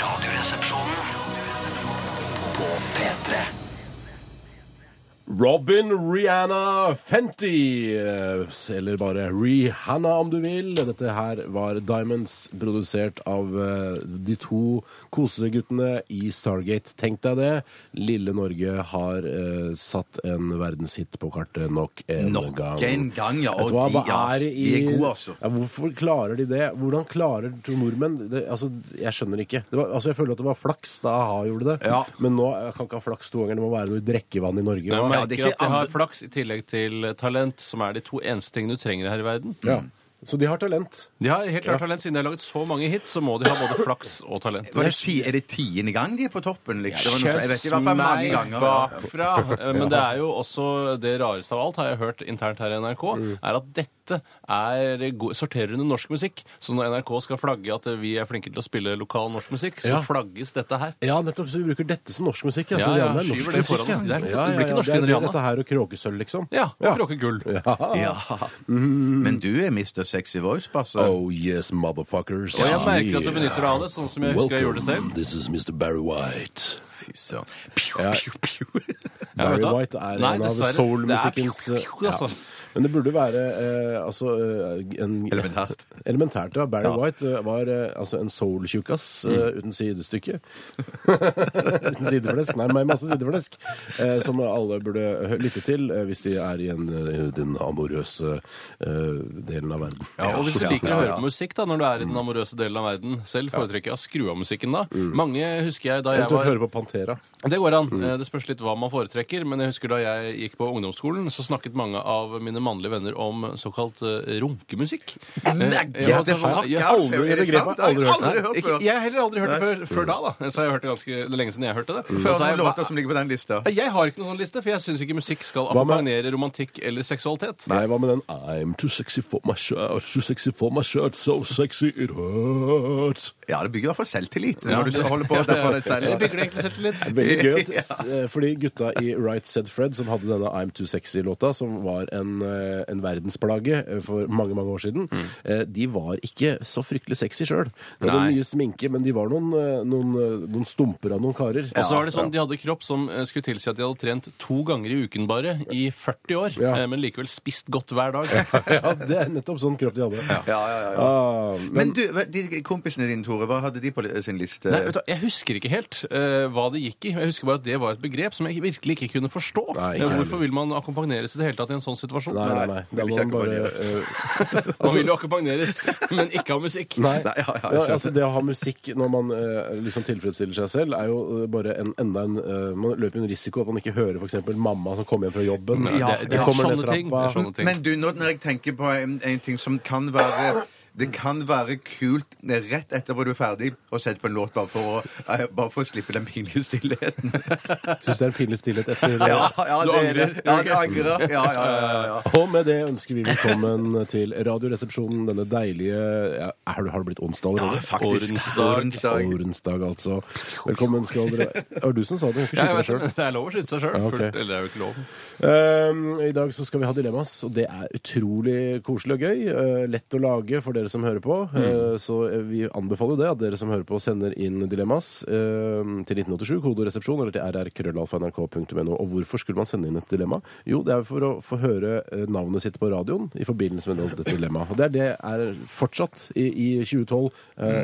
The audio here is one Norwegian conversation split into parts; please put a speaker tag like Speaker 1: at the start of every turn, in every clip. Speaker 1: Radioresepsjonen på P3.
Speaker 2: Robin Rihanna Fenty, eh, eller bare Rihanna om du vil. Dette her var Diamonds, produsert av eh, de to koseguttene i Stargate. Tenk deg det. Lille Norge har eh, satt en verdenshit på kartet nok en
Speaker 3: Nok
Speaker 2: gang.
Speaker 3: en gang, ja.
Speaker 2: Vet du hva,
Speaker 3: Og de,
Speaker 2: hva
Speaker 3: ja,
Speaker 2: er i,
Speaker 3: de er gode, altså.
Speaker 2: Ja, hvorfor klarer de det? Hvordan klarer to nordmenn det? Altså, jeg skjønner ikke. Det var, altså, jeg føler at det var flaks da a-ha gjorde det,
Speaker 3: Ja.
Speaker 2: men nå jeg kan ikke ha flaks to ganger. Det må være noe drikkevann i Norge.
Speaker 4: Jeg
Speaker 2: Hva-
Speaker 3: Ja, det er ikke
Speaker 4: merker at de
Speaker 3: andre-
Speaker 4: har flaks i tillegg til talent, som er de to eneste tingene du trenger her i verden.
Speaker 2: Ja. Så de har talent.
Speaker 4: De har helt klart talent. Siden de har laget så mange hits, så må de ha både flaks og talent.
Speaker 3: Var det ti, er det tiende gang de er på toppen? Liksom? Det var noe sånt. jeg vet i hvert fall mange
Speaker 4: meg
Speaker 3: ganger.
Speaker 4: bakfra. Eh, Men det er jo også det rareste av alt, har jeg hørt internt her i NRK,
Speaker 3: Mm.
Speaker 4: er at dette er, go- sorterer under norsk musikk. Så når NRK skal flagge at vi er flinke til å spille lokal norsk musikk, så
Speaker 2: Ja.
Speaker 4: flagges dette her.
Speaker 2: Ja, nettopp. Så vi bruker dette som norsk musikk. Altså,
Speaker 4: Ja, ja,
Speaker 2: Rihanna er norsk
Speaker 4: skyver det foran
Speaker 2: musikk,
Speaker 4: oss.
Speaker 2: ja.
Speaker 4: Det er- det blir ikke norsk
Speaker 2: det er-
Speaker 4: enn Rihanna.
Speaker 2: Dette her og kråkesølv, liksom.
Speaker 4: Ja, og Kråkegull.
Speaker 3: Ja. Men du er Mr. Sexy altså. Voice, Basse.
Speaker 2: Oh yes, motherfuckers.
Speaker 4: Og jeg merker at du benytter deg av det, sånn som jeg husker jeg gjorde det selv.
Speaker 2: This is Mr. Barry White.
Speaker 3: Så.
Speaker 2: Ja.
Speaker 4: Ja, vet
Speaker 2: Barry
Speaker 4: du hva?
Speaker 2: White er
Speaker 4: Nei,
Speaker 2: en av
Speaker 4: dessverre.
Speaker 2: soul-musikkens
Speaker 4: Det er pju, pju,
Speaker 2: ja.
Speaker 4: altså.
Speaker 2: Men det burde være eh, altså eh, en,
Speaker 3: Elementært.
Speaker 2: Elementært, ja. Barry
Speaker 3: Ja.
Speaker 2: White eh, var eh, altså en soul-tjukkas
Speaker 4: Mm.
Speaker 2: eh, uten sidestykke. uten sideflesk. Nei, med masse sideflesk. Eh, som alle burde hø- lytte til eh, hvis de er i en, eh, den amorøse eh, delen av verden.
Speaker 4: Ja, og hvis du
Speaker 3: Ja,
Speaker 4: liker
Speaker 3: ja,
Speaker 4: å høre
Speaker 3: ja.
Speaker 4: på musikk da, når du er i den amorøse delen av verden, selv foretrekker jeg å skru av musikken da. Mange husker jeg da jeg
Speaker 2: Eventuelt
Speaker 4: var
Speaker 2: høre på Pantera.
Speaker 4: Det går an. Eh, Det spørs litt hva man foretrekker. Men jeg husker da jeg gikk på ungdomsskolen, så snakket mange av mine mannlige venner om såkalt eh, runkemusikk. Eh, jeg var
Speaker 3: det
Speaker 4: sånn-
Speaker 3: har-
Speaker 4: jeg-
Speaker 3: ja,
Speaker 4: aldri-
Speaker 3: er det
Speaker 2: det grepet,
Speaker 3: sant? Jeg
Speaker 2: aldri
Speaker 3: har
Speaker 2: hørt det.
Speaker 3: Aldri hørt
Speaker 4: ikke-
Speaker 3: før.
Speaker 4: Jeg har heller aldri hørt det før, før da, da. Så jeg har hørt det ganske det er lenge siden jeg hørte det.
Speaker 3: Før
Speaker 4: Og så har
Speaker 3: noen
Speaker 4: jeg-
Speaker 3: låter som ligger på den lista.
Speaker 4: jeg har ikke noen sånn liste, for jeg syns ikke musikk skal
Speaker 2: Hva med-
Speaker 4: akkompagnere romantikk eller seksualitet.
Speaker 2: Nei, hva med den I'm too sexy for my shirt, too sexy for my shirt, so sexy it hurts.
Speaker 3: Ja, det bygger i hvert fall selvtillit
Speaker 4: Ja.
Speaker 3: når du skal holde på derfor det selv.
Speaker 4: Det bygger det egentlig selvtillit.
Speaker 2: Veldig gøy. at- s- eh, Fordi gutta i Right Said Fred, som hadde denne I'm Too Sexy-låta, som var en, eh, en verdensplage eh, for mange mange år siden,
Speaker 4: Mm.
Speaker 2: eh, de var ikke så fryktelig sexy sjøl. De hadde
Speaker 4: Nei.
Speaker 2: mye sminke, men de var noen, eh, noen, eh, noen stumper av noen karer.
Speaker 4: Og så var det sånn, De hadde kropp som eh, skulle tilsi at de hadde trent to ganger i uken bare i 40 år,
Speaker 2: Ja.
Speaker 4: eh, men likevel spist godt hver dag.
Speaker 2: Ja, det er nettopp sånn kropp de hadde.
Speaker 3: Ja, ja, ja, ja.
Speaker 2: Ah, men,
Speaker 3: Men du, hva- de kompisene dine, Tore, hva hadde de på li- sin liste?
Speaker 4: Nei, vet du, hva, Jeg husker ikke helt eh, hva det gikk i. Jeg husker bare at Det var et begrep som jeg virkelig ikke kunne forstå.
Speaker 2: Nei, ikke
Speaker 4: Eh,
Speaker 2: heller.
Speaker 4: Hvorfor vil man akkompagneres i det hele tatt i en sånn situasjon?
Speaker 2: nei, nei, nei.
Speaker 3: Nei,
Speaker 2: Da
Speaker 3: vil
Speaker 2: må
Speaker 3: ikke
Speaker 2: man bare
Speaker 3: akkompagneres.
Speaker 2: eh,
Speaker 4: Man vil jo akkompagneres, men ikke av musikk.
Speaker 2: Nei,
Speaker 3: Nei, ja, ja, jeg
Speaker 2: ja,
Speaker 3: skjønner.
Speaker 2: altså Det å ha musikk når man eh, liksom tilfredsstiller seg selv, er jo eh, bare en, enda en eh, Man løper en risiko at man ikke hører f.eks. mamma som kommer hjem fra jobben.
Speaker 4: Ja, det- det er
Speaker 2: kommer
Speaker 4: sånne
Speaker 2: ned
Speaker 4: ting, det er
Speaker 2: trappa.
Speaker 4: sånne ting.
Speaker 3: Men du, nå når jeg tenker på en, en ting som kan være det kan være kult eh, rett etterpå du er ferdig, å sette på en låt bare for å, eh, bare for å slippe den pinlige stillheten.
Speaker 2: Syns sånn, det er en pinlig stillhet etter det.
Speaker 3: Ja, ja,
Speaker 4: Du
Speaker 3: det er det.
Speaker 4: angrer.
Speaker 3: Ja, jeg angrer. Ja, ja, ja, ja.
Speaker 2: Og med det ønsker vi velkommen til Radioresepsjonen, denne deilige ja, er du- Har det blitt onsdag allerede?
Speaker 4: Ordensdag.
Speaker 2: Ordensdag, altså. Velkommen skal dere Det var du som sa det, du kan
Speaker 4: Ja,
Speaker 2: ikke
Speaker 4: jeg
Speaker 2: skyte deg sjøl.
Speaker 4: vet, det, det er lov å skyte seg sjøl.
Speaker 2: Ja, ok.
Speaker 4: Eller det er jo ikke lov.
Speaker 2: Um, I dag så skal vi ha dilemmas, og det er utrolig koselig og gøy. Uh, lett å lage for dere som hører på. Uh, så uh, vi anbefaler jo det, at dere som hører på, sender inn dilemmas uh, til 1987, kodoresepsjon, eller til rrkrøllalfa.nrk.no. Og hvorfor skulle man sende inn et dilemma? Jo, det er for å få høre uh, navnet sitt på radioen i forbindelse med dette dilemmaet. Og det er det er fortsatt i, i 2012 uh,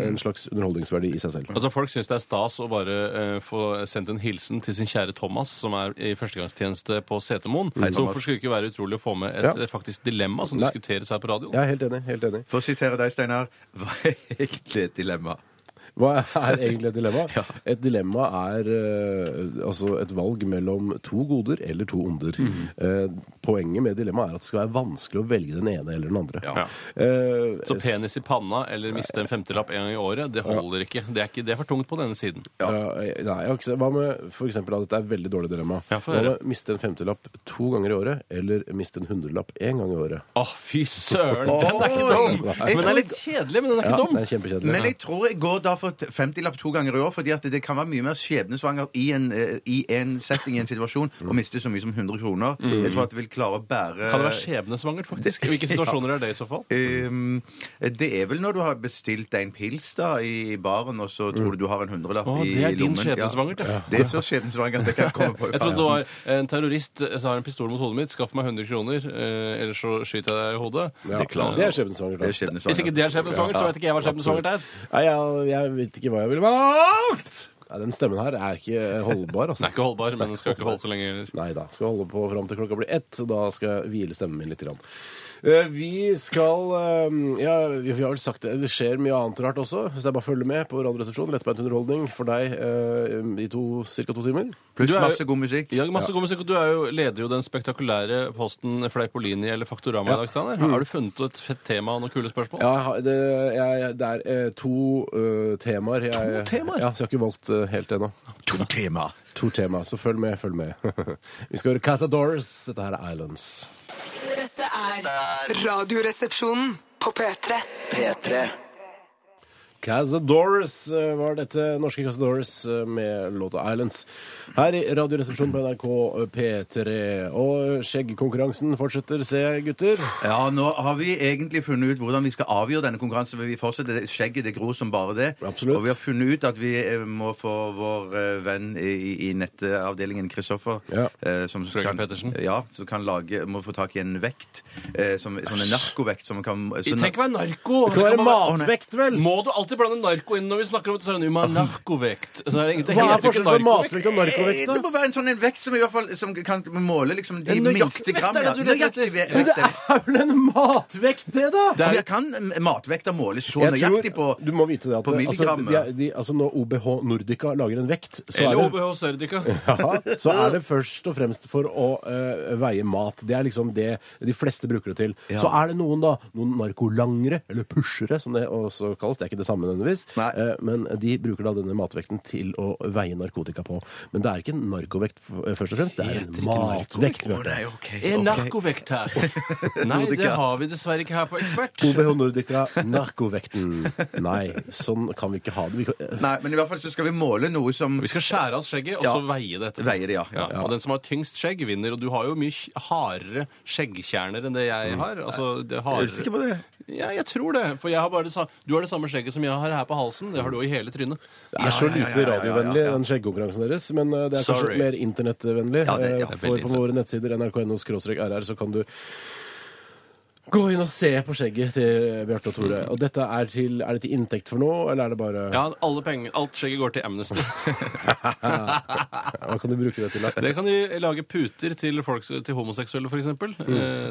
Speaker 2: en slags underholdningsverdi i seg selv.
Speaker 4: Altså Folk syns det er stas å bare eh, få sendt en hilsen til sin kjære Thomas, som er i førstegangstjeneste på Setermoen. Så hvorfor skulle det ikke være utrolig å få med et
Speaker 2: Ja.
Speaker 4: eh, faktisk dilemma som
Speaker 2: Nei.
Speaker 4: diskuteres her på radioen?
Speaker 2: Jeg er helt enig. helt enig.
Speaker 3: For å sitere deg, Steinar, hva er egentlig et dilemma?
Speaker 2: Hva er egentlig et dilemma? Et dilemma er eh, altså et valg mellom to goder eller to onder. Eh, poenget med dilemma er at det skal være vanskelig å velge den ene eller den andre.
Speaker 4: Ja.
Speaker 2: Eh,
Speaker 4: Så penis i panna eller miste en femtelapp en gang i året, det holder ikke. Det er, ikke, det er for tungt på denne siden.
Speaker 2: ja. eh, nei, jeg har ikke sett- Hva med for eksempel, at dette er et veldig dårlig dilemma?
Speaker 4: Ja, få
Speaker 2: Hva
Speaker 4: høre.
Speaker 2: med miste en femtelapp to ganger i året, eller miste en hundrelapp én gang i året?
Speaker 4: Å, fy søren! Den er ikke
Speaker 3: Oi!
Speaker 4: dum! Men den er litt kjedelig, men den er
Speaker 2: Ja,
Speaker 4: ikke dum.
Speaker 2: det er kjempekjedelig.
Speaker 3: Men jeg tror jeg går da for fått 50-lapp to ganger i år, fordi at det kan være mye mer skjebnesvangert i en, eh, i en setting, i en situasjon, å miste så mye som 100 kroner. Jeg tror at det vil klare å bære
Speaker 4: Mm. Kan det være skjebnesvangert, faktisk? I hvilke situasjoner er det i så fall?
Speaker 3: Ehm, det er vel når du har bestilt deg en pils da i i baren, og så
Speaker 2: Mm.
Speaker 3: tror du du har en hundrelapp
Speaker 4: Å,
Speaker 3: i
Speaker 4: det er din
Speaker 3: lommen.
Speaker 4: skjebnesvangert, ja.
Speaker 3: ja. Det er så skjebnesvangert det kan komme på. i
Speaker 4: Jeg trodde det
Speaker 3: farten.
Speaker 4: var en terrorist eh, som har en pistol mot hodet mitt. Skaff meg 100 kroner, eh, ellers så skyter jeg deg i hodet.
Speaker 2: Ja,
Speaker 4: Det klarer-
Speaker 2: det er skjebnesvangert.
Speaker 3: Det er
Speaker 2: da.
Speaker 3: skjebnesvangert.
Speaker 4: Hvis ikke det er skjebnesvangert, så vet ikke jeg hva skjebnesvangert er.
Speaker 2: Nei, jeg, jeg vet ikke hva jeg ville valgt! Nei, den stemmen her er ikke holdbar,
Speaker 4: Den er
Speaker 2: altså.
Speaker 4: ikke holdbar, men den skal ikke holde så lenge heller.
Speaker 2: Nei da. Skal holde på fram til klokka blir ett, så da skal jeg hvile stemmen min litt. Grann. Eh, Vi skal eh, Ja, vi har vel sagt det. Det skjer mye annet rart også. Så det er bare å følge med på Radioresepsjonen. Lettbeint underholdning for deg eh, i to, ca. to timer.
Speaker 3: Pluss
Speaker 4: Du er jo-
Speaker 3: masse god musikk.
Speaker 4: Ja, masse god musikk, og Du er jo, leder jo den spektakulære posten Fleipolini eller Faktorama i dag. Steiner. Har du funnet et fett tema og noen kule spørsmål?
Speaker 2: Ja, jeg har- det, jeg, det er eh, to eh, temaer. Jeg,
Speaker 4: To temaer?
Speaker 2: Ja, så jeg har ikke valgt eh, helt ennå.
Speaker 3: To tema.
Speaker 2: To temaer, så følg med, følg med. vi skal høre Casa Doors. Dette her er Islands.
Speaker 5: Dette er Radioresepsjonen på P3.
Speaker 1: P3.
Speaker 2: Cazadores eh, var dette. Norske Cazadores eh, med låta 'Islands'. Her i Radioresepsjonen på NRK P3. Og skjeggkonkurransen fortsetter, se gutter.
Speaker 3: Ja, nå har vi egentlig funnet ut hvordan vi skal avgjøre denne konkurransen. for Vi fortsetter, det- Skjegget det gror som bare det.
Speaker 2: Absolutt.
Speaker 3: Og vi har funnet ut at vi eh, må få vår eh, venn i, i nettavdelingen, Kristoffer
Speaker 2: Ja.
Speaker 3: eh, som
Speaker 4: Frøken Petersen.
Speaker 3: Ja, som kan lage, må få tak i en vekt. Eh, som, sånn en narkovekt som kan sånn-
Speaker 4: Tenk å være narko!
Speaker 2: Det kan være
Speaker 3: bare-
Speaker 2: matvekt, vel?
Speaker 4: Må du alltid blande narko inn når vi snakker om det? Så er det en narkovekt. Så er det egentlig-
Speaker 2: Hva er
Speaker 4: heter jo ikke
Speaker 2: forskjellen på
Speaker 4: narkovekt.
Speaker 2: matvekt og
Speaker 3: Eh,
Speaker 2: narkovekt?
Speaker 3: Det
Speaker 2: da?
Speaker 3: må være en sånn en vekt som i hvert fall som kan måle liksom de
Speaker 4: En Eh, nøyaktig
Speaker 3: minste
Speaker 4: vekt,
Speaker 3: gram.
Speaker 4: er
Speaker 3: ja.
Speaker 4: det du leter etter?
Speaker 3: Nøyaktig ve-
Speaker 2: Men det
Speaker 3: vekt.
Speaker 2: er vel en matvekt, det, da?
Speaker 4: Det er-
Speaker 3: Jeg kan matvekta måle så nøyaktig på
Speaker 2: du må vite det at
Speaker 3: på
Speaker 2: altså,
Speaker 3: milligrammet.
Speaker 2: de, er- de, altså Når OBH Nordica lager en vekt, så er,
Speaker 4: Eller
Speaker 2: det,
Speaker 4: OBH Serdica.
Speaker 2: ja, så er det først og fremst for å eh, veie mat. Det er liksom det de fleste bruker det til. Så er det noen da, noen narkolangere, eller pushere som det også kalles, det er ikke det samme nødvendigvis,
Speaker 3: Nei.
Speaker 2: eh, men de bruker da denne matvekten til å veie narkotika på. Men det er ikke en narkovekt f- eh, først og fremst, det er en matvekt. Bjørte.
Speaker 3: Nei, ok,
Speaker 4: Er
Speaker 3: ok.
Speaker 4: narkovekt her? Nei, det har vi dessverre ikke her på Ekspert.
Speaker 2: OBH Nordica, narkovekten. Nei, sånn kan vi ikke ha det. Vi kan,
Speaker 3: Nei, men i hvert fall så skal vi måle noe som
Speaker 4: Vi skal skjære av oss skjegget og
Speaker 3: Ja.
Speaker 4: så veie det etterpå.
Speaker 3: Veie det, ja.
Speaker 4: Ja, og den som har tyngst skjegg, vinner. Og du har jo mye kj- hardere skjeggkjerner enn det jeg har. Altså, det
Speaker 3: Er du sikker på
Speaker 4: hardere.
Speaker 3: det?
Speaker 4: Ja, jeg tror det. For jeg har bare det sa du har det samme skjegget som jeg har her på halsen. Det har du jo i hele trynet.
Speaker 2: Det er så
Speaker 3: ja, ja,
Speaker 2: lite
Speaker 3: ja, ja,
Speaker 2: radiovennlig,
Speaker 3: ja.
Speaker 2: den skjeggkonkurransen deres. Men eh, det er kanskje
Speaker 4: Sorry.
Speaker 2: mer internettvennlig.
Speaker 3: Ja, det- ja,
Speaker 2: Eh,
Speaker 4: det er
Speaker 2: For
Speaker 4: veldig
Speaker 2: på våre nettsider nrk.no-rr så kan du gå inn og se på skjegget til Bjarte og Tore. Og dette er til Er det til inntekt for noe, eller er det bare
Speaker 4: Ja, alle penger, Alt skjegget går til Amnesty.
Speaker 2: Hva kan du bruke det til? da?
Speaker 4: Det kan de lage puter til, folk, til homoseksuelle, f.eks. Eh,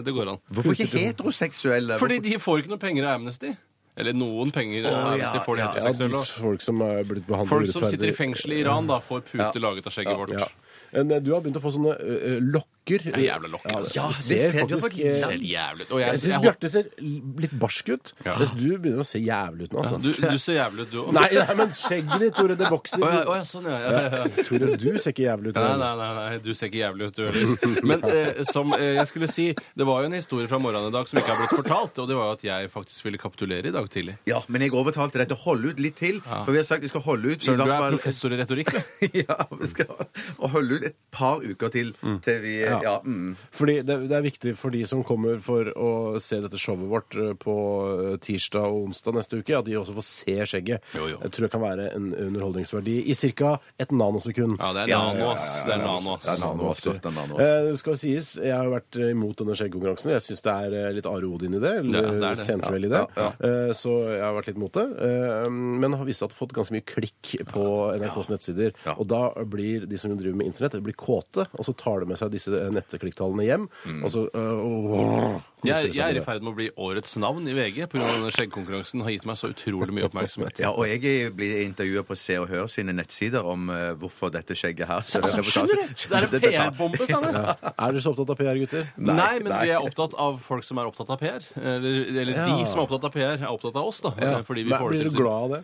Speaker 4: det går an.
Speaker 3: Hvorfor ikke heteroseksuelle?
Speaker 4: Fordi de får ikke noe penger av Amnesty. Eller noen penger av
Speaker 3: ja,
Speaker 4: Amnesty får de
Speaker 3: ja.
Speaker 2: Ja,
Speaker 4: heteroseksuelle. også.
Speaker 2: folk som er blitt behandlet
Speaker 4: Folk som sitter i
Speaker 2: urettferdig.
Speaker 4: fengsel i Iran, da får puter laget av skjegget vårt.
Speaker 2: Ja. Men eh, du har begynt å få sånne eh, lokker.
Speaker 4: er jævla lokker,
Speaker 2: Ja,
Speaker 4: altså.
Speaker 2: det,
Speaker 3: Ja, det
Speaker 2: ser
Speaker 3: ser du
Speaker 2: faktisk
Speaker 3: på-
Speaker 2: eh,
Speaker 4: Det ser helt jævlig ut. Og
Speaker 2: Jeg
Speaker 4: jeg,
Speaker 2: syns
Speaker 4: jeg,
Speaker 2: Bjarte ser litt barsk ut,
Speaker 4: Ja.
Speaker 2: mens du begynner å se jævlig ut nå. Altså.
Speaker 4: du, du ser jævlig ut, du òg.
Speaker 2: Nei, nei, men skjegget ditt, Tore, det vokser.
Speaker 4: Å ja, å ja, sånn, ja. ja, ja, ja.
Speaker 2: Tore, du ser ikke jævlig ut.
Speaker 4: Nei, nei, nei, nei, du ser ikke jævlig ut, du heller. Men eh, som eh, jeg skulle si, det var jo en historie fra morgenen i dag som ikke har blitt fortalt, og det var jo at jeg faktisk ville kapitulere i dag tidlig.
Speaker 3: Ja, men jeg overtalte deg til å holde ut litt til. For vi har sagt vi skal holde ut i
Speaker 4: Søren, du
Speaker 3: hvert
Speaker 4: er
Speaker 3: fall-
Speaker 4: professor i retorikk, du.
Speaker 3: ja, vi skal og holde ut et par uker til til vi
Speaker 2: Ja.
Speaker 3: Ja. ja mm.
Speaker 2: Fordi det, det er viktig for de som kommer for å se dette showet vårt eh, på eh, tirsdag og onsdag neste uke, at de også får se skjegget.
Speaker 4: Jo, jo.
Speaker 2: Jeg tror det kan være en underholdningsverdi i ca. et nanosekund.
Speaker 4: Ja, det er
Speaker 3: Ja,
Speaker 4: nano, ass.
Speaker 3: ja, ja, ja,
Speaker 4: Det er
Speaker 3: ja,
Speaker 4: nano,
Speaker 3: ja,
Speaker 4: ass.
Speaker 3: ja, nano, ass. Det er nano, ass.
Speaker 2: Eh, det skal sies, Jeg har jo vært eh, imot denne skjeggkonkurransen. Jeg syns det er eh, litt Are Odin i det. Eller
Speaker 4: Ja, det er det.
Speaker 2: Senkveld i det.
Speaker 3: Ja, ja,
Speaker 2: Eh, Så jeg har vært litt imot det. Eh, Men har visst at fått ganske mye klikk på NRKs nettsider.
Speaker 3: Ja.
Speaker 2: Og da blir de som driver med internett, de blir kåte, og så tar de med seg disse eh, nettklikktallene hjem. Og så eh, og-
Speaker 4: Mm. Jeg, jeg er i
Speaker 2: det.
Speaker 4: ferd med å bli årets navn i VG pga. denne skjeggkonkurransen. Har gitt meg så utrolig mye oppmerksomhet.
Speaker 3: Ja, og jeg blir intervjua på Se og Hør sine nettsider om eh, hvorfor dette skjegget her
Speaker 4: Så, altså, skjønner du? Det er en PR-bombe, Steinar.
Speaker 2: Ja. Er dere så opptatt av PR, gutter?
Speaker 4: Nei, men vi er opptatt av folk som er opptatt av PR. Eller, eller
Speaker 2: Ja.
Speaker 4: de som er opptatt av PR, er opptatt av oss, da. Fordi vi
Speaker 2: Men
Speaker 4: får det
Speaker 2: Blir
Speaker 4: til.
Speaker 2: du glad av det?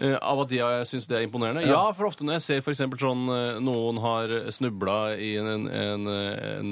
Speaker 4: eh, av at jeg syns det er imponerende. Ja, for ofte når jeg ser f.eks. sånn eh, noen har snubla i en, en, en,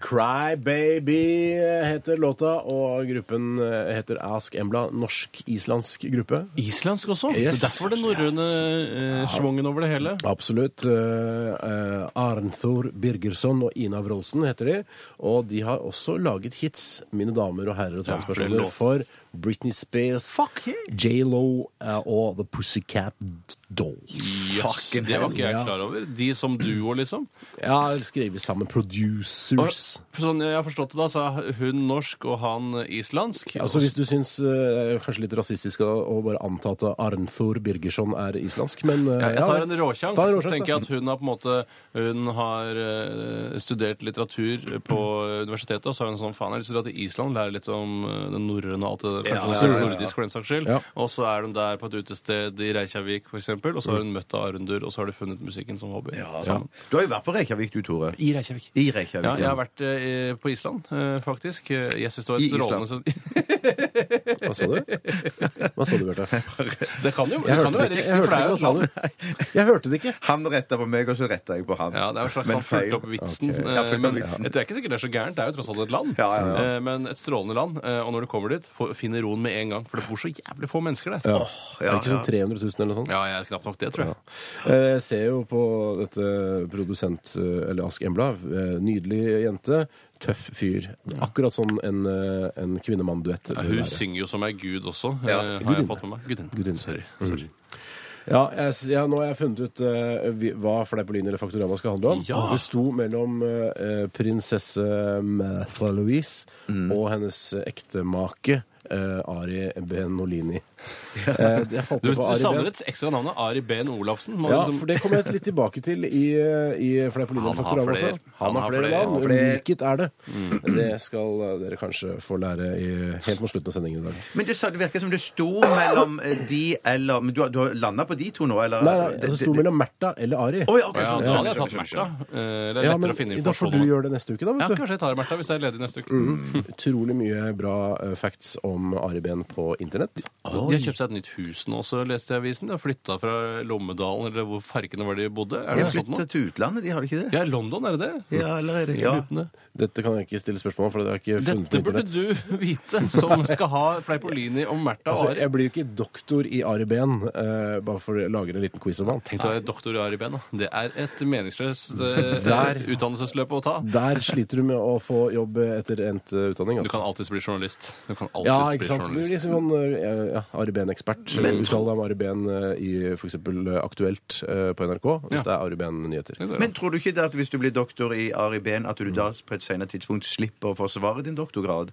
Speaker 2: Cry Baby heter låta, og gruppen heter Ask Embla. Norsk-islandsk gruppe.
Speaker 4: Islandsk også.
Speaker 2: Yes.
Speaker 4: Så derfor den norrøne eh, schwungen over det hele.
Speaker 2: Absolutt. Eh, eh, Arnthor Birgersson og Ina Wroldsen heter de. Og de har også laget hits, mine damer og herrer og
Speaker 4: Ja, for det er
Speaker 2: transpersoner,
Speaker 4: lov.
Speaker 2: for Britney Spears,
Speaker 4: Fuck yeah.
Speaker 2: J.Lo eh, og The Pussycat Dolls.
Speaker 4: Jøss,
Speaker 3: Fucking
Speaker 4: det var ikke
Speaker 2: hell, ja.
Speaker 4: jeg klar over. De som duo, liksom.
Speaker 2: Ja, skrevet sammen
Speaker 4: Og,
Speaker 2: producers.
Speaker 4: for sånn jeg har forstått det da, så er hun norsk og han islandsk.
Speaker 2: Altså Hvis du syns eh, kanskje litt rasistisk å å bare anta at Arnthor Birgersson er islandsk, men eh,
Speaker 4: Ja, jeg tar en
Speaker 2: Ta en
Speaker 4: råsjans.
Speaker 2: råsjans,
Speaker 4: Tenker jeg at hun har på en måte Hun har eh, studert litteratur på universitetet, og så har hun sånn faen, jeg har lyst til å dra til Island, lære litt om eh, den norrøne og alt det der. Kanskje
Speaker 2: ja, ja, ja.
Speaker 4: nordisk, for den saks skyld.
Speaker 2: Ja.
Speaker 4: Og så er hun der på et utested i Reykjavik, for eksempel, og så har hun møtt av Arundur, og så har de funnet musikken som hobby. sammen.
Speaker 3: Du har jo vært på Reykjavik, du, Tore.
Speaker 4: sånn. I Reykjavik.
Speaker 3: I Reykjavik.
Speaker 4: Ja, jeg har vært eh, på Island, eh, faktisk. Eh, Jeg synes det var
Speaker 3: I
Speaker 4: et
Speaker 3: Island.
Speaker 4: strålende sted.
Speaker 2: Hva sa du? Hva sa du, Bjarte?
Speaker 4: Det kan jo, det
Speaker 2: Jeg
Speaker 4: kan jo
Speaker 2: hørte
Speaker 4: være
Speaker 2: det ikke.
Speaker 4: riktig,
Speaker 2: Jeg
Speaker 4: for
Speaker 2: hørte ikke.
Speaker 4: det er jo
Speaker 2: Hva
Speaker 4: et
Speaker 2: sa
Speaker 4: land.
Speaker 2: du? Jeg hørte det ikke.
Speaker 3: Han retta på meg, og så retta jeg på han.
Speaker 4: Ja, det er en slags
Speaker 3: Men
Speaker 4: han fulgte
Speaker 3: feil.
Speaker 4: opp vitsen.
Speaker 3: Ok. Ja, fulgte
Speaker 4: eh,
Speaker 3: opp
Speaker 4: Men
Speaker 3: vitsen.
Speaker 4: jeg tror ikke sikkert det er så gærent. Det er jo tross alt et land.
Speaker 3: Ja, ja, ja.
Speaker 4: Eh, Men et strålende land. eh, Og når du kommer dit, få- finner roen med en gang. For det bor så jævlig få mennesker der.
Speaker 2: Ja.
Speaker 3: ja,
Speaker 2: er det ikke
Speaker 3: ja.
Speaker 2: sånn 300 000 eller noe sånt?
Speaker 4: Ja, jeg er knapt nok det, tror jeg.
Speaker 2: Eh, Jeg ser jo på dette produsent, eh, eller Ask Embla, eh, nydelig jente, tøff fyr. Akkurat sånn en, eh, en kvinnemann-duett
Speaker 4: Ja,
Speaker 2: bør
Speaker 4: hun
Speaker 2: være.
Speaker 4: synger jo som ei gud også, eh,
Speaker 3: Ja,
Speaker 4: har
Speaker 2: gudinne.
Speaker 4: jeg fått med meg. Gudinne.
Speaker 2: Gudinne.
Speaker 4: Sorry. Sorry.
Speaker 2: Mm. Ja, jeg, s- ja, nå har jeg funnet ut eh, vi- hva Fleipolini eller Faktorama skal handle om.
Speaker 4: Ja.
Speaker 2: Det sto mellom
Speaker 4: Mm.
Speaker 2: eh, eh, prinsesse Martha Louise og hennes ektemake eh, Ari Benolini. Eh, jeg falt
Speaker 4: Du,
Speaker 2: på
Speaker 4: du
Speaker 2: Ari Ben.
Speaker 4: savner et ekstra navn. Ari Behn Olafsen. Må
Speaker 2: Ja,
Speaker 4: liksom-
Speaker 2: for det kommer jeg litt tilbake til i, eh, i Fleipolino
Speaker 4: Han har
Speaker 2: Faktorama også.
Speaker 4: flere.
Speaker 2: Han har flere
Speaker 4: Han
Speaker 2: navn.
Speaker 4: har Mm.
Speaker 3: flere.
Speaker 2: Hvilket er det? Det skal eh, dere kanskje få lære i, helt mot slutten av sendingen i dag.
Speaker 3: Men du sa det virker som det sto mellom eh, de eller Men du, har- du har landa på de to nå, eller?
Speaker 2: Nei, nei, det sto mellom Märtha eller Ari.
Speaker 3: Å, ja, ok, sånn.
Speaker 4: Å ja,
Speaker 3: skjønner,
Speaker 4: da hadde jeg
Speaker 3: skjønner,
Speaker 4: tatt
Speaker 3: skjønner,
Speaker 4: Märtha.
Speaker 3: skjønner.
Speaker 4: Eh, Det er
Speaker 2: Ja,
Speaker 4: lettere
Speaker 2: men
Speaker 4: å finne
Speaker 2: Da får du
Speaker 4: informasjon om.
Speaker 2: gjøre det neste uke, da.
Speaker 4: Ja,
Speaker 2: vet du.
Speaker 4: kanskje jeg tar Märtha hvis det er ledig neste uke.
Speaker 2: Utrolig mye bra eh, facts om Ari Behn på internett.
Speaker 4: De har kjøpt seg et nytt hus nå også, leste jeg i avisen. De har flytta fra Lommedalen, eller hvor farkene var de bodde. Er
Speaker 3: De
Speaker 4: det
Speaker 3: har
Speaker 4: noe sånt nå?
Speaker 3: flytta til utlandet, de har ikke det?
Speaker 4: Ja, i London, er det det?
Speaker 3: Ja, eller er det
Speaker 4: Jeg
Speaker 3: ja.
Speaker 4: lurer på det.
Speaker 2: Dette kan jeg ikke stille spørsmål om, for det har jeg ikke funnet
Speaker 4: Dette
Speaker 2: på
Speaker 4: burde
Speaker 2: internett.
Speaker 4: du vite, som skal ha Fleipolini og Märtha
Speaker 2: Altså,
Speaker 4: og Ari.
Speaker 2: jeg blir jo ikke doktor i Ari Behn eh, bare for å lage en liten quiz om han.
Speaker 4: Tenk deg å være doktor i Ari Behn. da. Det er et meningsløst eh,
Speaker 2: Der.
Speaker 4: utdannelsesløp å ta.
Speaker 2: Der sliter du med å få jobb etter endt eh, utdanning.
Speaker 4: Du
Speaker 2: Altså.
Speaker 4: kan alltids bli journalist. Du kan alltids
Speaker 2: Ja,
Speaker 4: bli
Speaker 2: ikke sant. Du blir
Speaker 4: journalist.
Speaker 2: liksom sånn eh, ja, Ari Behn-ekspert.
Speaker 4: Men-
Speaker 2: Uttal deg om Ari Behn eh, i f.eks. Aktuelt eh, på NRK, hvis
Speaker 4: Ja.
Speaker 2: det er Ari Behn-nyheter.
Speaker 4: Det går
Speaker 3: Men
Speaker 4: an.
Speaker 3: tror du ikke det at hvis du blir doktor i Ari Behn, at du da på et senere tidspunkt slipper å forsvare din doktorgrad?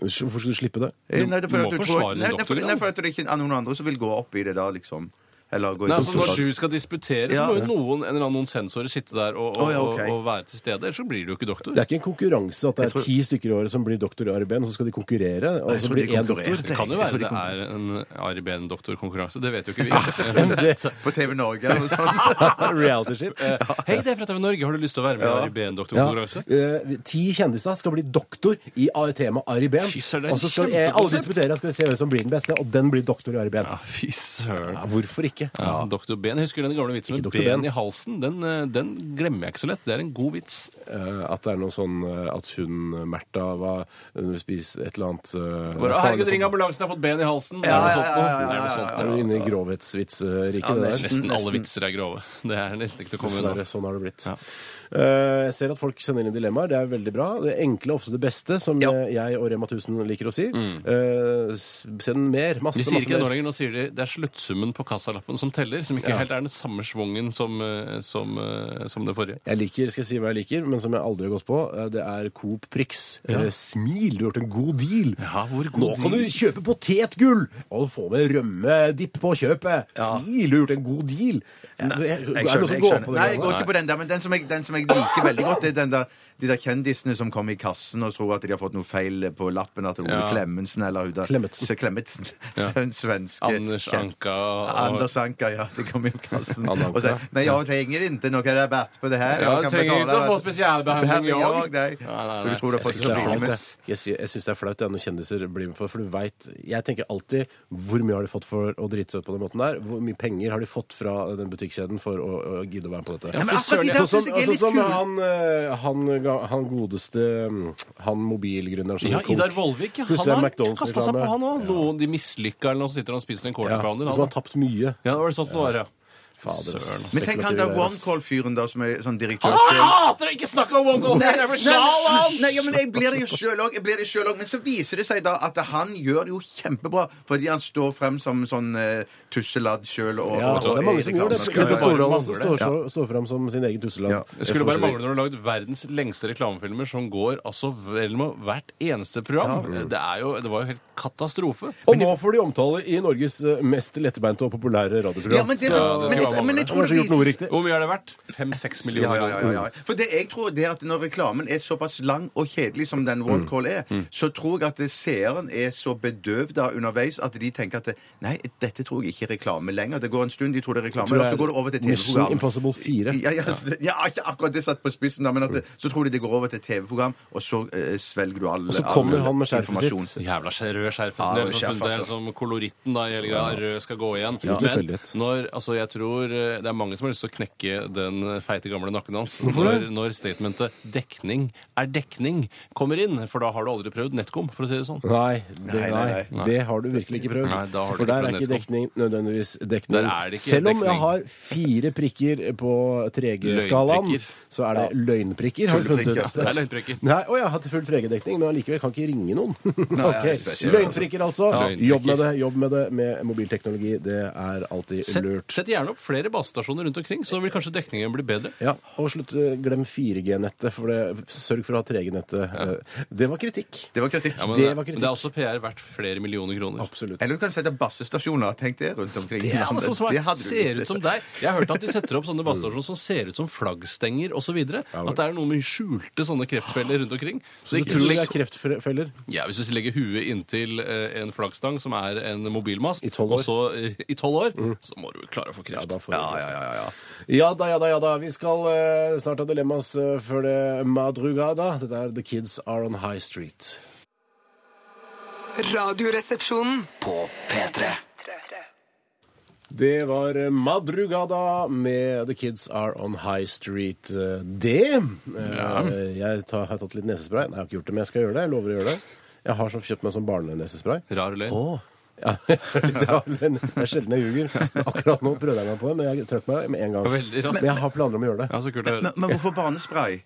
Speaker 2: Hvorfor skulle du slippe det?
Speaker 3: Eh, Nei, det er
Speaker 4: du
Speaker 3: for
Speaker 4: må
Speaker 3: at du
Speaker 4: forsvare
Speaker 3: tror
Speaker 4: din
Speaker 3: Nei, det er for-
Speaker 4: doktorgrad.
Speaker 3: nei, for at det ikke er noen andre som vil gå opp i det da, liksom. Eller gå i
Speaker 4: Nei, altså Når
Speaker 3: doktorgrad.
Speaker 4: du skal disputere, så
Speaker 3: Ja.
Speaker 4: må jo noen, en eller annen, noen sensorer sitte der og,
Speaker 3: Å,
Speaker 4: og,
Speaker 3: ja, ok.
Speaker 4: og, og være til stede. Ellers så blir du jo ikke doktor.
Speaker 2: Det er ikke en konkurranse at det
Speaker 3: Jeg
Speaker 2: er
Speaker 3: tror-
Speaker 2: ti stykker i året som blir doktor i Ari Behn, og så skal de konkurrere, og
Speaker 3: Jeg
Speaker 2: så
Speaker 3: tror
Speaker 2: blir
Speaker 3: de
Speaker 2: én
Speaker 3: konkurrerer.
Speaker 2: doktor.
Speaker 4: Det kan jo
Speaker 3: Jeg tror
Speaker 4: være
Speaker 3: de
Speaker 4: det er en Ari Behn-doktorkonkurranse. Det vet jo ikke vi.
Speaker 3: På TV Norge eller noe sånt.
Speaker 2: Reality shit.
Speaker 4: Eh, Hei, det er fra TV Norge. Har du lyst til å være med i Ari Behn-doktorkonkurranse?
Speaker 2: eh, ti kjendiser skal bli doktor i A- temaet Ari Behn.
Speaker 4: Fy søren, det er
Speaker 2: Og så skal vi,
Speaker 4: kjempekonsept.
Speaker 2: alle disputere, skal vi se hvem som blir den beste, og den blir doktor i Ari Behn.
Speaker 4: Ja, fy søren.
Speaker 2: Ja, hvorfor ikke?
Speaker 4: Ja, Dr. Ben. Jeg husker den gamle vitsen
Speaker 2: Ikke
Speaker 4: med
Speaker 2: Dr. Ben.
Speaker 4: ben i halsen. Den, eh, den glemmer jeg ikke så lett. Det er en god vits.
Speaker 2: Eh, at det er noe sånn eh, at hun, Märtha, var hun spiste et eller annet uh,
Speaker 4: Bare, «Å, herregud, ring ambulansen, jeg har fått ben i halsen.
Speaker 3: Ja,
Speaker 4: er det
Speaker 3: ja,
Speaker 4: noe sånt
Speaker 3: ja,
Speaker 4: nå?
Speaker 3: ja, ja,
Speaker 4: Er det noe sånt?
Speaker 3: ja,
Speaker 2: Er
Speaker 4: nå?
Speaker 2: du inne i grovhetsvitsriket?
Speaker 3: Ja,
Speaker 2: det der?
Speaker 3: nesten.
Speaker 4: Nesten alle vitser er grove. Det er nesten ikke til å komme unna.
Speaker 2: Dessverre, sånn har det blitt.
Speaker 4: Ja.
Speaker 2: Eh, jeg ser at folk sender inn dilemmaer. Det er veldig bra. Det enkle er ofte det beste, som
Speaker 3: Ja.
Speaker 2: eh, jeg og Rema 1000 liker å si. Eh, s- send mer. Masse,
Speaker 4: Mm. De sier ikke
Speaker 2: masse
Speaker 4: det nå
Speaker 2: mer.
Speaker 4: lenger. Nå sier de det er sluttsummen på kassalappen som teller, som ikke
Speaker 2: Ja.
Speaker 4: helt er den samme svongen som, eh, som, eh, som det forrige.
Speaker 2: Jeg liker, skal jeg si hva jeg liker, men som jeg aldri har gått på, eh, det er Coop Prix. Eh, smil, du har gjort en god deal!
Speaker 4: Ja, hvor god
Speaker 2: Nå kan du
Speaker 4: deal.
Speaker 2: kjøpe potetgull! Og du får med rømmedipp på kjøpet! Smil, du har gjort en god deal! er det
Speaker 3: Jeg
Speaker 2: noen
Speaker 3: skjønner,
Speaker 2: som
Speaker 3: jeg
Speaker 2: går på
Speaker 3: skjønner.
Speaker 2: det?
Speaker 3: Nei, jeg går
Speaker 2: greiene der?
Speaker 3: ikke på den der, men den som jeg, den som jeg liker veldig godt, det er den der, de der kjendisene som kommer i kassen og tror at de har fått noe feil på lappen, at det er Ole
Speaker 4: Ja.
Speaker 3: Klemmensen eller hun der.
Speaker 2: Klemetsen.
Speaker 3: Så Klemetsen. Den svenske.
Speaker 4: Anders Anka og
Speaker 3: Anders Anka, ja. Det kommer i kassen.
Speaker 2: Han Anka.
Speaker 3: Og sier, men jeg trenger ikke noe rabatt på det her.
Speaker 4: Ja,
Speaker 3: Jeg kan
Speaker 4: du trenger
Speaker 3: betale-
Speaker 4: ikke å få spesialbehandling i år.
Speaker 3: jeg, nei.
Speaker 4: Nei, nei,
Speaker 3: Så
Speaker 4: nei.
Speaker 3: du tror du har
Speaker 2: Jeg
Speaker 3: fått
Speaker 2: syns det er flaut,
Speaker 3: problemer?
Speaker 2: jeg. Jeg sy- jeg syns det er flaut jeg, når kjendiser blir med på det. For du vet, jeg tenker alltid hvor mye har de fått for å drite seg ut på den måten der? Hvor mye penger har de fått fra den butikkjeden for å, å gidde å være med på dette?
Speaker 3: Ja, men
Speaker 4: Fy
Speaker 3: akkurat
Speaker 4: søren,
Speaker 3: de der
Speaker 2: Sånn som,
Speaker 3: synes jeg er
Speaker 2: sånn
Speaker 3: litt
Speaker 2: som
Speaker 3: kule.
Speaker 2: han, eh, han, ga- han godeste mm, Han mobilgründeren som
Speaker 4: Ja,
Speaker 2: gjorde Coke.
Speaker 4: Idar Vollvik. ja.
Speaker 2: Pluss det er
Speaker 4: Han har
Speaker 2: McDonald's
Speaker 4: kasta seg
Speaker 2: reklame.
Speaker 4: på, han òg. Noen de mislykka eller noe, så sitter han og spiser en
Speaker 2: Ja,
Speaker 4: quarter pounder.
Speaker 2: som
Speaker 4: han.
Speaker 2: har tapt mye.
Speaker 4: Ja, det var det sånt det var, ja.
Speaker 2: Fader, ass.
Speaker 4: Søren, ass.
Speaker 3: Men tenk han
Speaker 2: Spekulative
Speaker 3: der
Speaker 2: greier, ass.
Speaker 3: OneCall-fyren da, som er sånn direktør
Speaker 4: Han Ah, hater å ikke snakke om one goal! Det er sjal, han!
Speaker 3: Nei, ja, men jeg blir det jo sjøl òg. Men så viser det seg da at han gjør det jo kjempebra, fordi han står frem som sånn uh, tusseladd sjøl. Og,
Speaker 2: Ja,
Speaker 3: og, og,
Speaker 2: det er mange som gjør det.
Speaker 4: Skulle
Speaker 2: Petter
Speaker 4: bare
Speaker 2: Stordalen
Speaker 4: mangle
Speaker 2: som
Speaker 4: det.
Speaker 2: står, så- står fram som sin egen
Speaker 3: Ja.
Speaker 2: tusseland.
Speaker 4: Det skulle bare mangle når du har lagd verdens lengste reklamefilmer som går altså vel med hvert eneste program. Det, er jo, det var jo helt katastrofe.
Speaker 2: Og nå får de omtale i Norges eh, mest lettbeinte og populære radioprogram.
Speaker 3: Ja, men det,
Speaker 4: Så det
Speaker 3: men,
Speaker 4: skal
Speaker 3: men, men
Speaker 4: være
Speaker 3: jeg
Speaker 4: manglende.
Speaker 3: tror
Speaker 2: Kanskje
Speaker 3: det
Speaker 2: gjort noe
Speaker 3: viser
Speaker 2: riktig.
Speaker 4: Hvor mye er det verdt? Fem-seks
Speaker 3: ja,
Speaker 4: millioner
Speaker 3: ja, ja, ja. For det jeg tror det er at når reklamen er såpass lang og kjedelig som
Speaker 2: Mm.
Speaker 3: den OneCall er, så tror jeg at seeren er så bedøvda underveis at de tenker at det, nei, dette tror jeg ikke er reklame lenger. Det går en stund, de tror det er reklame,
Speaker 2: Tror
Speaker 3: og
Speaker 2: jeg
Speaker 3: så går det over til
Speaker 2: Mission
Speaker 3: TV-program.
Speaker 2: Impossible 4.
Speaker 3: Ja, ja, altså, ja, ikke akkurat det satt på spissen, da, men at det, så tror de det går over til TV-program, og så eh, svelger du all
Speaker 2: Og så kommer
Speaker 3: all
Speaker 2: han med skjerfet
Speaker 3: informasjon.
Speaker 2: sitt.
Speaker 4: Jævla skje- rød skjerf.
Speaker 3: Ja,
Speaker 4: det er
Speaker 3: rød
Speaker 4: sånn
Speaker 3: skjerf,
Speaker 4: funnet- det er
Speaker 3: altså.
Speaker 4: som koloritten da, i hele greia. Rød skal gå igjen.
Speaker 2: Ikke
Speaker 4: Men
Speaker 2: tilfeldighet.
Speaker 4: når, altså, jeg tror eh, det er mange som har lyst til å knekke den eh, feite gamle nakken hans
Speaker 2: Hvorfor
Speaker 4: når, når statementet 'dekning er dekning' kommer inn. For da har du aldri prøvd Netcom, for å si det sånn.
Speaker 2: Nei det, nei,
Speaker 3: Nei, nei,
Speaker 2: det har du virkelig ikke prøvd.
Speaker 4: Nei, da har du
Speaker 2: For
Speaker 4: ikke
Speaker 2: der er
Speaker 4: prøvd
Speaker 2: ikke dekning nødvendigvis dekning.
Speaker 4: Der er det ikke
Speaker 2: Selv om jeg
Speaker 4: dekning.
Speaker 2: har fire prikker på 3G-skalaen,
Speaker 4: Løgnprikker.
Speaker 2: så er det løgnprikker. Har du funnet ut?
Speaker 4: Det er løgnprikker.
Speaker 2: Nei, Å, jeg har hatt full 3G-dekning, men allikevel kan ikke ringe noen. Ok,
Speaker 3: det er spesielt,
Speaker 2: Løgnprikker, altså.
Speaker 4: Løgnprikker.
Speaker 2: Jobb med det jobb med det med mobilteknologi. Det er alltid
Speaker 4: Sett,
Speaker 2: lurt.
Speaker 4: sett gjerne opp flere basestasjoner rundt omkring, så vil kanskje dekningen bli bedre.
Speaker 2: Ja, og slutt, eh, glem 4G-nettet. for det- Sørg for å ha 3G-nettet. Eh, Det var kritikk.
Speaker 3: Det var kritikk.
Speaker 4: Ja, men,
Speaker 2: Det
Speaker 4: det,
Speaker 2: var kritikk.
Speaker 4: men det er også PR verdt flere millioner kroner.
Speaker 2: Absolutt.
Speaker 3: Eller du kan sette bassestasjoner. Tenk det rundt omkring.
Speaker 4: Det er alle
Speaker 2: altså
Speaker 4: som som
Speaker 3: Det
Speaker 4: er,
Speaker 3: hadde du
Speaker 4: ser
Speaker 3: likt.
Speaker 4: ut som deg. Jeg hørte at de setter opp
Speaker 2: Mm.
Speaker 4: sånne basestasjoner som ser ut som flaggstenger osv. At det er noe med skjulte sånne kreftfeller rundt omkring. Så
Speaker 2: Du
Speaker 4: ikke
Speaker 2: tror det er
Speaker 4: legg,
Speaker 2: kreftfeller?
Speaker 4: ja, hvis du legger huet inntil eh, en flaggstang som er en mobilmast,
Speaker 2: I tolv år. Mm.
Speaker 4: og så eh, i tolv år, så må du klare å få kreft.
Speaker 2: Ja, da får
Speaker 4: ja,
Speaker 2: du
Speaker 4: ja, ja, ja.
Speaker 2: Ja da, ja da, ja da. Vi skal eh, snart ha dilemmas eh, før det madrugada. Dette er The Kids Are On High Street.
Speaker 5: Radioresepsjonen.
Speaker 1: På P3.
Speaker 2: Det var eh, Madrugada med The Kids Are On High Street. Eh, Det eh, Jeg tar, har tatt litt nesespray. Nei, jeg har ikke gjort det, men jeg skal gjøre det. Jeg lover å gjøre det. Jeg har sånn, kjøpt meg sånn barnenesespray.
Speaker 4: Rar løgn.
Speaker 2: Ja, det var- men det er sjelden jeg ljuger. Akkurat nå prøvde jeg meg på det, men jeg trakk meg med en gang.
Speaker 4: Veldig raskt.
Speaker 2: Men jeg har planer om å gjøre det.
Speaker 4: Ja, så kult å høre.
Speaker 3: Men, men hvorfor barnespray?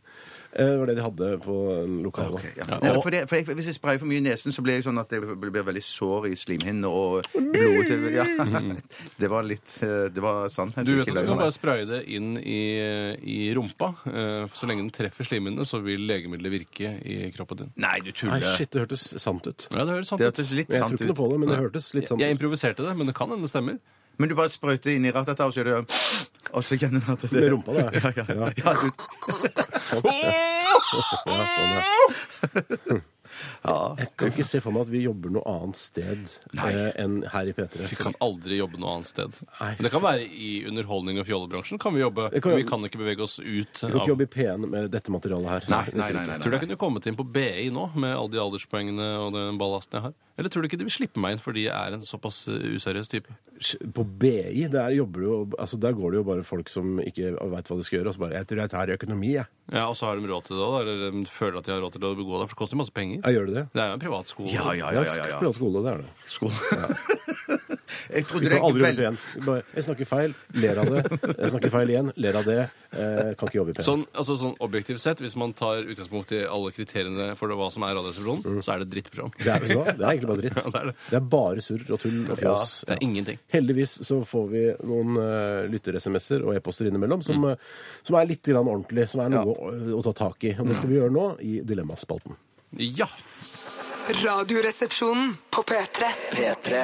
Speaker 2: Eh, Det var det de hadde på um, en lokal.
Speaker 3: Ok, ja. Nei, for det, for jeg, hvis jeg sprayer for mye i nesen, så blir jeg sånn at jeg blir blir veldig sår i slimhinner og blodet til ja.
Speaker 2: Mm.
Speaker 3: Det var litt eh, Det var sannhet.
Speaker 4: Du vet
Speaker 3: ikke
Speaker 4: at du
Speaker 3: løgn.
Speaker 4: kan bare spraye det inn i, i rumpa. eh, Så lenge den treffer slimhinnene, så vil legemiddelet virke i kroppen din.
Speaker 3: Nei, du
Speaker 2: Nei,
Speaker 3: tuller.
Speaker 2: shit, det hørtes sant ut.
Speaker 4: Ja, det høres sant
Speaker 3: Det
Speaker 4: ut.
Speaker 3: hørtes litt
Speaker 2: Men Jeg tror
Speaker 3: sant
Speaker 2: ikke noe
Speaker 3: ut.
Speaker 2: på det, men det hørtes litt sant
Speaker 4: Jeg
Speaker 2: ut.
Speaker 4: improviserte det, men det kan hende det stemmer.
Speaker 3: Men du bare sprøyter inn i rattet, og så gjør du Og så kjenner du at det
Speaker 2: Med rumpa, da.
Speaker 3: Ja, ja, ja. ja, du,
Speaker 2: Ja, sånn, ja. Jeg kan ikke se for meg at vi jobber noe annet sted eh, enn her i P3.
Speaker 4: Vi kan aldri jobbe noe annet sted.
Speaker 2: Nei.
Speaker 4: Men det kan være i underholdning og fjollebransjen. kan Vi jobbe.
Speaker 2: Jeg kan-
Speaker 4: vi kan ikke bevege oss ut.
Speaker 2: Vi kan
Speaker 4: av-
Speaker 2: ikke jobbe i P1 med dette materialet her.
Speaker 3: Nei, nei, nei, nei,
Speaker 4: Tror du jeg kunne kommet inn på BI nå med alle de alderspoengene og den ballasten jeg har? Eller tror du ikke de vil slippe meg inn fordi jeg er en såpass eh, useriøs type?
Speaker 2: På BI, der, jobber du, jo- altså, der går det jo bare folk som ikke veit hva de skal gjøre. Og så bare 'Jeg tror jeg tar økonomi, jeg'.
Speaker 4: Ja, Og så har de råd til det òg, eller de føler at de har råd til å begå deg, for det koster masse penger.
Speaker 2: Ja, gjør du det?
Speaker 4: Det er jo en privatskole.
Speaker 3: ja, ja, ja, ja, ja.
Speaker 2: Privat skole, det er det.
Speaker 3: Jeg trodde
Speaker 2: Vi
Speaker 3: det
Speaker 2: kan aldri
Speaker 3: vel-
Speaker 2: jobbe igjen. Bare, 'Jeg snakker feil', ler av det. 'Jeg snakker feil igjen', ler av det. Eh, kan ikke jobbe i P1.
Speaker 4: Sånn, altså, sånn objektivt sett, hvis man tar utgangspunkt i alle kriteriene for det, hva som er Radioresepsjonen, så er det et drittprogram.
Speaker 2: Mm. Det er, vet du hva? det er egentlig bare dritt.
Speaker 4: Ja, det er det.
Speaker 2: Det er bare surr og tull og
Speaker 4: Ja,
Speaker 2: fjas.
Speaker 4: det er ingenting.
Speaker 2: Heldigvis så får vi noen uh, lytter-SMS-er og e-poster innimellom som, eh, som er litt grann ordentlig, som er noe å, å ta tak i. Og det skal vi gjøre nå i Dilemmaspalten.
Speaker 4: Ja!
Speaker 5: Radioresepsjonen på P3.
Speaker 1: P3.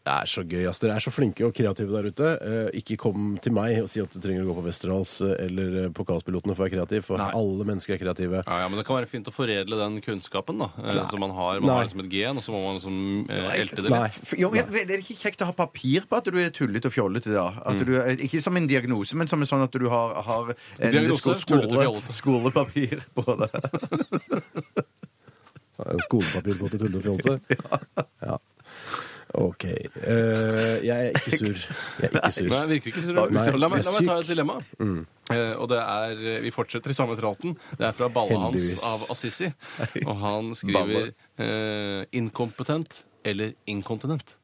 Speaker 2: Det er så gøy, ass. Dere er så flinke og kreative der ute. Eh, ikke kom til meg og si at du trenger å gå på Westerdals eh, eller eh, på Kaospilotene for å være kreativ, for alle mennesker er kreative.
Speaker 4: Ja, ja, men Det kan være fint å foredle den kunnskapen da, eh, som man har. Man
Speaker 2: Nei.
Speaker 4: har liksom et gen, og så må man liksom eh, elte det litt.
Speaker 2: Nei.
Speaker 3: F- Jo, ja, er det ikke kjekt å ha papir på at du er tullete og fjollete? da? At du, er- ikke som en diagnose, men som en sånn at du har, har en
Speaker 4: Diagnose,
Speaker 3: sko-
Speaker 4: tullete og fjollete.
Speaker 3: skolepapir på det.
Speaker 2: Ja, Skolepapir på til tulle og fjolte. Eh, Ja. OK. Eh, jeg er ikke sur. Jeg er ikke sur.
Speaker 4: Nei, virker ikke sur. La,
Speaker 2: Nei,
Speaker 4: meg- la, meg-
Speaker 2: jeg er
Speaker 4: la meg ta
Speaker 2: syk. Mm.
Speaker 4: et dilemma. Eh, og det er, eh, Vi fortsetter i samme tralten. Det er fra balla hans
Speaker 2: Heldigvis.
Speaker 4: av Assisi. Og han skriver eh, 'inkompetent' eller 'inkontinent'.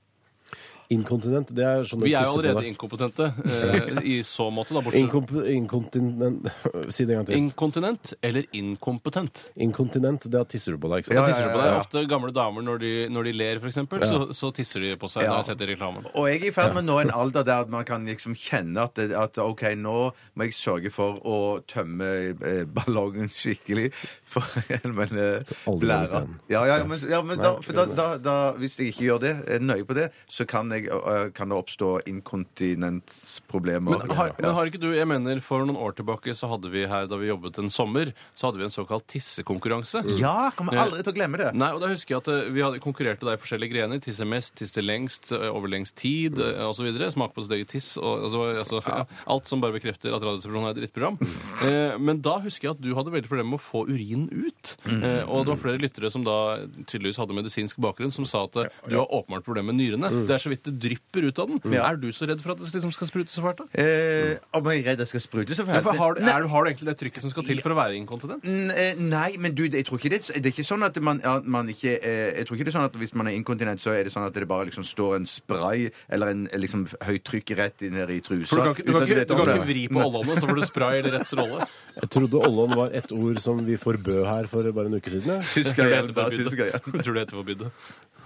Speaker 2: Inkontinent, det er sånn du
Speaker 4: Vi er
Speaker 2: tisser
Speaker 4: jo
Speaker 2: på
Speaker 4: allerede
Speaker 2: deg.
Speaker 4: inkompetente eh, i så måte, da, bortsett
Speaker 2: Inkomp inkontinent Si det en gang til.
Speaker 4: Inkontinent eller inkompetent.
Speaker 2: Inkontinent, da tisser du på deg. ikke
Speaker 4: Da
Speaker 2: sant?
Speaker 4: tisser du på deg. Ofte gamle damer når de, når de ler, f.eks., eksempel så, så tisser de på seg.
Speaker 3: Ja.
Speaker 4: når jeg setter reklamen.
Speaker 3: Og jeg er i ferd med nå en alder der man kan liksom kjenne at, det- at OK, nå må jeg sørge for å tømme eh, ballongen skikkelig for men, eh,
Speaker 2: Aldri vært
Speaker 3: blæra.
Speaker 2: pen.
Speaker 3: Ja, ja, ja, men, ja, men da, for da, da, da, hvis jeg ikke gjør det, er nøye på det, så kan, jeg, eh, kan det oppstå inkontinensproblemer.
Speaker 4: Men har, men har ikke du, jeg mener For noen år tilbake så hadde vi her da vi jobbet en sommer, så hadde vi en såkalt tissekonkurranse.
Speaker 3: Ja, kommer aldri til å glemme det.
Speaker 4: Nei, og da husker jeg at eh, Vi hadde konkurrerte da i forskjellige grener. Tisse mest, tisse lengst, eh, over lengst tid eh, og så videre, Smak på sitt eget tiss. Og, altså, altså, ja. Alt som bare bekrefter at Radioresepsjonen er et drittprogram. Eh, men da husker jeg at du hadde veldig problemer med å få urinen ut.
Speaker 3: Mm.
Speaker 4: Eh, og det var flere lyttere som da tydeligvis hadde medisinsk bakgrunn, som sa at eh, du har åpenbart problemer med nyrene.
Speaker 3: Mm.
Speaker 4: Det er så vidt det drypper ut av den. Er du så redd for at det liksom skal sprute så fælt? da?
Speaker 3: Eh, om jeg er redd jeg skal sprute, så får
Speaker 4: Ja,
Speaker 3: jeg-
Speaker 4: for har, du, er, du- har du egentlig det trykket som skal til for å være inkontinent?
Speaker 3: N- eh, Nei, men du, det- jeg tror ikke det, det er ikke sånn at man, at man ikke eh, Jeg tror ikke det er sånn at hvis man er inkontinent, så er det sånn at det bare liksom står en spray eller en eh, liksom høyt trykk rett inn i trusa.
Speaker 4: For du kan ikke, du
Speaker 3: uten at
Speaker 4: kan ikke,
Speaker 3: vet
Speaker 4: du
Speaker 3: om
Speaker 4: kan
Speaker 3: det.
Speaker 4: ikke vri på ollånene, så får du spray eller retts rolle.
Speaker 2: Jeg trodde Ollon var et ord som vi forbød her for bare en uke siden. ja.
Speaker 4: Tysker
Speaker 3: Tysker
Speaker 4: er
Speaker 3: hjelm, da,
Speaker 4: etterforbydd.
Speaker 3: tysker hjelm.
Speaker 4: Tror du heter forbudt?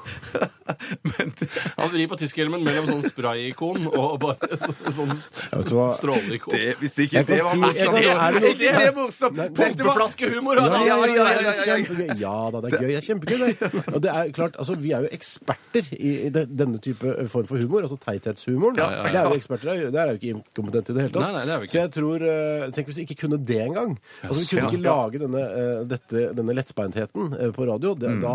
Speaker 4: Han vrir på påskehjelmen mellom sånn sprayikon og bare en sånn
Speaker 2: vet du hva?
Speaker 4: stråleikon.
Speaker 3: Det, hvis ikke
Speaker 2: Jeg kan
Speaker 3: det var
Speaker 2: si- jeg
Speaker 3: morsomt
Speaker 2: kan- er det noe-
Speaker 3: Ikke det er morsomt!
Speaker 2: Nei,
Speaker 3: Dette var-
Speaker 4: Pumpeflaskehumor!
Speaker 2: Ja, ja,
Speaker 4: Ja,
Speaker 2: ja,
Speaker 3: ja, ja,
Speaker 2: det er
Speaker 3: ja.
Speaker 2: kjempegøy. Ja da, det er gøy. Det er kjempegøy, det. Og det er klart, altså, vi er jo eksperter i i de- denne type form for humor, altså teithetshumoren.
Speaker 4: ja,
Speaker 2: Det er vi eksperter av. Der er jo ikke inkompetente i det hele tatt.
Speaker 4: Nei, nei, det er vi ikke.
Speaker 2: Så jeg tror eh, Tenk hvis vi ikke kunne det engang. Altså, vi kunne
Speaker 4: Ja,
Speaker 2: ikke lage denne, eh, dette, denne lettbeintheten eh, på radio. Det, da,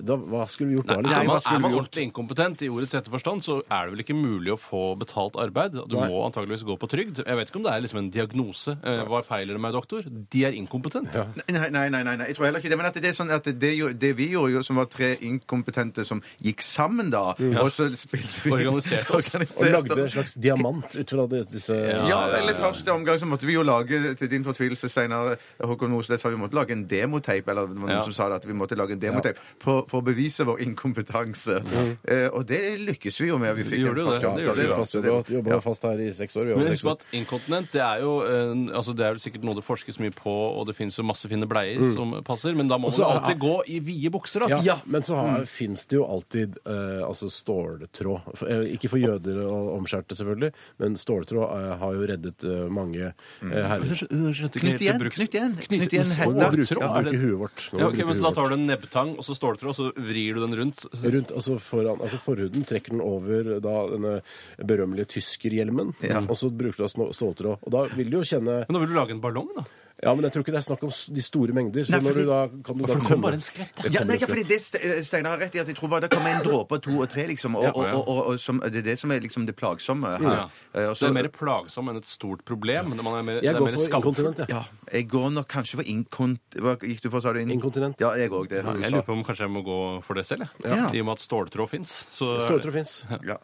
Speaker 2: da, hva skulle vi gjort da?
Speaker 4: Mm. Nei,
Speaker 2: liksom?
Speaker 4: er man,
Speaker 2: Hva skulle
Speaker 4: er
Speaker 2: vi
Speaker 4: man
Speaker 2: gjort?
Speaker 4: ordentlig inkompetent i ordets rette forstand, så er det vel ikke mulig å få betalt arbeid. Du
Speaker 2: Nei.
Speaker 4: må antageligvis gå på trygd. Jeg vet ikke om det er liksom en diagnose. Eh, Hva feiler det meg, doktor? De er inkompetent.
Speaker 3: Nei, nei, nei, nei, nei, jeg tror heller ikke det. Men at det er sånn at det, jo- det vi gjorde, jo, som var tre inkompetente som gikk sammen da, og så spilte vi
Speaker 4: Mm. Organiserte oss.
Speaker 2: Og
Speaker 3: Organiserte
Speaker 2: lagde en slags diamant ut fra det- disse
Speaker 3: Ja, eller første omgang så måtte vi jo lage, til din fortvilelse, Steinar Håkon Osnes, sa vi måtte lage en demoteip, eller det var noen
Speaker 4: Ja. Mm.
Speaker 3: som sa det, at vi måtte lage en demoteip på- for å bevise vår inkompetanse. Eh, og det lykkes vi jo med. Vi fikk
Speaker 4: Gjorde
Speaker 3: en
Speaker 4: jo
Speaker 3: fast
Speaker 4: det.
Speaker 3: jobb. da,
Speaker 4: Det gjorde vi
Speaker 3: var-
Speaker 2: Fast
Speaker 3: så det-
Speaker 2: jobba jobba fast her i seks år. vi har
Speaker 4: Men
Speaker 2: jo
Speaker 4: husk på at inkontinent det er jo eh, altså det er vel sikkert noe det forskes mye på, og det finnes jo masse fine bleier som passer, men da må
Speaker 2: Og så
Speaker 4: man
Speaker 2: er-
Speaker 4: alltid gå i vide bukser, da.
Speaker 2: Ja, men så har, finnes det jo alltid eh, altså ståltråd. For, eh, ikke for jøder og omskjærte, selvfølgelig, men ståltråd eh, har jo reddet eh, mange eh, herrer.
Speaker 3: Knytt igjen, knytt igjen, knytt igjen
Speaker 2: Nå
Speaker 3: hetta.
Speaker 2: må vi bruke,
Speaker 4: tråd, er det-
Speaker 2: bruke huet vårt. Nå
Speaker 4: Ja,
Speaker 2: må
Speaker 4: ok,
Speaker 2: vi bruke
Speaker 4: men så Da
Speaker 2: huet vårt.
Speaker 4: tar du en nebbtang og så ståltråd, og så vrir du den rundt.
Speaker 2: Rundt, altså foran, altså forhuden trekker den over da, denne berømmelige tyskerhjelmen, og så bruker du da snå- ståltråd. Og da vil du jo kjenne
Speaker 4: Men da vil du lage en ballong, da.
Speaker 2: Ja, men jeg tror ikke det er snakk om s- de store mengder. Så
Speaker 3: Nei,
Speaker 2: når du
Speaker 3: fordi-
Speaker 2: da kan du da
Speaker 4: For det
Speaker 2: tømme-
Speaker 4: kommer bare en skvett. da.
Speaker 2: Det
Speaker 3: Ja,
Speaker 2: kommer
Speaker 3: nei,
Speaker 2: en
Speaker 3: ja,
Speaker 2: skvett.
Speaker 3: fordi det Ste- eh, Steinar har rett i at jeg tror bare det kommer en dråpe, to og tre, liksom. Og,
Speaker 2: Ja.
Speaker 3: og, og, og, og som, det er det som er liksom det plagsomme
Speaker 4: Ja.
Speaker 3: her. Eh, og
Speaker 4: Så
Speaker 3: så-
Speaker 4: det er mer plagsom enn et stort problem. men Man er mer, det
Speaker 2: Jeg
Speaker 4: er
Speaker 2: går
Speaker 4: mer
Speaker 2: for
Speaker 4: skam.
Speaker 2: inkontinent, jeg.
Speaker 3: Ja, jeg går nok kanskje for inkont... Hva gikk du for, sa du? inn-
Speaker 2: Inkontinent.
Speaker 3: Ja, jeg òg. Det
Speaker 4: Ja, Jeg lurer på om kanskje jeg må gå for det selv, jeg.
Speaker 3: Ja.
Speaker 4: I og med at ståltråd fins. Så
Speaker 2: Ståltråd fins.
Speaker 3: Ja.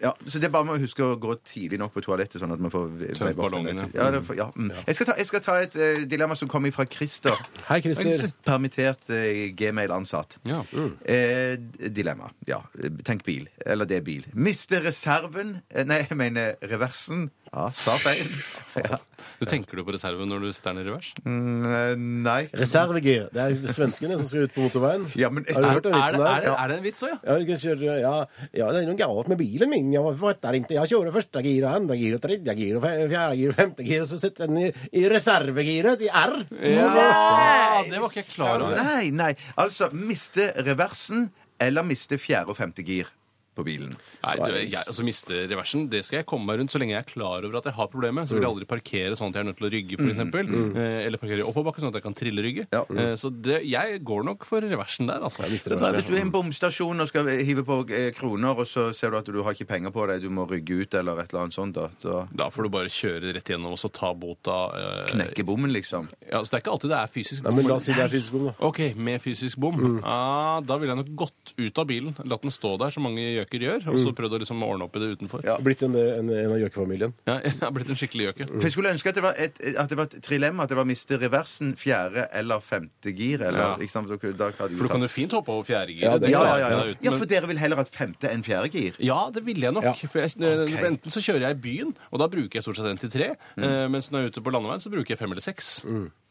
Speaker 3: ja. Så det er bare med å huske å gå tidlig nok på toalettet, sånn at man får v-
Speaker 4: Tømt
Speaker 3: vei bort den.
Speaker 4: ballongen, ja.
Speaker 3: Ja, det er for- ja. Mm. Jeg, skal ta, jeg skal ta et eh, dilemma som kommer fra Christer.
Speaker 2: Hei, Christer.
Speaker 3: Permittert eh, Gmail-ansatt.
Speaker 4: Ja.
Speaker 3: Eh, dilemma. Ja, eh, tenk bil. Eller det er bil. Miste reserven eh, Nei, jeg mener reversen. Ja, sa feil. Ja.
Speaker 4: Du tenker du på reserven når du setter den i revers?
Speaker 3: Mm, eh, Nei.
Speaker 2: Reservegir. Det er svenskene som skal ut på motorveien.
Speaker 3: Ja, men-
Speaker 2: har du hørt den
Speaker 4: Er
Speaker 2: vitsen
Speaker 4: det, er,
Speaker 2: sånn der?
Speaker 4: det, er det en vits òg, ja?
Speaker 2: Ja, du kan kjøre, ja, ja, det er noe galt med bilen min. Jeg fatter ikke. Jeg kjører første gir, og andre gir, og tredje gir, og fe- fjerde gir, og femte gir, og så setter den i, i reservegiret i R.
Speaker 4: Ja, det var ikke jeg klar over.
Speaker 3: Nei, nei. Altså, miste reversen eller miste fjerde og femte gir på bilen.
Speaker 4: Nei, du, jeg, altså miste reversen, det skal jeg komme meg rundt så lenge jeg er klar over at jeg har problemet. Så
Speaker 2: Mm.
Speaker 4: vil jeg aldri parkere sånn at jeg er nødt til å rygge, for eksempel. Eh, Eller parkere i oppoverbakke sånn at jeg kan trille
Speaker 3: Ja.
Speaker 4: Eh, Så det, jeg går nok for reversen der, altså.
Speaker 2: mister
Speaker 3: Det er bare Hvis du er i en bomstasjon og skal hive på eh, kroner, og så ser du at du har ikke penger på deg, du må rygge ut eller et eller annet sånt, da. Så
Speaker 4: Da får du bare kjøre rett gjennom og så ta bota. eh,
Speaker 3: knekke bommen, liksom.
Speaker 4: Ja, så det er ikke alltid det er fysisk
Speaker 2: Nei, men la oss si det er fysisk Mm. bom, da.
Speaker 4: Ok, med fysisk bom. Ah, da ville jeg nok gått ut av bilen, latt den stå der, som mange gjøker gjør,
Speaker 2: Mm.
Speaker 4: og så prøvd å liksom ordne opp i det utenfor.
Speaker 3: Ja.
Speaker 2: Blitt en, en, en av gjøkefamilien.
Speaker 4: Ja, jeg har blitt en skikkelig gjøke.
Speaker 3: For jeg skulle ønske at det var et, at det var et trilemma, at det var miste reversen, fjerde eller femte gir, eller
Speaker 4: Ja.
Speaker 3: ikke sant? Da hadde jeg
Speaker 4: For du kan
Speaker 3: tatt-
Speaker 4: jo fint hoppe over fjerdegir.
Speaker 2: Ja, det
Speaker 3: ja,
Speaker 2: klare
Speaker 3: ja, ja,
Speaker 4: det
Speaker 3: ja.
Speaker 4: uten-
Speaker 3: ja, for dere vil heller ha et femte enn fjerde gir?
Speaker 4: Ja, det ville jeg nok.
Speaker 2: Ja.
Speaker 4: For jeg, eh,
Speaker 3: Ok.
Speaker 4: Enten så kjører jeg i byen, og da bruker jeg stort sett én til tre.
Speaker 2: Mm.
Speaker 4: eh, Mens når jeg er ute på landeveien, så bruker jeg fem eller seks.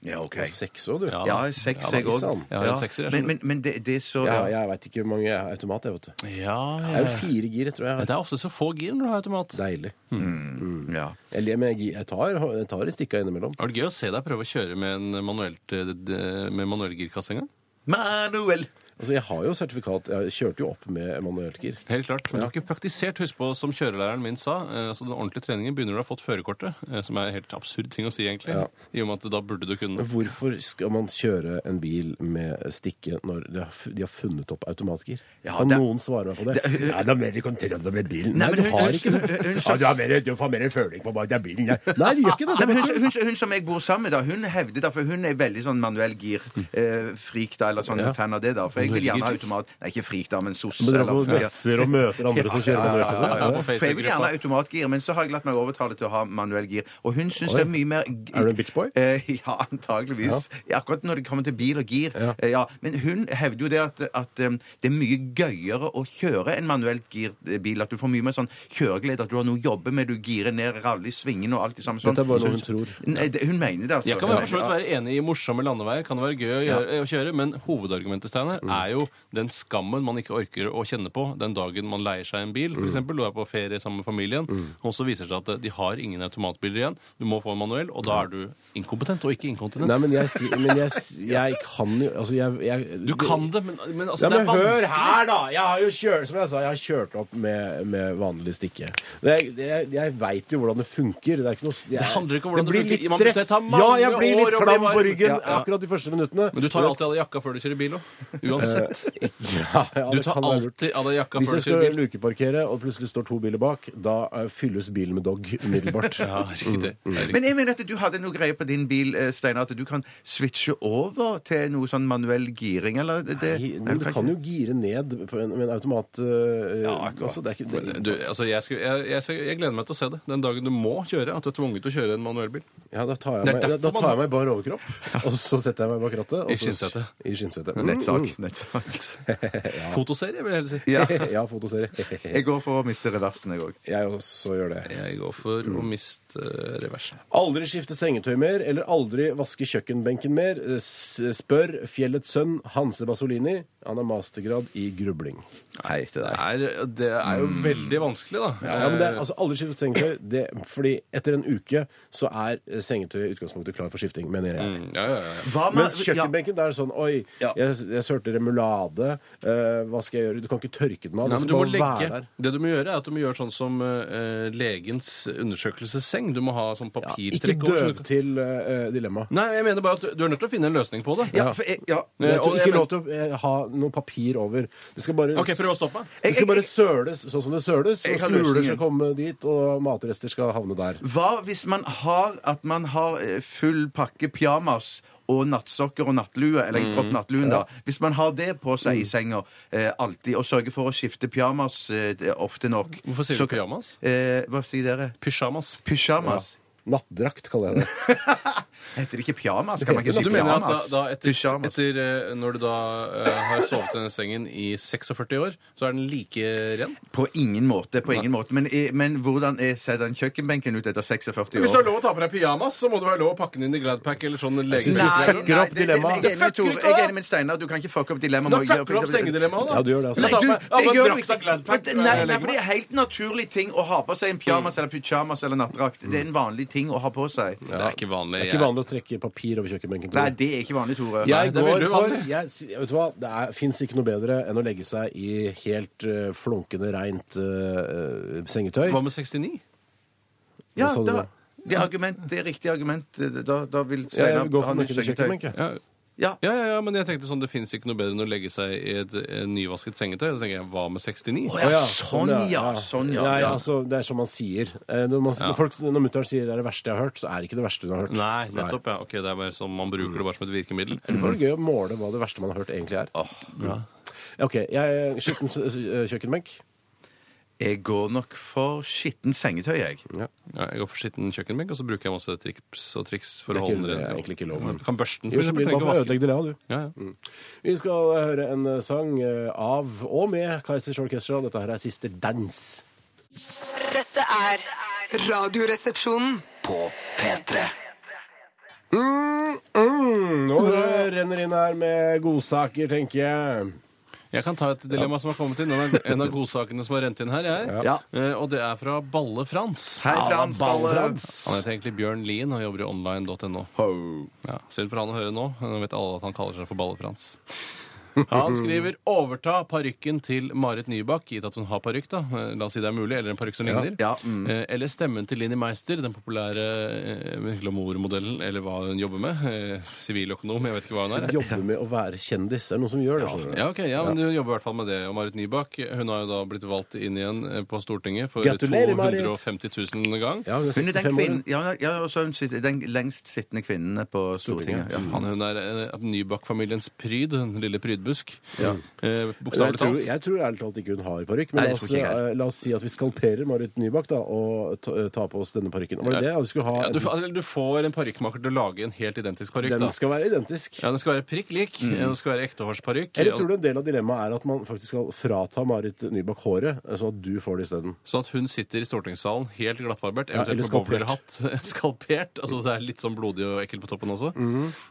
Speaker 3: Ja, OK.
Speaker 2: Seks år, du.
Speaker 4: Ja.
Speaker 3: Ja, seks,
Speaker 2: Mm. Ja, da,
Speaker 3: jeg òg.
Speaker 2: sant.
Speaker 4: Jeg har en sekser, jeg
Speaker 3: Men, men, men det, det er så
Speaker 2: Ja, jeg veit ikke hvor mange automat jeg vet du.
Speaker 4: Ja, eh,
Speaker 2: Det er jo fire gir, tror jeg.
Speaker 4: Det er ofte så få gir når du har automat.
Speaker 2: Deilig.
Speaker 4: Mm.
Speaker 3: ja.
Speaker 2: Jeg, le- men jeg, gi- jeg tar, jeg tar i stikka innimellom.
Speaker 4: Det var gøy å se deg prøve å kjøre med en manuelt, eh, d- med manuell girkasse en gang.
Speaker 3: Manuel!
Speaker 2: Altså, jeg har jo sertifikat. Jeg kjørte jo opp med manuelt gir.
Speaker 4: Helt klart, men du har ikke praktisert, husk på, som kjørelæreren min sa. eh, Altså, den ordentlige treningen begynner du å ha fått førerkortet, eh, som er en helt absurd ting å si, egentlig.
Speaker 2: Ja.
Speaker 4: I og med at da burde du kunne
Speaker 2: Men Hvorfor skal man kjøre en bil med stikke når de har, fu- de har funnet opp automatgir?
Speaker 3: Ja,
Speaker 2: kan
Speaker 3: det-
Speaker 2: noen svare meg på det?
Speaker 3: det-
Speaker 2: Nei, det er mer kontroll med bilen.
Speaker 3: Nei,
Speaker 2: Nei,
Speaker 3: men
Speaker 2: du
Speaker 3: hun-
Speaker 2: har ikke
Speaker 3: hun- hun-
Speaker 2: det. Ja, du, har mer, du får mer føling på bare det er bilen. ja. Nei, du gjør ikke det.
Speaker 3: Nei,
Speaker 2: det
Speaker 3: men
Speaker 2: betyr-
Speaker 3: hun, hun, hun som jeg bor sammen med, da, hun hevder da, for hun er veldig sånn manuell gir-frik, da, eller sånn fan av det, da. For jeg vil gjerne ha automat... Nei, ikke frik, da, men sosse.
Speaker 2: Men dere er
Speaker 3: eller-
Speaker 2: på messer og møter andre som kjører manuelt. og sånn.
Speaker 4: ja, på
Speaker 3: For jeg vil gjerne ha
Speaker 4: Facebook-gruppa.
Speaker 3: automatgir, men så har jeg latt meg overtale til å ha manuell gir. Og hun syns
Speaker 2: Oi.
Speaker 3: det er mye mer g-
Speaker 2: Er du en bitchboy?
Speaker 3: Eh, ja, antageligvis. Akkurat når det kommer til bil og gir.
Speaker 2: Ja.
Speaker 3: Eh, ja. Men hun hevder jo det at, at eh, det er mye gøyere å kjøre en manuelt girt eh, bil. At du får mye mer sånn kjøreglede, at du har noe å jobbe med, du girer ned rally, svingene og alt det samme. sånn.
Speaker 2: Dette er bare noe hun
Speaker 3: Så-
Speaker 2: tror.
Speaker 3: Nei, det, hun mener det, altså.
Speaker 4: Jeg kan være, for
Speaker 3: Ja.
Speaker 4: så vidt være enig i morsomme landeveier kan det være gøy å, gjøre, å kjøre, men hovedargumentet Steiner,
Speaker 2: Mm.
Speaker 4: er jo den skammen man ikke orker å kjenne på den dagen man leier seg en bil,
Speaker 2: Mm.
Speaker 4: f.eks. Du er på ferie sammen med familien, og så viser det seg at eh, de har ingen automatbiler igjen. Du må få en manuell, og da er du inkompetent og ikke inkontinent.
Speaker 2: Nei, men jeg, si- men jeg, s- jeg kan jo Altså, jeg, jeg
Speaker 4: du kan det, men, men altså,
Speaker 2: ja, men
Speaker 4: det er
Speaker 2: hør
Speaker 4: vanskelig.
Speaker 2: her, da! Jeg har jo kjørt, som jeg sa, jeg har kjørt opp med, med vanlig stikke. Men jeg, jeg, jeg veit jo hvordan det funker. Det, er ikke noe, jeg,
Speaker 4: Det handler ikke om hvordan
Speaker 2: det blir
Speaker 4: det funker.
Speaker 2: litt
Speaker 4: Man-
Speaker 2: stress.
Speaker 4: det tar mange
Speaker 2: ja, jeg blir
Speaker 4: år
Speaker 2: litt
Speaker 4: å bli
Speaker 2: klam på
Speaker 4: varm.
Speaker 2: ryggen
Speaker 4: Ja, ja.
Speaker 2: akkurat de første minuttene.
Speaker 4: Men du tar alltid av deg jakka før du kjører bil òg.
Speaker 2: Eh,
Speaker 4: Uansett.
Speaker 2: ja, ja,
Speaker 4: Du
Speaker 2: det
Speaker 4: tar
Speaker 2: kan være lurt.
Speaker 4: alltid av deg jakka
Speaker 2: Hvis
Speaker 4: før
Speaker 2: jeg
Speaker 4: du kjører
Speaker 2: skal
Speaker 4: bil.
Speaker 2: lukeparkere, og plutselig står to biler bak, da eh, fylles bilen med dog umiddelbart.
Speaker 4: Ja, riktig.
Speaker 2: mm,
Speaker 4: Det er riktig.
Speaker 3: Men jeg mener at du hadde noe greie på din bil, eh, Steinar, at du kan switche over til noe sånn manuell giring, eller? Det,
Speaker 2: Nei, men du kan jo gire ned på en, med en automat eh, altså, det er ikke, det,
Speaker 4: Du, altså, jeg, skulle- jeg, jeg, ser- jeg gleder meg til å se det den dagen du må kjøre. At du er tvunget til å kjøre en manuellbil.
Speaker 2: Ja, da tar
Speaker 4: Det
Speaker 2: jeg
Speaker 4: er
Speaker 2: meg, da, da
Speaker 4: derfor man-
Speaker 2: tar jeg meg i bar overkropp, og så setter jeg meg bak rattet. og
Speaker 4: I
Speaker 2: så-
Speaker 4: skinnsetet.
Speaker 2: I skinnsetet.
Speaker 3: Nettsak. Nettsak.
Speaker 4: Fotoserie, vil jeg heller si.
Speaker 3: Ja.
Speaker 2: mm, ja, fotoserie.
Speaker 3: Jeg går for å miste reversen, jeg òg.
Speaker 2: Jeg også gjør det.
Speaker 4: Jeg går for å miste eh, reversen.
Speaker 2: Aldri skifte sengetøy mer, eller aldri vaske kjøkkenbenken mer. S- Spør Fjellets sønn Hanse Basolini. Han har mastergrad i grubling.
Speaker 3: Nei, det
Speaker 4: Det er, det er jo veldig vanskelig, da.
Speaker 2: Ja, men det,
Speaker 4: Eh.
Speaker 2: er- altså Aldri skifte sengetøy, det, fordi etter en uke så er eh, sengetøyet i utgangspunktet klar for skifting, mener jeg.
Speaker 4: ja, ja, ja.
Speaker 3: Hva med
Speaker 2: Mens kjøkkenbenken, det er sånn Oi,
Speaker 3: altså, Ja.
Speaker 2: jeg, jeg sørte remulade. eh, hva skal jeg gjøre? Du kan ikke tørke den av. Den skal
Speaker 4: Nei, men Altså, du må
Speaker 2: bare være
Speaker 4: legge,
Speaker 2: der.
Speaker 4: det du må gjøre, er at du må gjøre sånn som eh, legens undersøkelsesseng. Du må ha sånn
Speaker 2: Ikke
Speaker 4: papirtrekk. over, så
Speaker 2: døv
Speaker 4: du kan-
Speaker 2: til eh, dilemmaet.
Speaker 4: Nei, jeg mener bare at du, du er nødt til å finne en løsning på det.
Speaker 3: Ja, for jeg, ja.
Speaker 2: Det er
Speaker 4: Eh, og jeg
Speaker 2: ikke
Speaker 4: men-
Speaker 2: lov til å eh, ha noe papir over. Det skal bare
Speaker 4: Ok, prøv å stoppe.
Speaker 2: Det skal bare
Speaker 3: Jeg-
Speaker 2: søles sånn som det søles.
Speaker 3: Jeg
Speaker 2: Og
Speaker 3: har
Speaker 2: smuler
Speaker 3: løsningen.
Speaker 2: skal komme dit, og matrester skal havne der.
Speaker 3: Hva hvis man har at man har eh, full pakke pyjamas og nattsokker og nattlue, eller ikke propp nattluen, da. Hvis man har det på seg i senga eh, alltid, og sørger for å skifte pyjamas eh, det- ofte nok
Speaker 4: Hvorfor sier
Speaker 3: så-
Speaker 4: du pyjamas?
Speaker 3: Eh, hva sier dere?
Speaker 4: Pysjamas.
Speaker 3: Pysjamas?
Speaker 2: Nattdrakt, kaller jeg det.
Speaker 3: Heter det ikke pyjamas? Kan man ikke
Speaker 2: Det
Speaker 3: si
Speaker 4: Du mener at da,
Speaker 3: pyjamas?
Speaker 4: da etter,
Speaker 3: Pyjamas.
Speaker 4: etter eh, når du da eh, har sovet i den sengen i 46 år, så er den like ren?
Speaker 3: På ingen måte. på ingen måte. Men, eh, men hvordan er- ser den kjøkkenbenken ut etter 46
Speaker 4: Hvis du har
Speaker 3: år?
Speaker 4: lov å ta på deg pyjamas, så må det være lov å pakke den inn i Gladpack eller sånn lege...
Speaker 2: synes du fucker opp
Speaker 3: det- det-
Speaker 2: dilemmaet.
Speaker 3: Jeg er enig med
Speaker 4: Det fucker
Speaker 3: Tore.
Speaker 4: ikke
Speaker 3: Jeg er
Speaker 4: opp.
Speaker 3: enig med Steinar. Du kan ikke fucke opp dilemmaet.
Speaker 4: Da
Speaker 3: med å
Speaker 4: fucker du
Speaker 3: gjøre-
Speaker 4: opp sengedilemmaet, da.
Speaker 2: Ja, du gjør det, altså.
Speaker 4: Nei,
Speaker 3: Nei, du,
Speaker 4: du, ja,
Speaker 3: det
Speaker 4: men
Speaker 3: gjør du
Speaker 4: drakt
Speaker 3: ikke.
Speaker 4: av Gladpack,
Speaker 3: Nei,
Speaker 4: eh,
Speaker 3: nei,
Speaker 4: legger
Speaker 3: for det er helt naturlig ting å ha på seg en pyjamas eller pyjamas eller nattdrakt. Det er en vanlig ting å ha på seg.
Speaker 4: Det er ikke vanlig.
Speaker 2: Det er ikke vanlig å trekke papir over kjøkkenbenken. Tore.
Speaker 3: Nei, det er ikke vanlig, Tore.
Speaker 4: Nei,
Speaker 2: Jeg
Speaker 4: det er
Speaker 2: går
Speaker 4: veldig
Speaker 2: for
Speaker 4: uvanlig.
Speaker 2: jeg, sy- Vet du hva, det fins ikke noe bedre enn å legge seg i helt eh, flunkende reint eh, eh, sengetøy.
Speaker 4: Hva med 69?
Speaker 3: Ja,
Speaker 2: Hva sa du
Speaker 3: da,
Speaker 2: da?
Speaker 3: det, er argument, det er riktig argument. Da, da vil
Speaker 2: Ja,
Speaker 3: Steinar
Speaker 2: jeg går
Speaker 3: ha
Speaker 2: for
Speaker 3: nytt
Speaker 2: nøkkelen til
Speaker 3: sengetøy.
Speaker 2: kjøkkenbenken.
Speaker 4: Ja.
Speaker 3: Ja.
Speaker 4: Ja, ja, ja, men jeg tenkte sånn, det fins ikke noe bedre enn å legge seg i et, eh, nyvasket sengetøy. Da tenker jeg, hva med 69?
Speaker 3: Å, ja. sånn, ja. Sånn, ja.
Speaker 2: Nei,
Speaker 3: Ja.
Speaker 2: altså, det er som man sier. Eh, Når, man, når, folk- når mutter'n sier det er det verste jeg har hørt, så er det ikke det verste hun har hørt.
Speaker 4: Nei, nettopp, ja. Ok, det er bare sånn, Man bruker det bare som et virkemiddel.
Speaker 2: Det var gøy å måle hva det verste man har hørt, egentlig er.
Speaker 4: Ja.
Speaker 2: Ok, jeg eh, skitten s- s- kjøkkenbenk.
Speaker 3: Jeg går nok for skitten sengetøy, jeg.
Speaker 4: Ja, jeg går for skitten kjøkkenbenk, og så bruker jeg masse triks og triks for
Speaker 2: Det er
Speaker 4: å
Speaker 2: ikke-
Speaker 4: holde den
Speaker 2: det er
Speaker 4: ren.
Speaker 2: egentlig ikke lov, men-
Speaker 4: Du kan børste den, for
Speaker 2: Gjør som vil,
Speaker 4: eksempel. Trenger
Speaker 2: bare
Speaker 4: ikke
Speaker 2: for å
Speaker 4: å vaske den.
Speaker 2: ødelegge dilemmaet, du.
Speaker 4: Ja, ja.
Speaker 2: Vi skal høre en eh, sang eh, av og med Kaizers Orchestra. Dette her er Siste dans.
Speaker 5: Dette er Radioresepsjonen.
Speaker 1: På P3.
Speaker 2: Mm, nå renner inn her med godsaker, tenker jeg.
Speaker 4: Jeg kan ta et dilemma som har kommet inn. En av, en av godsakene som har rent inn her, jeg.
Speaker 3: Ja.
Speaker 4: Eh, og det er fra Balle Frans.
Speaker 3: Hei, Frans Balle.
Speaker 4: Han heter egentlig Bjørn Lien og jobber i online.no. Ja, Synd for han å høre nå. Nå vet alle at han kaller seg for Balle-Frans. Han skriver 'overta parykken til Marit Nybakk', gitt at hun har parykk, da. Eh, La oss si det er mulig, eller en parykk som ligner.
Speaker 3: ja, mm.
Speaker 4: Eh, Eller stemmen til Linni Meister, den populære eh, glamourmodellen, eller hva hun jobber med. Eh, Siviløkonom, jeg vet ikke hva hun er.
Speaker 2: Jobbe med å være kjendis. Det er noen som gjør det. skjønner du.
Speaker 4: Ja, ok, ja, men Hun jobber i hvert fall med det. Og Marit Nybakk hun har jo da blitt valgt inn igjen eh, på Stortinget for
Speaker 2: Gratulerer, Marit.
Speaker 4: 250 000 gang.
Speaker 2: Ja, hun er
Speaker 3: Hun er den
Speaker 2: 65 år.
Speaker 3: kvinnen Ja, ja også hun sitter, den lengst sittende kvinnen på Stortinget.
Speaker 2: Mm.
Speaker 3: Ja.
Speaker 4: Faen, hun er eh, Nybakk-familiens pryd, den lille prydbusk. Eh,
Speaker 2: Jeg
Speaker 4: Bokstavelig
Speaker 2: tror,
Speaker 4: talt.
Speaker 2: jeg tror ærlig talt ikke hun har parykk, men
Speaker 3: Nei,
Speaker 2: la
Speaker 3: jeg
Speaker 2: oss,
Speaker 3: tror ikke jeg heller.
Speaker 2: eh, la oss si at vi skalperer Marit Nybakk da, og ta, eh, ta på oss denne parykken. Var det det? Vi skulle ha
Speaker 4: Ja, du, fa- eller du får en parykkmaker til å lage en helt identisk parykk.
Speaker 2: Den
Speaker 4: da.
Speaker 2: skal være identisk.
Speaker 4: Ja, Den skal være prikk lik. Den skal være ektehårsparykk.
Speaker 2: Eller tror du en del av dilemmaet er at man faktisk skal frata Marit Nybakk håret, eh, sånn at du får det isteden?
Speaker 4: Sånn at hun sitter i stortingssalen helt glattbarbert,
Speaker 2: Ja, eller
Speaker 4: eventuelt ja, på bowlerhatt. Skalpert. Altså det er
Speaker 2: Mm.
Speaker 4: litt sånn blodig og ekkelt på toppen også.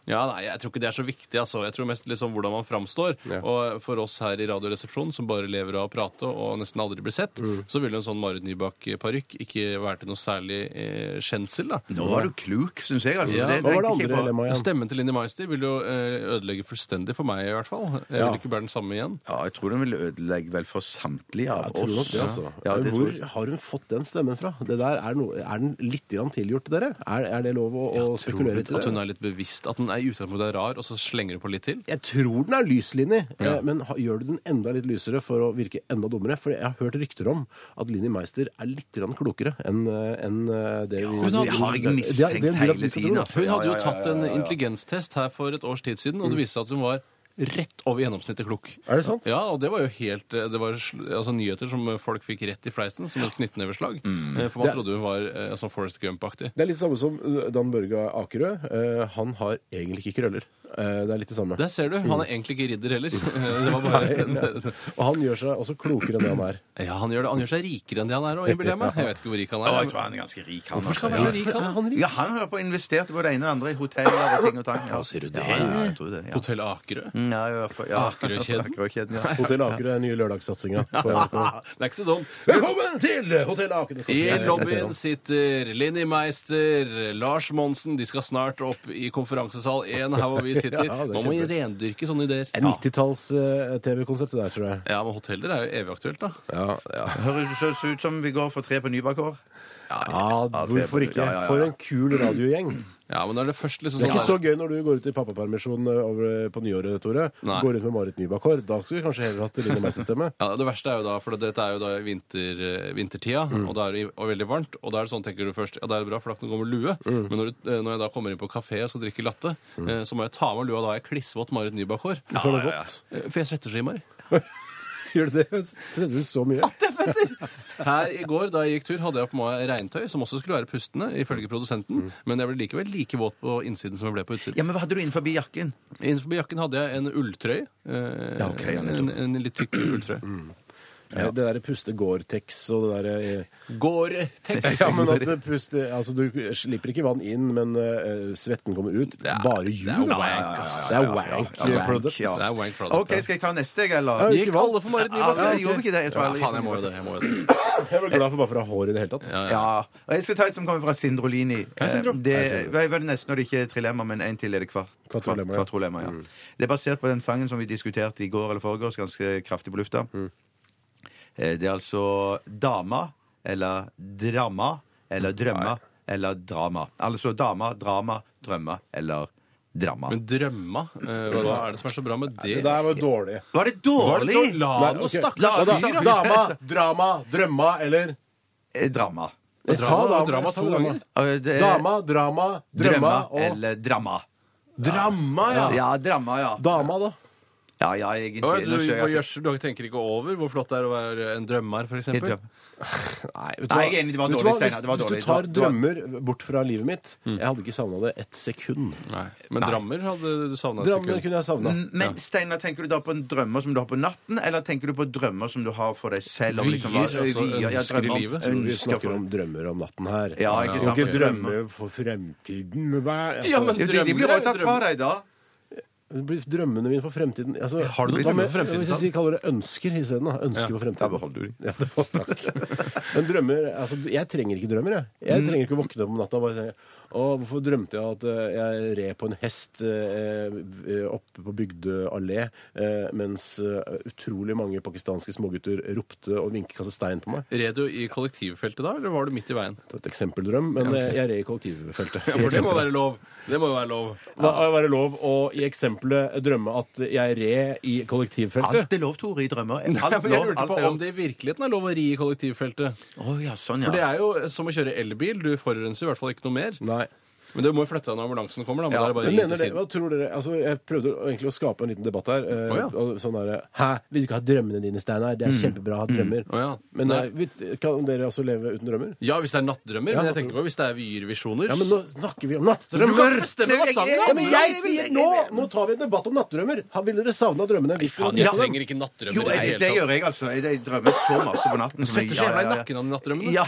Speaker 4: Ja, nei, jeg tror ikke det er så viktig, altså. Jeg tror mest liksom hvordan man framstår. står.
Speaker 2: Ja.
Speaker 4: Og for oss her i Radioresepsjonen, som bare lever av å prate og nesten aldri blir sett,
Speaker 2: Mm.
Speaker 4: så ville en sånn Marit Nybakk-parykk ikke vært til noe særlig eh, skjensel, da.
Speaker 3: Nå var du klok, syns jeg. Altså.
Speaker 4: Ja,
Speaker 2: Hva var det
Speaker 3: tenkte ikke jeg
Speaker 2: andre
Speaker 3: på.
Speaker 2: dilemmaet igjen?
Speaker 4: Stemmen til Linni Meister vil jo eh, ødelegge fullstendig for meg, i hvert fall. Jeg
Speaker 2: Ja.
Speaker 4: vil ikke bære den samme igjen.
Speaker 3: Ja, jeg tror den vil ødelegge vel for samtlige av
Speaker 2: Jeg tror nok
Speaker 3: oss.
Speaker 2: det, altså.
Speaker 3: Ja, det tror
Speaker 2: Hvor
Speaker 3: jeg.
Speaker 2: har hun fått den stemmen fra? Det der er, noe, er den litt grann tilgjort, dere? Er, er det lov å, å spekulere til
Speaker 4: At hun
Speaker 2: det?
Speaker 4: er litt bevisst, at den er i utgangspunktet er rar, og så slenger hun på litt til.
Speaker 2: Jeg tror den er lys, Linni,
Speaker 4: Ja.
Speaker 2: eh, men ha, gjør du den enda litt lysere for å virke enda dummere? For jeg har hørt rykter om at Linni Meister er litt grann klokere enn eh, enn, eh, det vi-
Speaker 4: det har
Speaker 3: jeg
Speaker 2: det-
Speaker 3: mistenkt
Speaker 2: det- det- det-
Speaker 3: hele tiden,
Speaker 2: det-
Speaker 3: altså.
Speaker 4: Hun hadde jo
Speaker 3: Ja, ja, ja,
Speaker 4: tatt en
Speaker 3: ja, ja, ja.
Speaker 4: intelligenstest her for et års tid siden, og det viste seg at hun var rett over gjennomsnittet klok.
Speaker 2: Mm. Er det sant?
Speaker 4: Ja, og det var jo helt eh, Det var sl- altså, nyheter som folk fikk rett i fleisen, som et knyttneveslag. Eh, For man
Speaker 2: Det-
Speaker 4: trodde hun var eh, sånn Forest Gump-aktig.
Speaker 2: Det er litt samme som eh, Dan Børge Akerø. Eh, han har egentlig ikke krøller. Eh, det er litt det samme.
Speaker 4: Der ser du. Han
Speaker 2: Mm.
Speaker 4: er egentlig ikke ridder heller. Det var bare
Speaker 2: Og han gjør seg også klokere enn det han er.
Speaker 4: Ja, han gjør, det. han gjør seg rikere enn det han er òg, innbiller jeg meg. Jeg vet ikke hvor rik han
Speaker 3: Ja,
Speaker 4: er.
Speaker 3: jeg tror han er ganske rik, han.
Speaker 4: Hvorfor skal
Speaker 3: altså.
Speaker 4: han være så rik, han?
Speaker 2: Er han rik?
Speaker 3: Ja, han har på investert i både det ene og det andre i hoteller og ting og tang. Ja,
Speaker 4: sier du det?
Speaker 3: Ja, ja, jeg tror det, ja.
Speaker 4: Hotell Akerø.
Speaker 3: Mm, Ja, i hvert fall, ja.
Speaker 4: Akerø-kjeden.
Speaker 3: Akerø-kjeden, ja.
Speaker 2: Hotell Akerø er den nye lørdagssatsinga. på NRK.
Speaker 4: Det er ikke så dumt.
Speaker 2: Velkommen til Hotell Akerø!
Speaker 4: I
Speaker 2: Jeg heter
Speaker 4: lobbyen
Speaker 2: han.
Speaker 4: sitter Linni Meister, Lars Monsen. De skal snart opp i konferansesal 1, her hvor vi sitter.
Speaker 2: Ja, det er
Speaker 4: Man må
Speaker 2: kjempe.
Speaker 4: rendyrke sånne ideer.
Speaker 2: Det er 90-talls-TV-konseptet eh, der, tror jeg.
Speaker 4: Ja, men hoteller er jo evig aktuelt, da.
Speaker 2: Ja, ja.
Speaker 3: Høres det ut som vi går for tre på Nybakkår?
Speaker 2: hvorfor ikke?
Speaker 3: Ja, ja, ja.
Speaker 2: For en kul radiogjeng.
Speaker 4: Ja, men det er det først liksom
Speaker 2: Det er ikke så
Speaker 4: sånn
Speaker 2: gøy når du går ut i pappapermisjon eh, over på nyåret, Tore.
Speaker 4: Nei.
Speaker 2: Går ut med Marit Nybakk Hår. Da skulle vi kanskje heller hatt Line Meister-stemme.
Speaker 4: ja, Det verste er jo da, for dette er jo da vinter, eh, vintertida, og da er det i- og veldig varmt. Og da er det sånn, tenker du først, ja det er bra, for da kan du gå med lue. Men når, du, eh, når jeg da kommer inn på kafé og skal drikke latte, eh, så må jeg ta av meg lua, da har jeg klissvått Marit Nybakk-hår.
Speaker 2: Du får det godt.
Speaker 4: Eh, For jeg svetter så innmari.
Speaker 2: Gjør du det? Setter du så mye?
Speaker 4: Her i går, da jeg gikk tur, hadde jeg på meg regntøy, som også skulle være pustende, ifølge produsenten. Men jeg ble likevel like våt på innsiden som jeg ble på utsiden.
Speaker 3: Ja, men hva hadde du innenfor jakken?
Speaker 4: Innenfor jakken hadde jeg en ulltrøye. eh,
Speaker 3: Ja, ok, ja, nettopp.
Speaker 4: en, en litt tykk ulltrøye.
Speaker 2: Ja. Eh, Det derre puste Gore-Tex og det derre eh,
Speaker 4: Gore-Tex.
Speaker 2: ja, men at det puste, altså Du slipper ikke vann inn, men eh, svetten kommer ut.
Speaker 4: er-
Speaker 2: Bare
Speaker 4: det er
Speaker 2: ljug.
Speaker 4: wank,
Speaker 2: ass. Det er wank eh, product.
Speaker 3: ja.
Speaker 4: Det er wank product,
Speaker 3: OK,
Speaker 4: ja.
Speaker 3: skal jeg ta neste, jeg,
Speaker 2: Ja,
Speaker 3: eller?
Speaker 2: jo.
Speaker 4: Gikk alle for Marit
Speaker 3: Ja,
Speaker 4: Nybakk?
Speaker 3: jeg gjorde ikke det. Jeg tror
Speaker 4: Ja,
Speaker 3: jeg-
Speaker 4: faen, jeg må jo det. Jeg må jo det.
Speaker 2: Jeg ble glad for bare for å ha hår i det hele tatt.
Speaker 4: Ja, ja.
Speaker 3: Ja. Og jeg skal ta et som kommer fra Sindrolini.
Speaker 2: Hei, Sindro.
Speaker 3: Eh, Det
Speaker 2: Hei, Sindro.
Speaker 3: hva var det nesten når det ikke er trilemma, men en til er det kvart.
Speaker 2: Kvatrolemma, ja.
Speaker 3: kvart- kvatrolemma, ja. Mm. Det er basert på den sangen som vi diskuterte i går eller foregårs ganske kraftig på lufta. Eh, Det er altså dama eller dramma eller drømma eller drama. Altså dama, drama, drømma eller dramma.
Speaker 4: Men drømma? eh, hva er det som er så bra med det?
Speaker 2: Det der var dårlig.
Speaker 3: Var det
Speaker 4: Var det
Speaker 3: dårlig?
Speaker 4: dårlig? La
Speaker 2: Nei,
Speaker 4: nå
Speaker 2: ok.
Speaker 4: stakkars
Speaker 2: Ja, da,
Speaker 4: fyr, da.
Speaker 2: Dama, drama, drømma eller
Speaker 3: Eh, Drama.
Speaker 2: Jeg sa
Speaker 4: Drama,
Speaker 2: dama,
Speaker 4: drama
Speaker 2: jeg sa
Speaker 4: to
Speaker 2: drama.
Speaker 4: ganger.
Speaker 3: Eh, det er
Speaker 2: Dama, drømma, drømma
Speaker 3: drømma
Speaker 2: og
Speaker 3: eller dramma.
Speaker 4: Dramma, ja!
Speaker 3: Ja, dramma, ja.
Speaker 2: Dama, da.
Speaker 3: Ja, ja, egentlig.
Speaker 4: Å, Du,
Speaker 3: Nå ser jeg
Speaker 4: hva
Speaker 3: at-
Speaker 4: gjør- du tenker ikke over hvor flott det er å være en drømmer, for
Speaker 3: Jeg
Speaker 4: eksempel?
Speaker 3: drømmer.
Speaker 2: Nei, vet
Speaker 3: Nei, jeg er enig, det var
Speaker 2: Vet du
Speaker 3: dårlig,
Speaker 2: hva?
Speaker 3: Steinar, det var
Speaker 2: Hvis,
Speaker 3: dårlig.
Speaker 2: hvis du tar
Speaker 3: Det var- Mm.
Speaker 2: drømmer bort fra livet mitt Jeg hadde ikke savna det ett sekund.
Speaker 4: Nei. Men Drammer hadde du savna et
Speaker 2: Drømmer
Speaker 4: sekund.
Speaker 2: kunne jeg savna.
Speaker 3: Mm, Men Steinar, tenker du da på en drømmer som du har på natten, eller tenker du på drømmer som du har for deg selv? om
Speaker 4: Vier,
Speaker 3: hva-
Speaker 4: altså,
Speaker 3: vier, ja,
Speaker 4: ønsker i
Speaker 3: drømmer,
Speaker 4: livet.
Speaker 2: Tror vi
Speaker 3: ønsker
Speaker 2: snakker
Speaker 3: for-
Speaker 2: om drømmer om natten her.
Speaker 3: Ja, ikke sant,
Speaker 2: Og ikke
Speaker 3: for drømmer.
Speaker 2: drømmer for fremtiden. men hva-
Speaker 4: Ja, men-
Speaker 2: Altså,
Speaker 3: Jo, de, de blir
Speaker 4: Drømmer
Speaker 3: bare
Speaker 4: er
Speaker 3: tatt fra deg da.
Speaker 2: det blir drømmene mine for fremtiden altså,
Speaker 4: Har du noen
Speaker 2: hva med-
Speaker 4: drømmer for fremtiden,
Speaker 2: Hvis jeg sier kaller det ønsker isteden, da. Ønsker for fremtiden.
Speaker 3: da beholder du de.
Speaker 2: Ja, det var, takk. Men drømmer altså, Jeg trenger ikke drømmer, jeg. Jeg
Speaker 4: Mm.
Speaker 2: trenger ikke å våkne opp om natta og bare tenke Å, hvorfor drømte jeg at eh, jeg red på en hest eh, eh, oppe på Bygdø allé, eh, mens eh, utrolig mange pakistanske smågutter ropte og vinket kastet stein på meg?
Speaker 4: Red du i kollektivfeltet da, eller var du midt i veien?
Speaker 2: Det var et eksempeldrøm, men eh, jeg red i kollektivfeltet.
Speaker 4: Ja, for det må være lov. Det må jo være lov.
Speaker 2: Da må det være lov å i eksempelet drømme at jeg red i kollektivfeltet.
Speaker 3: Alt er lov, Tore, i drømmer.
Speaker 4: Ja,
Speaker 3: Alt lov,
Speaker 4: men jeg lurte
Speaker 3: alt
Speaker 4: på
Speaker 3: er lov.
Speaker 4: om det i virkeligheten er lov å ri i kollektivfeltet.
Speaker 3: Å, ja, sånn, ja.
Speaker 4: For det er jo som å kjøre elbil. Du forurenser i hvert fall ikke noe mer.
Speaker 2: Nei.
Speaker 4: Men du må jo flytte deg når ambulansen kommer. da, men
Speaker 3: Ja,
Speaker 4: da er det bare å
Speaker 2: Men
Speaker 4: ringe
Speaker 2: mener
Speaker 4: til
Speaker 2: dere, hva
Speaker 4: siden.
Speaker 2: tror dere, altså Jeg prøvde å- egentlig å skape en liten debatt her. eh,
Speaker 4: Å, ja. Mm.
Speaker 2: og sånn der, Hæ, vil du ikke ha drømmene dine, Steinar? Det er kjempebra å ha drømmer.
Speaker 4: Å, ja.
Speaker 2: Men
Speaker 4: Nei.
Speaker 2: eh, vet- kan dere også leve uten drømmer?
Speaker 4: Ja, hvis det er nattdrømmer.
Speaker 2: Ja,
Speaker 4: Men jeg tenker på hvis det er vyer-visjoner.
Speaker 2: Ja, men nå snakker vi om
Speaker 4: Du kan
Speaker 2: nattdrømmer!
Speaker 4: ikke bestemme hva sangen
Speaker 2: Ja,
Speaker 4: er!
Speaker 2: men jeg sier nå! Nå tar vi en debatt om nattdrømmer. Ha, Ville dere savna drømmene? Hvis dere
Speaker 4: Faen,
Speaker 2: hadde
Speaker 4: jeg
Speaker 2: drømt dem?
Speaker 4: trenger ikke
Speaker 3: Jo,
Speaker 4: nattdrømmer
Speaker 3: jeg,
Speaker 4: i det
Speaker 3: det
Speaker 4: hele tatt.
Speaker 3: gjør jeg, altså. Jeg, jeg drømmer så masse på natten. som jeg-
Speaker 4: Svetter
Speaker 3: ja,
Speaker 4: skjeva
Speaker 3: ja,
Speaker 4: i
Speaker 3: ja.
Speaker 4: nakken av nattdrømmene.
Speaker 3: Ja,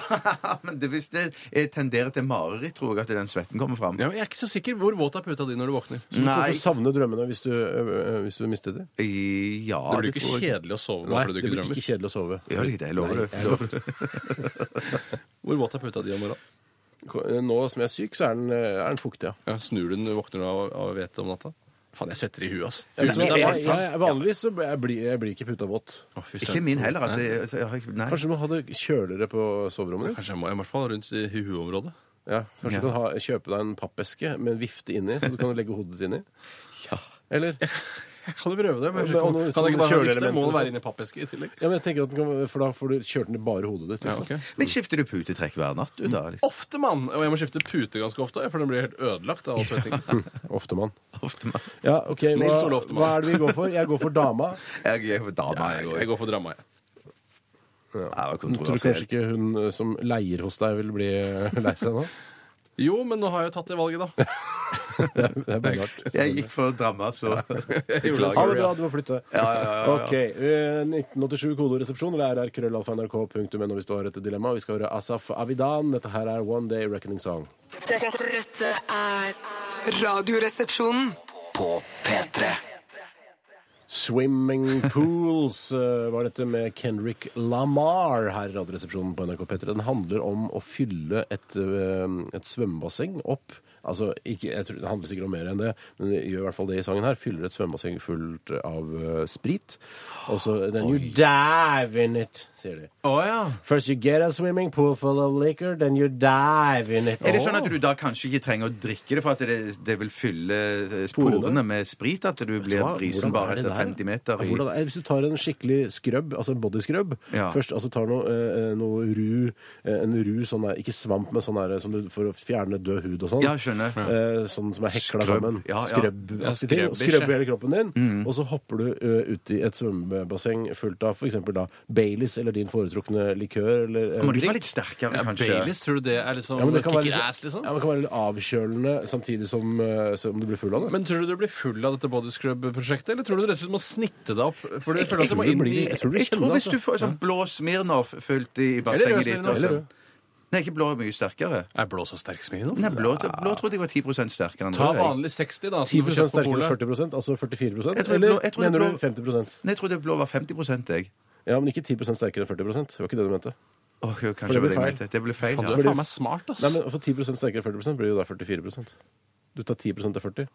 Speaker 3: men det, hvis det jeg tenderer til mareritt, tror jeg at den svetten kommer fram.
Speaker 4: Ja, men jeg er ikke så sikker. Hvor våt er puta di når du våkner?
Speaker 2: Du kommer
Speaker 3: Nei.
Speaker 2: til å savne drømmene hvis du, øh, hvis du mistet dem.
Speaker 3: Ja,
Speaker 4: Det blir jo ikke
Speaker 3: tror jeg.
Speaker 4: kjedelig å sove
Speaker 2: Nei,
Speaker 4: bare fordi
Speaker 2: det
Speaker 4: du ikke
Speaker 2: blir
Speaker 4: drømmer.
Speaker 2: ikke kjedelig å sove.
Speaker 3: Gjør det ikke det? Jeg lover det.
Speaker 2: jeg lover det.
Speaker 4: Hvor våt er puta di om morgenen?
Speaker 2: eh, Nå som jeg er syk, så er den, øh, er den fuktig, ja.
Speaker 4: Ja, snur du den når du våkner av, av hvete om natta? Faen, jeg svetter i huet, ass.
Speaker 2: Ja,
Speaker 4: Uten at det er varmt,
Speaker 2: ja,
Speaker 4: ass.
Speaker 2: ja, vanligvis så blir- jeg blir jeg blir ikke puta våt.
Speaker 4: Å, fy
Speaker 3: Ikke
Speaker 4: søren.
Speaker 3: min heller, altså. Jeg, jeg, jeg, nei.
Speaker 2: Kanskje du må ha det kjøligere på soverommet ditt?
Speaker 4: Kanskje jeg må i hvert fall rundt i hueområdet.
Speaker 2: Ja, kanskje
Speaker 3: Ja.
Speaker 2: du kan ha, kjøpe deg en pappeske med en vifte inni, så du kan legge hodet ditt inni? Eller?
Speaker 4: Kan du prøve det?
Speaker 2: Men-
Speaker 4: Men,
Speaker 2: og noe
Speaker 4: kan, kan det ikke
Speaker 2: sånn
Speaker 4: bare ha vifte?
Speaker 2: kjøleelement
Speaker 4: Må
Speaker 2: og
Speaker 4: den
Speaker 2: sånn.
Speaker 4: være inni pappeske i tillegg?
Speaker 2: Ja, men jeg tenker at den kan, For da får du kjørt den i bare hodet ditt.
Speaker 4: Ja,
Speaker 2: liksom.
Speaker 4: ok.
Speaker 3: Men skifter du pute trekk hver natt, du, da? Liksom.
Speaker 4: Ofte, mann! Og jeg må skifte pute ganske ofte, for den blir helt ødelagt av all svetting.
Speaker 2: Oftemann.
Speaker 3: Ofte, man.
Speaker 2: Ja, ok, hva,
Speaker 4: Nils Ole Oftemann.
Speaker 2: hva er det vi går for? Jeg går for dama.
Speaker 3: Jeg, jeg, da, nei, jeg,
Speaker 4: Jeg går for drama, jeg.
Speaker 3: Ja, det var
Speaker 2: Tror du kanskje
Speaker 3: kontroversielt.
Speaker 2: ikke hun eh, som leier hos deg, vil bli eh, lei seg nå?
Speaker 4: Jo, men nå har jeg jo tatt det valget, da.
Speaker 2: Det er bare rart.
Speaker 3: Jeg gikk for drama, så
Speaker 2: Ha det
Speaker 3: Beklager.
Speaker 2: bra, du må flytte. Ok. eh, 1987 kodoresepsjon eller rrkrøllalfa.nrk.no hvis du har et dilemma. Vi skal høre Asaf Avidan. Dette her er One Day Reckoning Song.
Speaker 5: Dette, dette er Radioresepsjonen.
Speaker 1: På P3.
Speaker 2: Swimming Pools eh, var dette med Kendrick Lamar her i Radioresepsjonen på NRK P3. Den handler om å fylle et, eh, et svømmebasseng opp. Altså, ikke, jeg tror, Det handler sikkert om mer enn det, men det gjør i hvert fall det i sangen her. Fyller et svømmebasseng fullt av eh, sprit. Og så Then you dive in it, sier de.
Speaker 4: Å ja.
Speaker 2: First you get a swimming pool full of liquor, then you dive in it.
Speaker 3: Er det sånn at du da kanskje ikke trenger å drikke det for at det, det vil fylle eh, sporene med sprit? At du blir
Speaker 2: Hva?
Speaker 3: brisen
Speaker 2: Hvordan er
Speaker 3: bare
Speaker 2: det
Speaker 3: etter
Speaker 2: der?
Speaker 3: 50 meter? I,
Speaker 2: Hvordan er, hvis du tar en skikkelig skrøbb, altså en bodyskrøbb
Speaker 3: Ja.
Speaker 2: Først altså tar noe, eh, noe ru, eh, en ru sånn der, ikke svamp, men sånn der som du for å fjerne død hud og sånn.
Speaker 3: Ja, skjønner.
Speaker 2: Eh, sånn som er hekla
Speaker 3: Skrøbb.
Speaker 2: sammen.
Speaker 3: Ja, Mm. ja.
Speaker 2: Skrøbb.
Speaker 4: Ja,
Speaker 2: ting.
Speaker 4: skrøbbish, ja.
Speaker 2: Skrøbbe hele kroppen din, og så hopper du eh, ut i et svømmebasseng fullt av f.eks. da Baileys eller din foretrukne likør eller eh,
Speaker 3: må du ikke være litt sterkere,
Speaker 4: ja
Speaker 3: kanskje?
Speaker 4: Baileys, tror du det er liksom
Speaker 2: ja, men det kan, være
Speaker 4: kicker
Speaker 2: litt, sånn-
Speaker 4: ass, liksom?
Speaker 2: ja, men det kan være litt avkjølende samtidig som, eh, som du blir full av det.
Speaker 4: Men tror du du blir full av dette body scrub-prosjektet, eller tror du du rett og slett må snitte deg opp? For du føler at du må
Speaker 2: tror
Speaker 4: inn
Speaker 2: du
Speaker 4: i
Speaker 2: blir- jeg tror du
Speaker 3: Jeg
Speaker 2: kjenner
Speaker 3: tror hvis
Speaker 2: det, altså?
Speaker 3: du får sånn blå Smirnoff fylt i
Speaker 4: Eller rød
Speaker 3: bassenget ditt
Speaker 4: Smirnoff.
Speaker 3: og
Speaker 4: Eller
Speaker 3: sånn. Nei, ikke blå er mye sterkere.
Speaker 4: Er blå så sterk smidig nå?
Speaker 3: Nei, blå, blå trodde jeg var 10 sterkere enn
Speaker 4: Ta
Speaker 3: rød, jeg.
Speaker 4: vanlig 60, da.
Speaker 2: 10
Speaker 4: som du får kjøpt på
Speaker 2: sterkere enn 40
Speaker 4: polet.
Speaker 2: altså 44
Speaker 3: Jeg tror det
Speaker 2: Eller
Speaker 3: blå- jeg tror det
Speaker 2: mener du
Speaker 3: blå-
Speaker 2: 50
Speaker 3: Nei, jeg trodde blå var 50 jeg.
Speaker 2: Ja, men ikke 10 sterkere enn 40 Det var ikke det du mente.
Speaker 3: Åh, jo, kanskje
Speaker 2: For det
Speaker 3: var
Speaker 2: ble
Speaker 3: jeg
Speaker 2: feil.
Speaker 3: mente. Det ble feil.
Speaker 4: Faen, du
Speaker 3: Ja.
Speaker 4: er faen meg smart, ass.
Speaker 2: Nei, men for 10 sterkere enn 40 blir jo da 44 Du tar 10 til 40.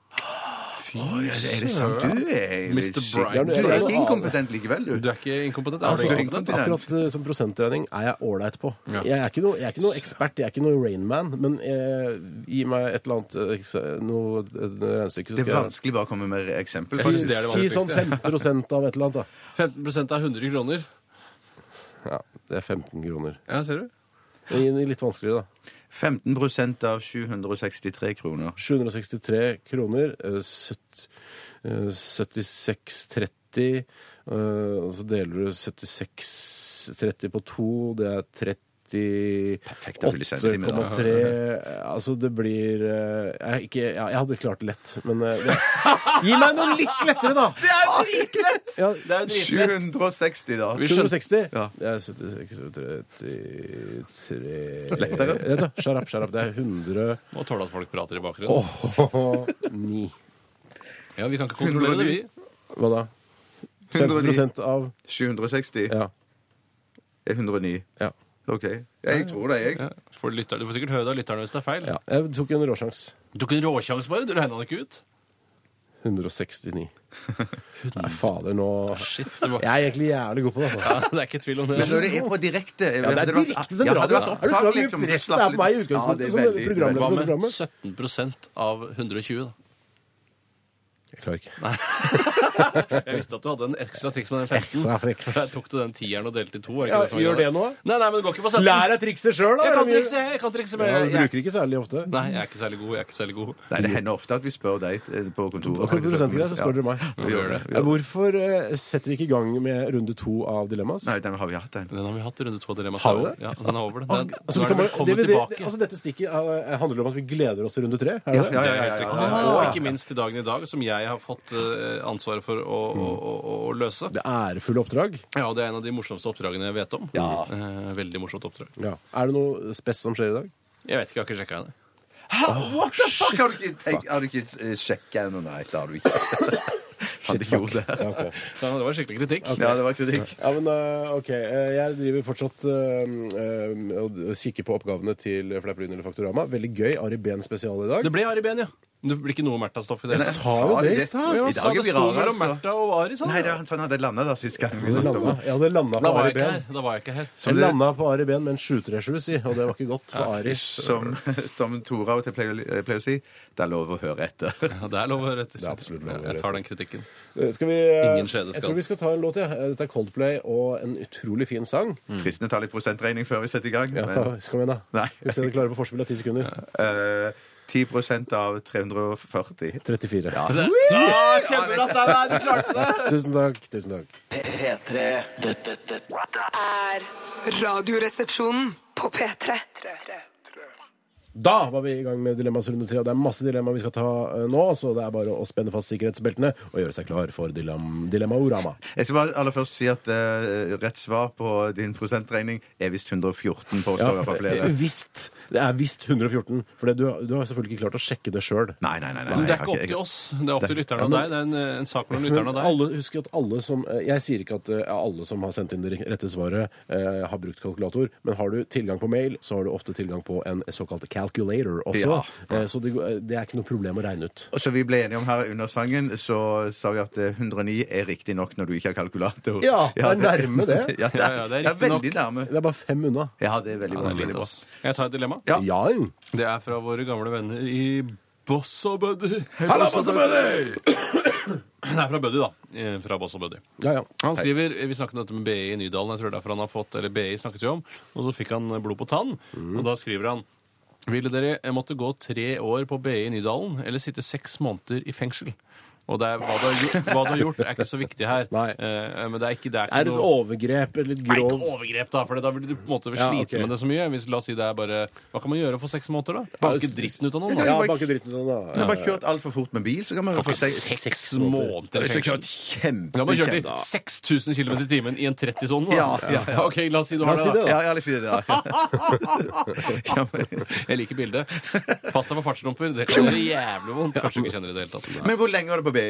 Speaker 3: Oi, er det sant? Du er
Speaker 4: Mr.
Speaker 3: skikkelig-
Speaker 4: Bright.
Speaker 3: Du er
Speaker 2: Ja,
Speaker 3: ikke
Speaker 2: men-
Speaker 3: inkompetent likevel, du.
Speaker 4: Du er ikke inkompetent?
Speaker 2: Altså,
Speaker 4: Er du
Speaker 3: du er
Speaker 4: inkompetent?
Speaker 3: inkompetent.
Speaker 2: akkurat eh, som prosentregning er jeg ålreit på.
Speaker 4: Ja.
Speaker 2: Jeg, er ikke noe, jeg er ikke noe ekspert, jeg er ikke noe Rainman, men eh, gi meg et eller annet eh, ekse- noe, et regnestykke, så
Speaker 3: Det er
Speaker 2: skal jeg
Speaker 3: vanskelig bare å komme med eksempel.
Speaker 4: Jeg
Speaker 2: si,
Speaker 4: synes det er det
Speaker 2: si sånn 5 av et eller annet, da.
Speaker 4: 15 av 100 kroner.
Speaker 2: Ja, det er 15 kroner.
Speaker 4: Ja, ser du?
Speaker 2: Gi den litt vanskeligere, da.
Speaker 3: 15 av 763 kroner.
Speaker 2: 763 kroner, eh, sytt- eh, 76,30 eh, Og så deler du 76,30 på to, det er 30
Speaker 3: Perfekt, da fyller centimeter.
Speaker 2: 8,3 Altså, det blir eh, jeg, er ikke, ja, jeg hadde klart det lett, men eh, det, Gi meg noe litt lettere, da! Det er dritlett! Ja, det er
Speaker 3: 760, da.
Speaker 2: 760?
Speaker 3: Ja.
Speaker 2: Det er 76, 33
Speaker 3: Lettere.
Speaker 2: Vent da, Shut up, shut up. Det er 100
Speaker 4: Må tåle at folk prater i bakgrunnen.
Speaker 2: Åh, ni.
Speaker 4: Ja, Vi kan ikke kontrollere det, vi.
Speaker 2: Hva da? 50 av
Speaker 3: 760
Speaker 2: Ja.
Speaker 3: er 109.
Speaker 2: ja.
Speaker 3: OK. Jeg tror det, jeg.
Speaker 4: Ja, for lytter, du får sikkert høre det av lytterne hvis det er feil.
Speaker 2: ja. Jeg tok en råsjans.
Speaker 4: Du tok en råsjanse, bare. Du regna det ikke ut.
Speaker 2: 169. Nei, fader, nå
Speaker 4: Shit, det var...
Speaker 2: Jeg er egentlig jævlig god på det. Altså.
Speaker 4: ja, det er ikke tvil om det.
Speaker 3: Men når det er på direkte
Speaker 2: Ja, det er direkte som
Speaker 3: ja, hadde
Speaker 2: radio. Er
Speaker 3: vært
Speaker 2: du
Speaker 3: opptak,
Speaker 2: klar over
Speaker 3: liksom, så
Speaker 2: presset
Speaker 3: slapp
Speaker 2: er på meg i
Speaker 3: litt-
Speaker 2: utgangspunktet
Speaker 3: det er
Speaker 2: som
Speaker 3: veldig-
Speaker 2: programleder?
Speaker 4: Hva med
Speaker 2: programmet?
Speaker 4: 17 av 120, da?
Speaker 2: Jeg klarer ikke.
Speaker 4: Jeg visste at du hadde en ekstra triks med den 15.
Speaker 2: Ekstra triks.
Speaker 4: Jeg tok du den tieren og delte i to? er
Speaker 2: Ja,
Speaker 4: ikke som er
Speaker 2: gjør
Speaker 4: greia?
Speaker 2: det nå?
Speaker 4: Nei, nei, men det går ikke på 17.
Speaker 2: Lær deg trikset sjøl, da!
Speaker 4: Jeg kan
Speaker 2: Ramiro.
Speaker 4: trikse, jeg kan trikse, men
Speaker 2: Ja,
Speaker 4: jeg,
Speaker 2: du bruker ikke særlig ofte.
Speaker 4: Nei, jeg er ikke særlig god. jeg er ikke særlig god.
Speaker 3: Nei, det hender ofte at vi spør deg eh, på kontoret.
Speaker 2: Og på prosentgreier så spør dere meg.
Speaker 3: Ja, vi gjør det. Vi gjør det.
Speaker 2: Hvorfor eh, setter vi ikke i gang med runde to av Dilemmas?
Speaker 3: Nei, den har vi hatt, den.
Speaker 4: Den har vi hatt i runde to av Dilemmas.
Speaker 2: Har vi det?
Speaker 4: Ja, den er over. Den,
Speaker 2: Ah,
Speaker 4: den,
Speaker 2: altså,
Speaker 4: nå
Speaker 2: vi
Speaker 4: er
Speaker 2: kan
Speaker 4: den
Speaker 2: bare-
Speaker 4: kommet
Speaker 2: det- det-
Speaker 4: tilbake.
Speaker 2: Altså, dette stikket eh, handler om at vi gleder oss til runde tre? Er det
Speaker 3: Ja,
Speaker 2: det?
Speaker 3: ja, ja,
Speaker 4: Det er
Speaker 3: ja, ja,
Speaker 4: helt riktig.
Speaker 3: ja.
Speaker 4: Og ikke minst i dag i dag, som jeg har fått eh, ansvaret for å,
Speaker 2: Mm.
Speaker 4: å, å, å løse.
Speaker 2: Det ærefulle oppdrag?
Speaker 4: Ja, og Det er en av de morsomste oppdragene jeg vet om.
Speaker 3: Ja.
Speaker 4: Eh, veldig morsomt oppdrag.
Speaker 2: Ja. Er det noe spess som skjer i dag?
Speaker 4: Jeg vet ikke, jeg har ikke sjekka henne.
Speaker 3: Hæ? What the fuck? Har du ikke, tenkt- har du ikke eh, sjekket ennå? Nei, det har du ikke. Fant ikke
Speaker 2: fuck.
Speaker 3: ordet.
Speaker 2: Ja, ok.
Speaker 4: Ja, Det var skikkelig kritikk.
Speaker 3: Ja, det var kritikk.
Speaker 2: Ja, men øh, OK. øh, Jeg driver fortsatt øh, øh, og kikker på oppgavene til Fleiperlyn eller Faktorama. Veldig gøy. Ari Behn spesial i dag.
Speaker 4: Det ble Ari Behn, ja. Det blir ikke noe Märtha Stoff i det.
Speaker 2: Jeg sa jo det i stad.
Speaker 3: I
Speaker 4: Ja, han sa
Speaker 3: dag
Speaker 4: det
Speaker 3: er vi
Speaker 4: sto
Speaker 3: rare,
Speaker 4: mellom
Speaker 3: altså.
Speaker 4: Märtha og Ari, sa
Speaker 3: Nei,
Speaker 4: han.
Speaker 3: det var- han hadde landa der sist gang. vi
Speaker 2: Jeg
Speaker 3: snakket om det.
Speaker 2: hadde landa
Speaker 4: Da
Speaker 2: på
Speaker 4: var
Speaker 2: Ari
Speaker 4: jeg ikke
Speaker 2: Behn.
Speaker 4: her. Da var jeg ikke her.
Speaker 2: Jeg landa på Ari Behn med en 737, si, og det var ikke godt for Ari.
Speaker 3: Som, som Tore av og til pleier, pleier å si, det er lov å høre etter.
Speaker 4: Ja, det er lov å høre etter.
Speaker 2: Det er absolutt lov å høre
Speaker 4: Jeg
Speaker 2: etter.
Speaker 4: tar den kritikken.
Speaker 2: Eh, Skal vi,
Speaker 4: Ingen skjede
Speaker 2: jeg
Speaker 4: skal.
Speaker 2: tror vi skal ta en låt, jeg. Ja. Eh, Dette er Coldplay og en utrolig fin sang.
Speaker 4: Mm.
Speaker 3: Fristende tall i prosentregning før vi setter i gang.
Speaker 2: Ja, ta,
Speaker 3: Men,
Speaker 2: skal vi igjen, da.
Speaker 3: Nei.
Speaker 2: Hvis dere klarer på forspill av ti sekunder.
Speaker 3: eh, 10 av 340.
Speaker 2: 34.
Speaker 4: Ah, kjempebra, Steinar! Du klarte det!
Speaker 2: Tusen takk. Tusen takk.
Speaker 1: P3. Dette, dette
Speaker 5: er Radioresepsjonen på P3.
Speaker 2: Da var vi i gang med Dilemmas runde tre, og det er masse dilemmaer vi skal ta eh, nå, så det er bare å spenne fast sikkerhetsbeltene og gjøre seg klar for dilam, Dilemmaorama.
Speaker 3: Jeg skal bare aller først si at eh, rett svar på din prosentregning er visst 114, påstår i hvert fall
Speaker 2: eh,
Speaker 3: flere.
Speaker 2: visst. Det er visst 114, for det, du, har- du har selvfølgelig ikke klart å sjekke det sjøl.
Speaker 3: Nei, nei, nei. nei,
Speaker 4: Men
Speaker 3: jeg
Speaker 4: det er
Speaker 3: har
Speaker 4: ikke opp
Speaker 3: jeg-
Speaker 4: til oss. Det er opp til lytterne
Speaker 2: Ja,
Speaker 4: og
Speaker 2: men-
Speaker 4: deg. Det er en, en sak mellom
Speaker 2: Men
Speaker 4: lytterne og deg.
Speaker 2: alle, husk at alle som eh, Jeg sier ikke at eh, alle som har sendt inn det rette svaret, eh, har brukt kalkulator, men har du tilgang på mail, så har du ofte tilgang på en såkalt calculator også.
Speaker 3: Ja.
Speaker 2: Eh, Så det, går- det er ikke noe problem å regne ut.
Speaker 3: Og så vi ble enige om her under sangen, så sa vi at eh, 109 er riktig nok når du ikke har kalkulator.
Speaker 2: Ja, det er nærme det.
Speaker 3: Ja,
Speaker 4: Ja, ja, det er
Speaker 3: det er
Speaker 4: riktig nok.
Speaker 3: veldig nærme.
Speaker 2: Det er bare fem unna.
Speaker 3: Ja, det er veldig bra.
Speaker 4: Ja, det er
Speaker 3: veldig
Speaker 4: litt,
Speaker 3: bra.
Speaker 4: ass. Jeg tar et dilemma.
Speaker 3: Ja.
Speaker 2: Ja, jo.
Speaker 4: Det er fra våre gamle venner i Boss og Buddy.
Speaker 2: Halla, Boss og Buddy!
Speaker 4: Det er fra Buddy, da. Eh, Fra Boss og Buddy.
Speaker 2: ja, ja.
Speaker 4: Han skriver, Vi snakket om dette med BI i Nydalen. jeg tror det er derfor han har fått, eller BI snakket vi om, Og så fikk han eh, blod på tann. Og da skriver han Ville dere eh, måtte gå tre år på BI i Nydalen eller sitte seks måneder i fengsel? Og det er, hva, du har gjort, hva du har gjort, er ikke så viktig her.
Speaker 2: Nei.
Speaker 4: Eh, men det er ikke, det er ikke
Speaker 2: Er det et overgrep eller et
Speaker 4: Nei, ikke
Speaker 2: grov
Speaker 4: overgrep, da, for da vil du på en måte slite
Speaker 2: Ja, ok.
Speaker 4: med det så mye. Hvis, la oss si det er bare Hva kan man gjøre for seks måneder, da? Banke dritten ut av noen?
Speaker 2: Ja,
Speaker 4: da.
Speaker 2: banke dritten ut av den,
Speaker 3: Du
Speaker 2: da.
Speaker 3: har bare kjørt altfor fort med bil, så kan man
Speaker 4: Får
Speaker 3: få
Speaker 4: ikke
Speaker 3: seg
Speaker 4: seks
Speaker 2: seks
Speaker 4: måneder i
Speaker 3: Hvis du har
Speaker 4: fengsel.
Speaker 3: kjørt
Speaker 4: Da har man kjørt i
Speaker 3: kjempekjent
Speaker 4: 6000 km i timen i en 30-sone, da.
Speaker 3: Ja, ja, ja.
Speaker 4: OK, la oss si du
Speaker 2: La
Speaker 4: har
Speaker 2: oss
Speaker 4: det,
Speaker 2: si
Speaker 4: da.
Speaker 2: det, da.
Speaker 3: Ja, jeg vil si det. da. Ja, men-
Speaker 4: Jeg liker bildet. Pass deg for fartsdumper. Det kan gjøre jævlig vondt. Kanskje du ikke kjenner det i det hele tatt.
Speaker 3: Men hvor lenge var det på BI?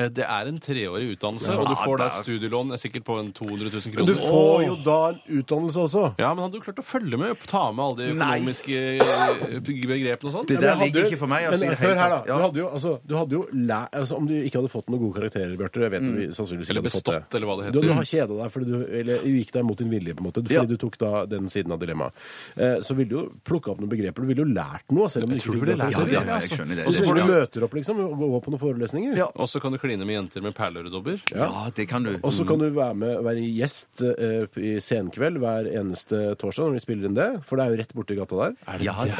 Speaker 4: Eh, Det er en treårig utdannelse, og du får da studielån eh, sikkert på en 200 000
Speaker 2: Du
Speaker 4: kroner.
Speaker 2: får jo da en utdannelse også.
Speaker 4: Ja, men hadde du klart å følge med? Ta med alle de
Speaker 3: Nei.
Speaker 4: økonomiske eh, begrepene og sånn?
Speaker 3: Det
Speaker 2: Men
Speaker 3: der
Speaker 2: jeg hadde
Speaker 3: ligger
Speaker 2: jo-
Speaker 3: ikke for meg, altså, i
Speaker 2: men
Speaker 3: det hele
Speaker 2: hør her, da.
Speaker 3: tatt. Ja.
Speaker 2: Du hadde jo, altså, du hadde jo læ altså, Om du ikke hadde fått noen gode karakterer, Bjarte Jeg vet at
Speaker 3: Mm.
Speaker 2: vi sannsynligvis ikke
Speaker 4: Eller
Speaker 2: hadde fått det.
Speaker 4: bestått, eller hva det
Speaker 2: Du,
Speaker 4: heter.
Speaker 2: du har kjeda deg fordi du eller, du gikk deg mot din vilje, på en måte, fordi
Speaker 3: Ja.
Speaker 2: du tok da den siden av dilemmaet. Eh, så ville du jo plukka opp noen begreper. Du ville jo lært noe, selv om du
Speaker 4: Jeg
Speaker 2: ikke
Speaker 4: tror du
Speaker 2: fikk
Speaker 4: ville
Speaker 2: noe
Speaker 4: lært
Speaker 3: Ja,
Speaker 4: deg
Speaker 3: ja,
Speaker 2: karakter.
Speaker 3: ja,
Speaker 4: det.
Speaker 3: jeg
Speaker 4: altså.
Speaker 3: skjønner det.
Speaker 2: Og så
Speaker 3: det,
Speaker 2: får du
Speaker 3: det, ja.
Speaker 2: møter opp, liksom, og gå på noen forelesninger.
Speaker 3: Ja.
Speaker 4: Og så kan du kline med jenter med perleøredobber.
Speaker 3: ja, det kan du.
Speaker 2: Og
Speaker 4: Mm.
Speaker 2: så kan du være med være gjest eh, i Senkveld hver eneste torsdag når de spiller inn det, for det er jo rett borti gata der.
Speaker 3: Ja, det
Speaker 2: Ja,
Speaker 3: det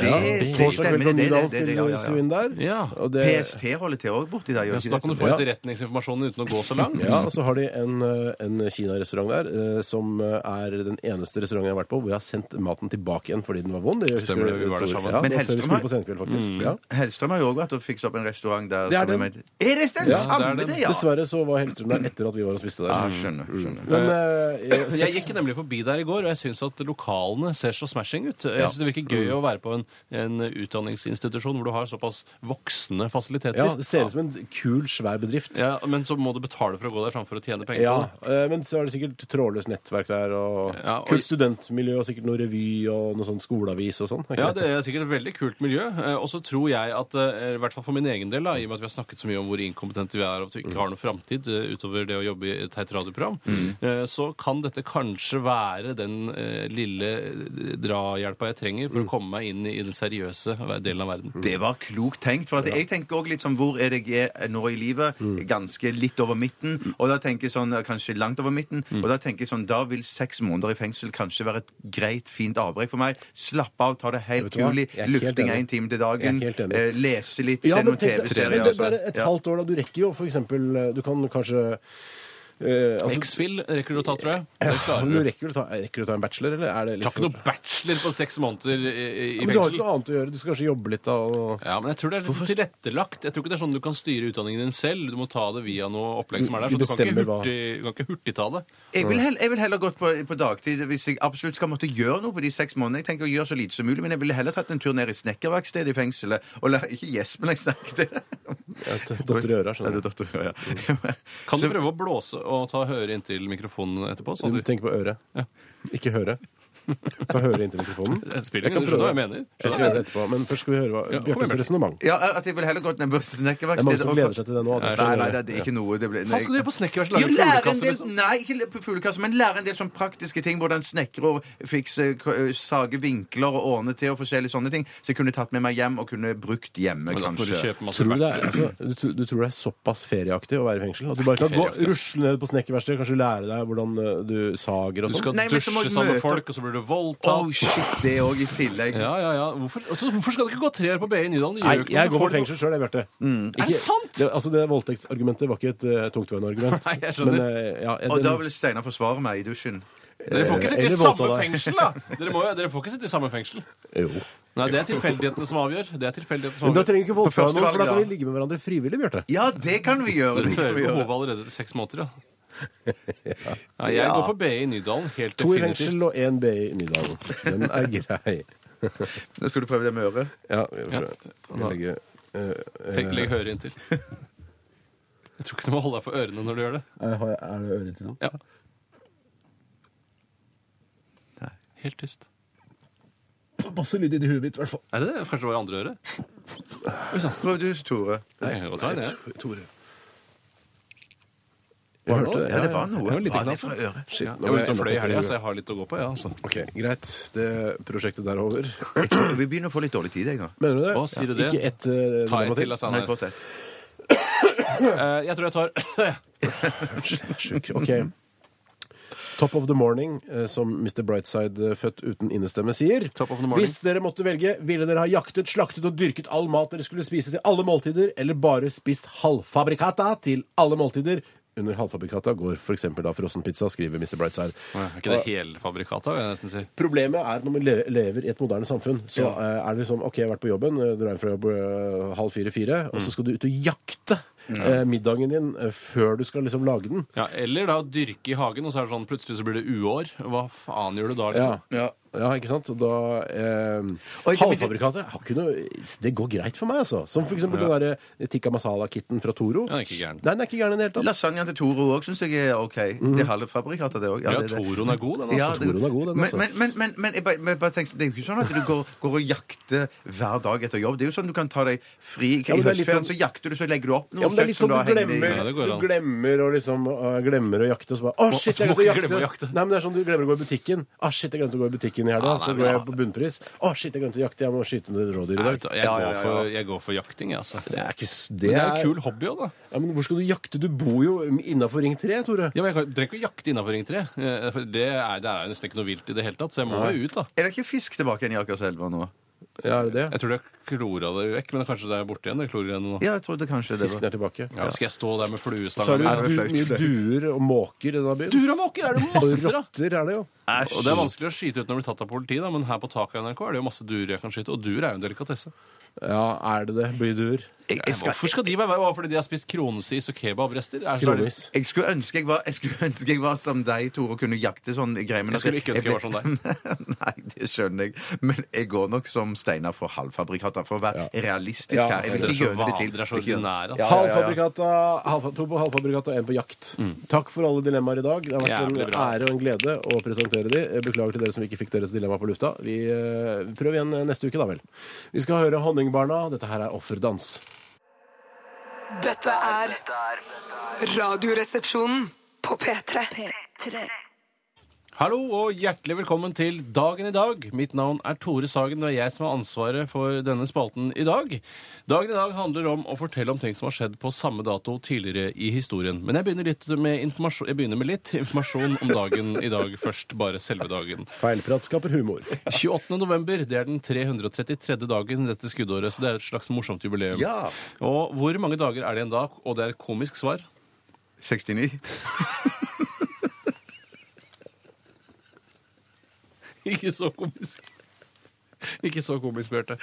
Speaker 2: Torsdag
Speaker 3: stemmer.
Speaker 2: kveld på
Speaker 3: Det-
Speaker 2: Nydalen
Speaker 3: det- det- det-
Speaker 2: spiller
Speaker 3: ja, ja, ja.
Speaker 2: vi inn der.
Speaker 4: Ja.
Speaker 2: Og det-
Speaker 3: PST holder til òg borti der. gjør
Speaker 4: Ja, så
Speaker 3: ikke
Speaker 4: da
Speaker 3: det?
Speaker 4: kan du få
Speaker 2: Ja.
Speaker 4: etterretningsinformasjonen uten å gå så langt.
Speaker 2: Ja, og så har de en, eh, en kinarestaurant der eh, som eh, er den eneste restauranten jeg har vært på hvor jeg har sendt maten tilbake igjen fordi den var vond. Det husker
Speaker 4: Stemmer det,
Speaker 2: du,
Speaker 4: vi var der
Speaker 2: Tor.
Speaker 4: sammen. Mm.
Speaker 2: Ja,
Speaker 3: Men
Speaker 2: det var før vi
Speaker 3: Hellstrøm
Speaker 2: skulle
Speaker 3: har-
Speaker 2: på Senkveld, faktisk. Ja.
Speaker 3: Hellstrøm har jo òg vært og fikset opp en restaurant der.
Speaker 2: Det er
Speaker 3: som
Speaker 2: den.
Speaker 3: mente- Er det den
Speaker 2: Ja,
Speaker 3: samme,
Speaker 4: det er den.
Speaker 3: det, ja?
Speaker 2: Dessverre så var Hellstrøm der etter at vi var og spiste
Speaker 3: Ja,
Speaker 2: der.
Speaker 3: skjønner. skjønner.
Speaker 2: Men eh,
Speaker 4: Men Ah, Jeg
Speaker 2: seks-
Speaker 4: gikk nemlig forbi der i går, og jeg syns at lokalene ser så smashing ut. Jeg synes Det virker gøy
Speaker 2: Mm.
Speaker 4: å være på en, en utdanningsinstitusjon hvor du har såpass voksne fasiliteter.
Speaker 2: ja, det ser ut som en kul, svær bedrift.
Speaker 4: Ja, Men så må du betale for å gå der framfor å tjene penger.
Speaker 2: Ja,
Speaker 4: på det.
Speaker 2: eh, men så er det sikkert trådløst nettverk der, og
Speaker 4: Ja, og-
Speaker 2: kult studentmiljø, og sikkert noe revy og noe sånn skoleavis og sånn. er ikke
Speaker 4: Ja, Det er sikkert et veldig kult miljø. eh, Og så tror jeg at, eh, i hvert fall for min egen del, da, i og med at vi har snakket så mye om hvor inkompetente vi er, og at vi
Speaker 2: Mm.
Speaker 4: ikke har noe framtid eh, utover det å jobbe i et teit radioprogram, eh, så kan dette kanskje være den eh, lille eh, drahjelpa jeg trenger
Speaker 2: Mm.
Speaker 4: for å komme meg inn i den seriøse delen av verden.
Speaker 3: Det var klokt tenkt. for at Jeg tenker også litt sånn hvor er det jeg er nå i livet?
Speaker 2: Mm.
Speaker 3: Ganske litt over midten. Og da tenker jeg sånn kanskje langt over midten.
Speaker 2: Mm.
Speaker 3: Og da tenker jeg sånn da vil seks måneder i fengsel kanskje være et greit, fint avbrekk for meg. Slappe av, ta det helt
Speaker 2: Vet du hva?
Speaker 3: rolig.
Speaker 2: Jeg er helt
Speaker 3: Lufting
Speaker 2: enig.
Speaker 3: én time til
Speaker 2: Jeg er
Speaker 3: dagen.
Speaker 2: helt enig.
Speaker 3: eh, Lese litt,
Speaker 2: Ja,
Speaker 3: se
Speaker 2: men
Speaker 3: noen
Speaker 2: tenk deg- men
Speaker 3: TV-serier. sånn.
Speaker 2: det er bare
Speaker 3: altså.
Speaker 2: et
Speaker 3: Ja.
Speaker 2: halvt år, da. Du rekker jo for eksempel Du kan eh, kanskje eh, altså,
Speaker 4: X-Fill rekker du å ta, tror jeg. Det
Speaker 2: men du
Speaker 4: klarer du.
Speaker 2: rekker, du ta, eh, rekker du å ta en bachelor, eller er det litt
Speaker 4: Tar ikke noe bachelor på seks måneder i, i- i
Speaker 2: Men du har ikke
Speaker 4: fengsel.
Speaker 2: noe annet å gjøre. Du skal kanskje jobbe litt da. Og...
Speaker 4: Ja, men jeg tror det er litt tilrettelagt. Jeg tror ikke det er sånn du kan styre utdanningen din selv. Du må ta det via noe opplegg som er der.
Speaker 2: Du
Speaker 4: Så du kan ikke
Speaker 2: bestemmer hva-
Speaker 4: hurtig, du kan ikke hurtig ta det.
Speaker 3: Jeg vil, heller, jeg vil heller gått på, på dagtid hvis jeg absolutt skal måtte gjøre noe på de seks månedene. Jeg tenker å gjøre så lite som mulig, men jeg ville heller tatt en tur ned i snekkerverkstedet i fengselet. Og la, ikke gjesp, men jeg snakket.
Speaker 2: Dotter i øra,
Speaker 3: Ja, det
Speaker 2: skjønner du.
Speaker 3: er datter i øra, ja.
Speaker 4: Kan du prøve å blåse og ta høre inntil mikrofonen etterpå? Så
Speaker 2: Du
Speaker 4: du...
Speaker 2: tenker på øret. Ikke høre. Ta høre inntil mikrofonen.
Speaker 4: Det spiller
Speaker 2: Jeg
Speaker 4: ingen
Speaker 2: kan
Speaker 4: rolle, du skjønner hva
Speaker 2: prøve.
Speaker 4: jeg mener.
Speaker 2: Jeg
Speaker 4: Skjønner
Speaker 2: skal
Speaker 4: hva jeg
Speaker 2: gjøre det etterpå, men først skal vi høre hva
Speaker 4: Ja, kom igjen,
Speaker 2: Bjørtes
Speaker 4: Bjørte.
Speaker 2: resonnement.
Speaker 3: Ja, at jeg ville heller gått ned på
Speaker 2: Det er mange
Speaker 3: snekkerverkstedet.
Speaker 2: som
Speaker 3: og-
Speaker 2: gleder seg til det nå. altså. At du
Speaker 3: Nei,
Speaker 2: skal
Speaker 3: nei,
Speaker 2: gjøre
Speaker 3: nei,
Speaker 2: det.
Speaker 3: det er ikke noe det ble,
Speaker 4: Faen, skal du gjøre på snekkerverkstedet?
Speaker 3: Jo,
Speaker 4: Lage
Speaker 3: lære en
Speaker 4: fuglekasser,
Speaker 3: del, sånn-
Speaker 4: liksom?
Speaker 3: Nei, ikke læ- fuglekasse, men lære en del sånn praktiske ting. Hvordan snekre og fikse, k- sage vinkler og ordne til og forskjellige sånne ting. Så jeg kunne tatt med meg hjem og kunne brukt hjemme,
Speaker 4: Men at når du
Speaker 3: kanskje.
Speaker 4: kjøper masse
Speaker 2: Tror du, det er,
Speaker 4: verktøy-
Speaker 2: altså, du, tr- du tror det er såpass ferieaktig å være i fengsel? At du bare kan
Speaker 4: ikke
Speaker 2: gå
Speaker 4: ferieaktig, ass.
Speaker 2: rusle ned på snekkerverkstedet, kanskje lære deg hvordan eh, du sager og
Speaker 4: Du
Speaker 2: sånn?
Speaker 4: skal
Speaker 3: Nei, men så må
Speaker 4: dusje
Speaker 3: du
Speaker 4: sammen med
Speaker 3: møte-
Speaker 4: folk, og så blir du
Speaker 3: Oh,
Speaker 4: voldtatt.
Speaker 3: shit, det òg i tillegg.
Speaker 4: ja, ja, ja. Hvorfor, altså, hvorfor skal du ikke gå tre år på BI i Nydalen? Det gjør
Speaker 2: Nei,
Speaker 4: jo ikke noe.
Speaker 2: jeg
Speaker 4: Du
Speaker 2: går for
Speaker 4: får-
Speaker 2: fengsel sjøl, jeg, Bjarte.
Speaker 4: Er det sant?
Speaker 2: Det, altså, det voldtektsargumentet var ikke et uh, tungtveiende argument.
Speaker 4: Nei, jeg skjønner.
Speaker 2: Men, eh, ja,
Speaker 3: Og da
Speaker 2: den-
Speaker 3: vil Steinar forsvare meg i dusjen.
Speaker 4: Dere får ikke sitte
Speaker 2: Eh,
Speaker 4: i
Speaker 2: Eller
Speaker 4: samme
Speaker 2: voldta deg.
Speaker 4: fengsel, da! Dere, må, jo- dere får ikke sitte i samme fengsel.
Speaker 2: Jo.
Speaker 4: Nei, det er tilfeldighetene som avgjør. Det er tilfeldighetene som
Speaker 2: Men da
Speaker 4: avgjør.
Speaker 2: trenger du ikke voldta
Speaker 3: første
Speaker 2: noen, for da
Speaker 3: valg,
Speaker 2: kan vi
Speaker 3: ja.
Speaker 2: ligge med hverandre frivillig, Bjarte.
Speaker 3: Ja, det kan vi gjøre.
Speaker 4: Dere
Speaker 3: Det kan
Speaker 4: fører
Speaker 3: vi
Speaker 4: på
Speaker 3: gjøre.
Speaker 4: hodet allerede til seks måneder, ja. Nei, jeg
Speaker 3: Ja.
Speaker 4: går for BI i Nydalen, helt
Speaker 2: To i fengsel
Speaker 4: definitivt.
Speaker 2: og én B i Nydalen. Den er grei.
Speaker 3: Nå skal du prøve det med øret.
Speaker 2: Ja, vi prøver. Vi
Speaker 4: Ja.
Speaker 2: legger, eh, eh,
Speaker 4: Legg, legg høret inntil. Jeg tror ikke du må holde deg for ørene når du gjør det.
Speaker 6: Er har jeg- er det øre til nå?
Speaker 4: Ja. Helt tyst.
Speaker 6: Masse lyd inni huet mitt, i hvert fall.
Speaker 4: Er det det? Kanskje det var i andre øret? Oi sann.
Speaker 3: Prøv du, Tore.
Speaker 4: Det kan jeg godt være, det.
Speaker 2: Tore. Jeg
Speaker 4: Var det
Speaker 2: hørte
Speaker 4: noe?
Speaker 2: det.
Speaker 3: Ja, det var noe.
Speaker 2: Jeg var litt altså. glad
Speaker 3: Var det fra
Speaker 2: for
Speaker 3: øret?
Speaker 2: Shit,
Speaker 4: Ja,
Speaker 2: nå
Speaker 4: jeg
Speaker 2: ble
Speaker 4: var ute og fløy i
Speaker 2: enda
Speaker 4: helga,
Speaker 2: tøffere.
Speaker 4: så jeg har litt å gå på, ja. Altså.
Speaker 2: Ok, greit. Det prosjektet der er over.
Speaker 3: Jeg tror Vi begynner å få litt dårlig tid, jeg nå.
Speaker 2: Mener du det?
Speaker 4: Å, sier du det?
Speaker 2: Ikke ett eh,
Speaker 4: Ta
Speaker 2: dilemma
Speaker 4: en til,
Speaker 2: til?
Speaker 4: altså.
Speaker 3: Nei,
Speaker 4: Nei.
Speaker 3: kort ett.
Speaker 4: Eh, Jeg tror jeg tar
Speaker 2: Sjuk. Ok. Top of the morning, eh, som Mr. Brightside, eh, født uten innestemme, sier.
Speaker 4: Top of the morning.
Speaker 2: Hvis dere måtte velge, ville dere ha jaktet, slaktet og dyrket all mat dere skulle spise til alle måltider, eller bare spist halvfabrikata til alle måltider? Under halvfabrikata går for eksempel da frossenpizza, skriver Mr. Brightside.
Speaker 4: Er ikke det helfabrikata, vil jeg nesten si.
Speaker 2: Problemet er at når man le- lever i et moderne samfunn, så eh, er det liksom OK, jeg har vært på jobben, eh, drar hjem fra jobb eh, halv fire-fire, og
Speaker 4: Mm.
Speaker 2: så skal du ut og jakte eh, middagen din eh, før du skal liksom lage den.
Speaker 4: Ja, Eller da dyrke i hagen, og så er det sånn plutselig så blir det uår. Hva faen gjør du da?
Speaker 2: Ja.
Speaker 4: liksom?
Speaker 2: Altså, Ja. ikke sant? Og da eh,
Speaker 3: Oi, det-
Speaker 2: Halvfabrikatet har ikke noe Det går greit for meg, altså. Som for eksempel den der eh, tikka masala-kitten fra Toro.
Speaker 4: Den er ikke gæren.
Speaker 2: Nei, den er ikke gæren i det hele tatt.
Speaker 3: Lasagnaen til Toro òg syns jeg er OK. Det er halve fabrikatet, det òg.
Speaker 4: Ja,
Speaker 3: det er det.
Speaker 4: Toroen er god, den,
Speaker 3: Ja,
Speaker 4: altså.
Speaker 3: det-
Speaker 2: Toroen er god, den,
Speaker 3: men,
Speaker 2: altså.
Speaker 3: men, men, men, men jeg bare, men bare tenker, det er jo ikke sånn at du går, går og jakter hver dag etter jobb. Det er jo sånn du kan ta deg fri
Speaker 2: Ja,
Speaker 3: i
Speaker 2: men det er litt
Speaker 3: høstferien,
Speaker 2: sånn-
Speaker 3: så jakter du, så legger du opp noe
Speaker 2: Ja, men det er litt
Speaker 3: kjøtt som
Speaker 2: sånn
Speaker 3: du
Speaker 2: du
Speaker 3: har hengende
Speaker 2: glemmer,
Speaker 4: Ja, det går
Speaker 2: du
Speaker 4: an.
Speaker 2: glemmer, og liksom, øh, glemmer å jakte, og så bare Å, shit, jeg
Speaker 4: Må-
Speaker 2: glemte å
Speaker 4: må ikke
Speaker 2: jakte!
Speaker 4: glemme å jakte.
Speaker 2: Nei, men det er sånn du glemmer å gå i butikken. Å, shit, jeg glemte å gå i butikken i helga,
Speaker 4: Ja, nei,
Speaker 2: så
Speaker 4: men
Speaker 2: går jeg
Speaker 4: ja.
Speaker 2: på bunnpris. Å, shit, jeg glemte å jakte, jeg må skyte ned rådyr i
Speaker 4: Nei, vet
Speaker 2: dag.
Speaker 4: du, Jeg
Speaker 3: Ja, ja,
Speaker 4: går
Speaker 3: ja,
Speaker 4: for,
Speaker 3: ja.
Speaker 4: jeg går for jakting, jeg, altså.
Speaker 2: Det er ikke s-
Speaker 4: Men
Speaker 2: Det
Speaker 4: det
Speaker 2: er
Speaker 4: er jo en kul hobby òg, da.
Speaker 2: Ja, men hvor skal du jakte? Du bor jo innafor Ring 3, Tore.
Speaker 4: Ja, men Jeg kan- trenger ikke å jakte innafor Ring 3. eh, for Det er, det er jo nesten ikke noe vilt i det hele tatt, så jeg må jo ut, da.
Speaker 3: Er det ikke fisk tilbake igjen i Akerselva nå?
Speaker 2: Ja, er det det?
Speaker 4: Jeg tror de har klora det vekk, men kanskje det er borte igjen, det klorgreiene nå.
Speaker 3: Ja, jeg trodde kanskje det var
Speaker 2: Fisken er tilbake.
Speaker 4: Ja, skal jeg stå der med
Speaker 2: Så er
Speaker 4: fluestanga
Speaker 2: det
Speaker 4: mi?
Speaker 3: det
Speaker 2: jo
Speaker 3: flaut,
Speaker 2: du, mye
Speaker 3: flaut.
Speaker 2: duer og måker i denne byen.
Speaker 4: Duramåker er det jo
Speaker 2: Og
Speaker 4: masser av!
Speaker 2: rotter er det jo.
Speaker 4: Og det er vanskelig å skyte uten å bli tatt av politiet, da, men her på taket av NRK er det jo masse duer jeg kan skyte, og duer er jo en delikatesse.
Speaker 2: Ja, er det det? Byduer.
Speaker 3: jeg, jeg, skal,
Speaker 4: Hvorfor skal de være bare fordi de har spist kronesis og kebabrester? Er- så er det-
Speaker 2: Kronis.
Speaker 3: jeg skulle ønske jeg var, jeg skulle ønske jeg var som deg, Tore, og kunne jakte sånn greier. men at
Speaker 4: Jeg skulle ikke ønske jeg var som
Speaker 3: deg. Nei, det skjønner jeg. Men jeg går nok som Steinar for halvfabrikata, for å være realistisk
Speaker 2: Ja,
Speaker 3: her. Jeg vil
Speaker 4: Dere er
Speaker 3: ikke
Speaker 4: så
Speaker 3: gjøre det
Speaker 4: vanlige,
Speaker 3: til.
Speaker 4: dere er så
Speaker 3: Ikke gjøre-
Speaker 4: ordinære. Altså.
Speaker 2: Halvfabrikata, halv, to på halvfabrikata og én på jakt. Takk for alle dilemmaer i dag. Det har vært
Speaker 4: Mm. Jævlig
Speaker 2: en
Speaker 4: bra. altså.
Speaker 2: ære og en glede å presentere de. Jeg Beklager til dere som ikke fikk deres dilemma på lufta. Vi eh, prøver igjen neste uke, da vel. Vi skal høre Honningbarna. Dette her er offerdans.
Speaker 5: Dette er Radioresepsjonen på P3.
Speaker 7: P3.
Speaker 4: Hallo og hjertelig velkommen til Dagen i dag. Mitt navn er Tore Sagen, og det er jeg som har ansvaret for denne spalten i dag. Dagen i dag handler om å fortelle om ting som har skjedd på samme dato tidligere i historien. Men jeg begynner, litt med informasjon, jeg begynner med litt informasjon om dagen i dag først. Bare selve dagen.
Speaker 2: Feilprat skaper humor.
Speaker 4: 28. november, det er den 333. dagen i dette skuddåret, så det er et slags morsomt jubileum.
Speaker 3: Ja.
Speaker 4: Og hvor mange dager er det igjen da? Og det er et komisk svar.
Speaker 3: 69.
Speaker 4: Ikke så komisk. Ikke så komisk, Bjarte.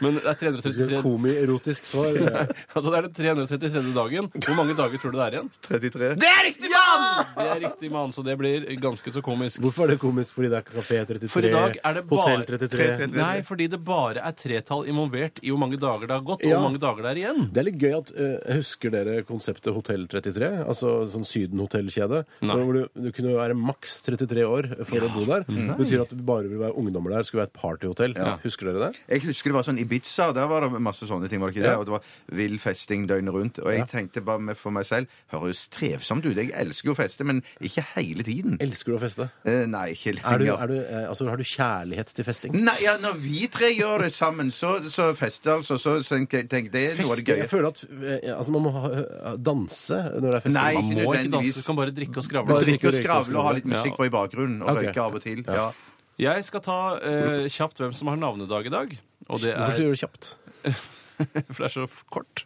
Speaker 4: Men det er 333
Speaker 2: Komierotisk svar. eh,
Speaker 4: Altså det er den 333. dagen. Hvor mange dager tror du det er igjen?
Speaker 3: 33.
Speaker 4: Det er riktig, mann! Det er riktig, mann, så det blir ganske så komisk.
Speaker 2: Hvorfor er det komisk? Fordi det er Kafé 33,
Speaker 4: For i dag er det bare-
Speaker 2: Hotell 33.
Speaker 3: 33.
Speaker 4: Nei, fordi det bare er tretall involvert i hvor mange dager det har gått, og
Speaker 2: Ja.
Speaker 4: hvor mange dager det er igjen.
Speaker 2: Det er litt gøy at eh, Husker dere konseptet Hotell 33? Altså sånn Syden-hotellkjede.
Speaker 4: Nei.
Speaker 2: Hvor du, du kunne være maks 33 år for å bo der.
Speaker 3: Mm.
Speaker 2: Det betyr at det bare ville være ungdommer der. Det Skulle være et partyhotell. Husker dere det?
Speaker 3: Jeg husker det var sånn Ibiza, der var det masse sånne ting. var det ikke det? Og det var vill festing døgnet rundt. Og jeg tenkte bare med for meg selv Høres trevsomt ut. Jeg elsker jo å feste, men ikke hele tiden.
Speaker 2: Elsker du å feste?
Speaker 3: Eh, Nei, ikke
Speaker 2: Er du,
Speaker 3: lenger.
Speaker 2: er du, eh, altså, har du kjærlighet til festing?
Speaker 3: Nei, ja, når vi tre gjør det sammen, så, så fester altså, så tenker jeg tenker det er noe av det
Speaker 2: Feste? Jeg
Speaker 3: gøye.
Speaker 2: føler at eh, altså, man må ha, eh, danse når det er festing.
Speaker 3: Nei,
Speaker 4: Man
Speaker 3: ikke
Speaker 4: må ikke
Speaker 3: nødvendigvis.
Speaker 4: danse, du kan bare drikke og skravle.
Speaker 2: Bare
Speaker 3: Bare drikke og
Speaker 2: drikke og
Speaker 3: skravle og ha litt
Speaker 4: skravle.
Speaker 3: musikk på i bakgrunnen. Og
Speaker 2: Ok.
Speaker 3: røyke av og til. Ja.
Speaker 4: Jeg skal ta eh, kjapt hvem som har navnedag i dag. Og
Speaker 2: Hvorfor
Speaker 4: det
Speaker 2: skal du
Speaker 4: er,
Speaker 2: gjøre det kjapt?
Speaker 4: for det er så f- kort.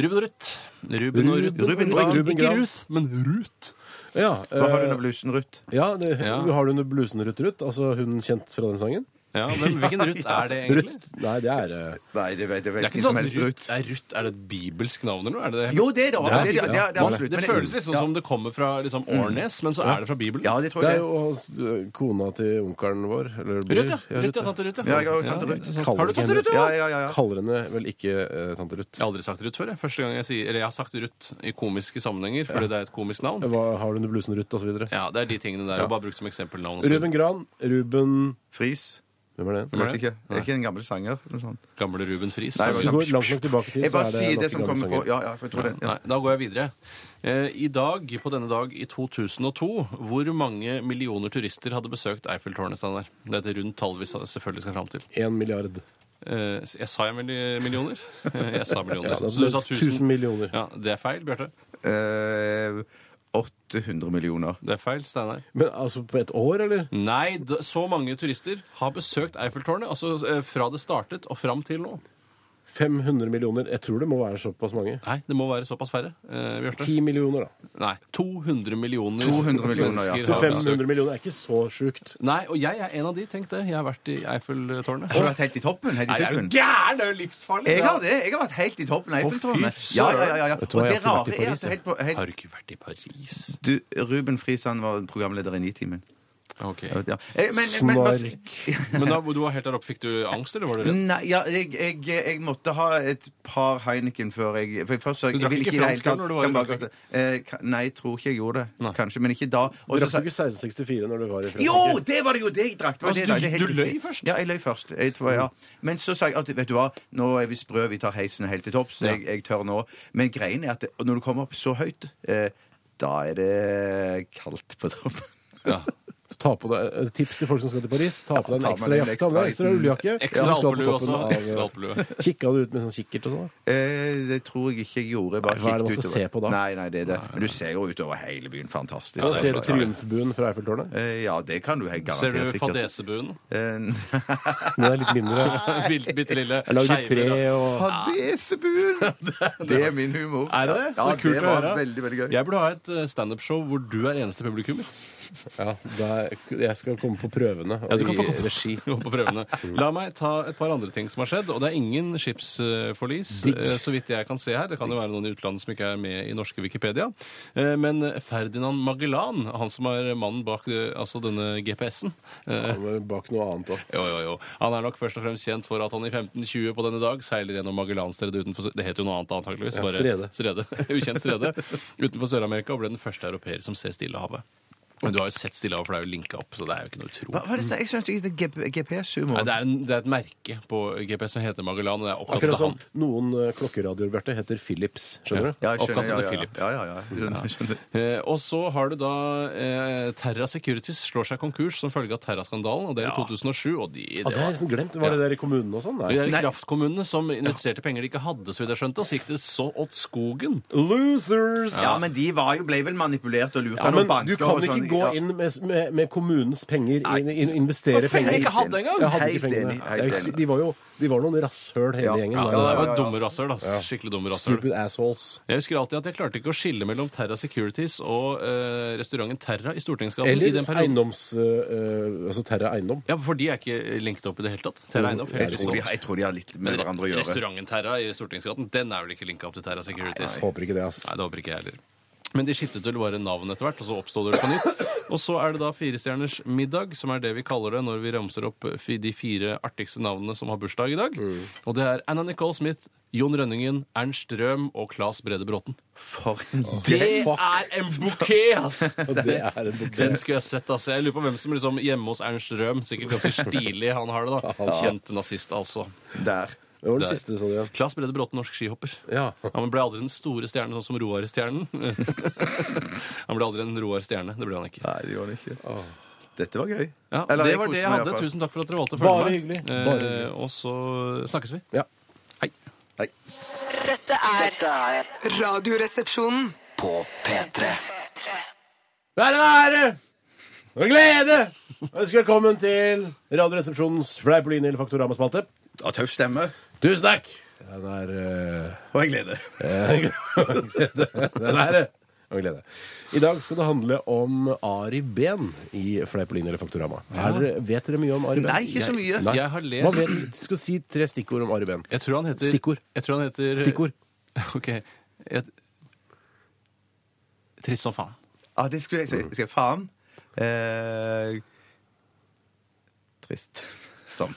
Speaker 4: Ruben og Ruth. Ruben og Ruth.
Speaker 2: Ruben
Speaker 4: og
Speaker 2: Gran.
Speaker 4: ikke,
Speaker 2: Ruben
Speaker 4: ikke
Speaker 2: Gran.
Speaker 4: Ruth, men Ruth.
Speaker 2: Ja,
Speaker 3: Hva har du
Speaker 2: eh,
Speaker 3: under blusen, Ruth?
Speaker 2: ja, det,
Speaker 4: Ja.
Speaker 2: Har du under blusen Ruth Ruth? Altså hun kjent fra den sangen?
Speaker 4: Ja, men hvilken Ruth er det egentlig?
Speaker 2: Ruth? Nei, det er eh,
Speaker 3: Nei, det vet jeg
Speaker 4: Det er ikke
Speaker 3: Hvem som
Speaker 4: sånn
Speaker 3: helst Ruth.
Speaker 4: Ruth. Er Ruth er det et bibelsk navn, eller noe? Er det det?
Speaker 3: Jo, det er det. Det,
Speaker 2: Det er-
Speaker 3: er, det, er- det, er- det, er
Speaker 4: Man,
Speaker 3: absolutt.
Speaker 4: det
Speaker 3: Men-
Speaker 4: føles liksom som det kommer fra liksom, Årnes, men så er det fra Bibelen.
Speaker 3: Ja, det tror
Speaker 2: Det er
Speaker 3: jeg.
Speaker 2: jo hans, ø, kona til onkelen vår. Eller bror.
Speaker 4: Ruth, ja. Ruth, ja, tante Ruth,
Speaker 3: Ja, jeg har jo tante Ruth.
Speaker 4: det er sant.
Speaker 2: Kaller
Speaker 4: Har du
Speaker 2: ikke
Speaker 4: tante
Speaker 2: henne
Speaker 4: Ruth,
Speaker 3: Ja,
Speaker 4: ja?
Speaker 3: ja, ja. ja.
Speaker 2: Kaller henne vel ikke eh, tante Ruth.
Speaker 4: Jeg har aldri sagt Ruth før. Jeg. Første gang jeg sier, eller jeg har sagt Ruth i komiske sammenhenger, fordi det er et komisk
Speaker 2: Eh,
Speaker 4: navn.
Speaker 2: Hva har du under blusen Ruth, osv. videre
Speaker 4: Ja, det er de tingene der. Og bare brukt som eksempelnavn. også.
Speaker 2: Ruben Gran. Ruben
Speaker 3: Fris.
Speaker 2: Hvem er det?
Speaker 4: Hvem er
Speaker 3: Vet
Speaker 4: det?
Speaker 3: ikke. Er ikke en gammel sanger? Noe sånt.
Speaker 4: Gamle Ruben Friis.
Speaker 3: Nei,
Speaker 2: Hvis du går langt nok tilbake i tid,
Speaker 3: Jeg
Speaker 2: så
Speaker 3: bare
Speaker 2: er det
Speaker 3: sier
Speaker 2: nok
Speaker 3: det som
Speaker 2: gamle
Speaker 3: kommer på.
Speaker 2: sanger.
Speaker 3: Ja, ja, for jeg tror det. Ja.
Speaker 4: Nei, da går jeg videre. Eh, I dag, på denne dag i 2002, hvor mange millioner turister hadde besøkt Eiffeltårnet? Steinar? Det er et rundt tall vi sa- selvfølgelig skal fram til.
Speaker 2: Én milliard.
Speaker 4: Eh, Jeg sa jeg milli- millioner? Eh, Jeg sa millioner.
Speaker 2: Ja, det
Speaker 4: Så du
Speaker 2: er
Speaker 4: sa
Speaker 2: 1000
Speaker 4: tusen.
Speaker 2: millioner.
Speaker 4: Ja, det er feil, Bjarte.
Speaker 3: Eh, 800 millioner.
Speaker 4: Det er feil, Steinar.
Speaker 2: Men altså på et år, eller?
Speaker 4: Nei, d- så mange turister har besøkt Eiffeltårnet. Altså eh, fra det startet og fram til nå.
Speaker 2: 500 millioner. Jeg tror det må være såpass mange.
Speaker 4: Nei, det må være såpass færre, eh, Bjarte.
Speaker 2: 10 millioner, da.
Speaker 4: Nei, 200 millioner
Speaker 3: 200 millioner, ja.
Speaker 4: mennesker
Speaker 2: Så
Speaker 4: har besøkt.
Speaker 2: 500 millioner er ikke så sjukt.
Speaker 4: Nei, og jeg er en av de, tenk det. Jeg har vært i Eiffeltårnet.
Speaker 3: Har du vært helt i toppen? Helt i
Speaker 4: Nei, er
Speaker 3: toppen?
Speaker 4: du gæren? Det er jo livsfarlig!
Speaker 3: Jeg har det. Jeg har vært helt i toppen. av Eiffeltårnet.
Speaker 4: fy
Speaker 3: Ja,
Speaker 4: søren.
Speaker 3: ja, ja, ja.
Speaker 2: Vet du hva,
Speaker 3: Og
Speaker 2: jeg har
Speaker 3: det
Speaker 2: ikke vært i
Speaker 3: rare er
Speaker 2: Paris,
Speaker 3: at
Speaker 2: jeg.
Speaker 3: helt på, helt,
Speaker 4: Har du ikke vært i Paris?
Speaker 3: du, Ruben Friis han var programleder i Nitimen.
Speaker 4: Ok.
Speaker 3: Ja. Eh, men- men- men-
Speaker 2: Snark.
Speaker 4: Men da du var helt der oppe, fikk du angst, eller var du redd?
Speaker 3: Nei, ja, jeg, jeg, jeg måtte ha et par Heineken før jeg for jeg først, så, jeg
Speaker 4: Du drakk
Speaker 3: ville
Speaker 4: ikke
Speaker 3: i det hele
Speaker 4: fransk øl
Speaker 3: tatt-
Speaker 4: når du var i
Speaker 3: kan bare-
Speaker 4: Frankrike?
Speaker 3: Eh, ka- Nei, jeg tror ikke jeg gjorde det.
Speaker 4: Nei.
Speaker 3: Kanskje, men ikke da. Og så
Speaker 2: Drakk
Speaker 3: sa-
Speaker 2: du ikke 1664 når du var i Frankrike?
Speaker 3: jo, det var det jo det jeg drakk! Det var
Speaker 4: Altså,
Speaker 3: det
Speaker 4: du-
Speaker 3: jeg drakk, det er helt
Speaker 4: du løy
Speaker 3: riktig.
Speaker 4: først?
Speaker 3: Ja, jeg løy først. Jeg tror, ja. Men så sa jeg at vet du hva, nå er vi sprø, vi tar heisen helt til topps. Jeg, jeg tør nå. Men greien er at det- når du kommer opp så høyt, eh, da er det kaldt på toppen.
Speaker 4: Ja.
Speaker 2: Ta på deg, et tips til folk som skal til Paris. Ta på deg en
Speaker 3: ta med
Speaker 2: ekstra
Speaker 3: deg en
Speaker 2: jakke. Ta med deg ekstra
Speaker 3: ekstra-
Speaker 2: ulljakke.
Speaker 4: Ekstra
Speaker 2: Ja, du skal på
Speaker 4: alpelue også.
Speaker 2: toppen av-
Speaker 4: Ekstra alpelue.
Speaker 2: Kikka du ut med sånn kikkert og sånn? da?
Speaker 3: Eh, det tror jeg ikke jeg gjorde. Jeg Bare
Speaker 2: Nei, hva er det man
Speaker 3: kikket
Speaker 2: skal se på da?
Speaker 3: Nei, nei, det er det. Men du ser jo utover hele byen. Fantastisk.
Speaker 2: Da ser du
Speaker 3: Ja.
Speaker 2: triumfbuen fra Eiffeltårnet.
Speaker 3: Eh, Ja, det kan du helt
Speaker 4: Ser
Speaker 3: garantere
Speaker 4: du
Speaker 3: sikkert.
Speaker 4: fadesebuen?
Speaker 3: Eh,
Speaker 2: Den er litt mindre.
Speaker 4: Bitte, bitte lille.
Speaker 2: Jeg lagde
Speaker 4: skeive
Speaker 2: tre
Speaker 4: rød-
Speaker 2: og
Speaker 3: Fadesebuen! Det er min humor.
Speaker 4: Er det det? Så
Speaker 3: ja,
Speaker 4: kult
Speaker 3: det
Speaker 4: å
Speaker 3: var
Speaker 4: høre.
Speaker 3: Veldig, veldig gøy.
Speaker 4: Jeg burde ha et eh, standup-show hvor du er eneste publikummer.
Speaker 2: Ja, da- jeg skal komme på prøvene og
Speaker 4: du kan
Speaker 2: i
Speaker 4: få komme.
Speaker 2: regi.
Speaker 4: Jo, på prøvene. La meg ta et par andre ting som har skjedd. Og det er ingen skipsforlis, eh, så vidt jeg kan se her. Det kan jo være noen i utlandet som ikke er med i norske Wikipedia. Eh, Men Ferdinand Magellan, han som er mannen bak eh, altså denne GPS-en eh,
Speaker 2: Han var Bak noe annet òg.
Speaker 4: jo, jo, jo. Han er nok først og fremst kjent for at han i 1520 på denne dag seiler gjennom Magellanstredet utenfor Sø- Det heter jo noe annet, antakeligvis.
Speaker 2: Ja, strede.
Speaker 4: Ukjent strede utenfor Sør-Amerika og ble den første europeer som ser Stillehavet. Men du har jo sett Stillehavet, for det er jo linka opp, så det er jo ikke noe utrolig.
Speaker 3: Hva var det som- Jeg syns ikke det er
Speaker 4: Nei,
Speaker 3: GPS-humor.
Speaker 4: det, er en, det er et merke på GPS som heter Magellan, og det er oppkalt
Speaker 2: Akkurat
Speaker 4: etter
Speaker 2: som
Speaker 4: han.
Speaker 2: noen eh, klokkeradioer, Bjarte, heter Philips. Skjønner du?
Speaker 3: Ja, jeg skjønner,
Speaker 4: Oppkalt etter
Speaker 3: ja, ja,
Speaker 4: Philip.
Speaker 3: Ja, ja, ja. Skjønner, skjønner.
Speaker 4: Eh, og så har du da eh, Terra Securities slår seg konkurs som følge av Terra-skandalen, og det er i 2007. Og de,
Speaker 2: Ja, Ah, det har jeg nesten glemt. Var det der i kommunen og sånn?
Speaker 4: De
Speaker 2: Nei.
Speaker 4: der kraftkommunene som investerte penger de ikke hadde, så vidt jeg skjønte, og så gikk det så åt skogen.
Speaker 2: Losers!
Speaker 3: Ja, men de var jo, ble vel manipulert og lurt
Speaker 2: Ja,
Speaker 3: av noen
Speaker 2: men du
Speaker 3: banker.
Speaker 2: kan
Speaker 3: og
Speaker 2: ikke
Speaker 3: sånn.
Speaker 2: gå inn med, med, med kommunens penger, inn, inn, investere
Speaker 4: Penger
Speaker 2: penger.
Speaker 4: jeg ikke hadde engang!
Speaker 2: Jeg hadde
Speaker 3: Helt
Speaker 2: ikke pengene.
Speaker 3: enig, helt
Speaker 2: Det er jo-
Speaker 3: enig.
Speaker 2: De var jo de var noen rasshøl hele
Speaker 3: Ja.
Speaker 2: gjengen.
Speaker 4: Ja,
Speaker 2: var
Speaker 4: det
Speaker 2: det
Speaker 4: var
Speaker 2: der.
Speaker 4: dumme rasshøl. ass. Skikkelig dumme rasshøl.
Speaker 2: Stupid assholes.
Speaker 4: Jeg husker alltid at jeg klarte ikke å skille mellom Terra Securities og eh, restauranten Terra i Stortingsgaten. i
Speaker 2: Eller
Speaker 4: den perioden.
Speaker 2: eiendoms... øh, øh, altså Terra Eiendom.
Speaker 4: Ja, for de er ikke linket opp i det hele tatt. Terra Eiendom. helt
Speaker 3: Jeg tror, de,
Speaker 4: stolt.
Speaker 3: jeg tror de har litt sånn. med
Speaker 4: Men
Speaker 3: hverandre å gjøre.
Speaker 4: Restauranten Terra i Stortingsgaten den er vel ikke linka opp til Terra Securities? Nei,
Speaker 2: Håper ikke det, ass.
Speaker 4: det håper ikke jeg heller. Men de skiftet vel bare navn etter hvert, og så oppstod det på nytt. Og så er det da Firestjerners middag, som er det vi kaller det når vi ramser opp fi- de fire artigste navnene som har bursdag i dag. Og det er Anna Nicole Smith, Jon Rønningen, Ernst Røhm og Claes Brede Bråten.
Speaker 3: For en
Speaker 4: Det
Speaker 3: del!
Speaker 4: er en bukett, ass!
Speaker 2: Og det er en bukett.
Speaker 4: Den skulle jeg sett, altså. Jeg lurer på hvem som liksom hjemme hos Ernst Røhm, sikkert ganske stilig han har det, da. Kjent nazist, altså.
Speaker 3: Der.
Speaker 2: Det var den
Speaker 4: Der.
Speaker 2: siste, sa du. ja.
Speaker 4: Claes Brede Bråten, norsk skihopper.
Speaker 2: Ja.
Speaker 4: Han ble aldri den store stjernen, sånn som Roar Stjernen. han ble aldri en Roar Stjerne. Det ble han ikke.
Speaker 3: Nei, det gjorde han ikke. Dette var gøy.
Speaker 4: Ja,
Speaker 3: Eller,
Speaker 4: det
Speaker 3: jeg
Speaker 4: var
Speaker 3: koste meg
Speaker 4: det jeg
Speaker 3: i
Speaker 4: hadde.
Speaker 3: hvert fall.
Speaker 4: Tusen takk for at dere valgte å følge
Speaker 2: Bare
Speaker 4: meg.
Speaker 2: hyggelig. Bare
Speaker 4: Eh,
Speaker 2: hyggelig.
Speaker 4: og så snakkes vi.
Speaker 2: ja.
Speaker 4: Hei.
Speaker 3: Nei.
Speaker 5: Dette er
Speaker 1: Dette er
Speaker 5: Radioresepsjonen.
Speaker 1: på P3.
Speaker 2: Hva er det være? Og glede! Ønsker velkommen til Radioresepsjonens Fleipolini eller Faktorama-spalte.
Speaker 3: Ja, Tøff stemme.
Speaker 2: Tusen takk! Den er øh,
Speaker 3: Og en glede.
Speaker 2: Den er Eh, det. Og glede. I dag skal det handle om Ari Behn i Fleipolini eller Faktorama. Her, vet dere mye om Ari Behn?
Speaker 3: Nei, ikke så mye.
Speaker 2: Nei.
Speaker 4: Jeg har lest-
Speaker 2: Hva vet, du skal si tre stikkord om Ari Behn.
Speaker 4: Jeg tror han heter
Speaker 2: Stikkord.
Speaker 4: Jeg tror han heter
Speaker 2: Stikkord.
Speaker 4: OK. Et... Trist som faen.
Speaker 3: Ja, det skulle jeg si. Skal jeg faen? Eh, trist. Sånn.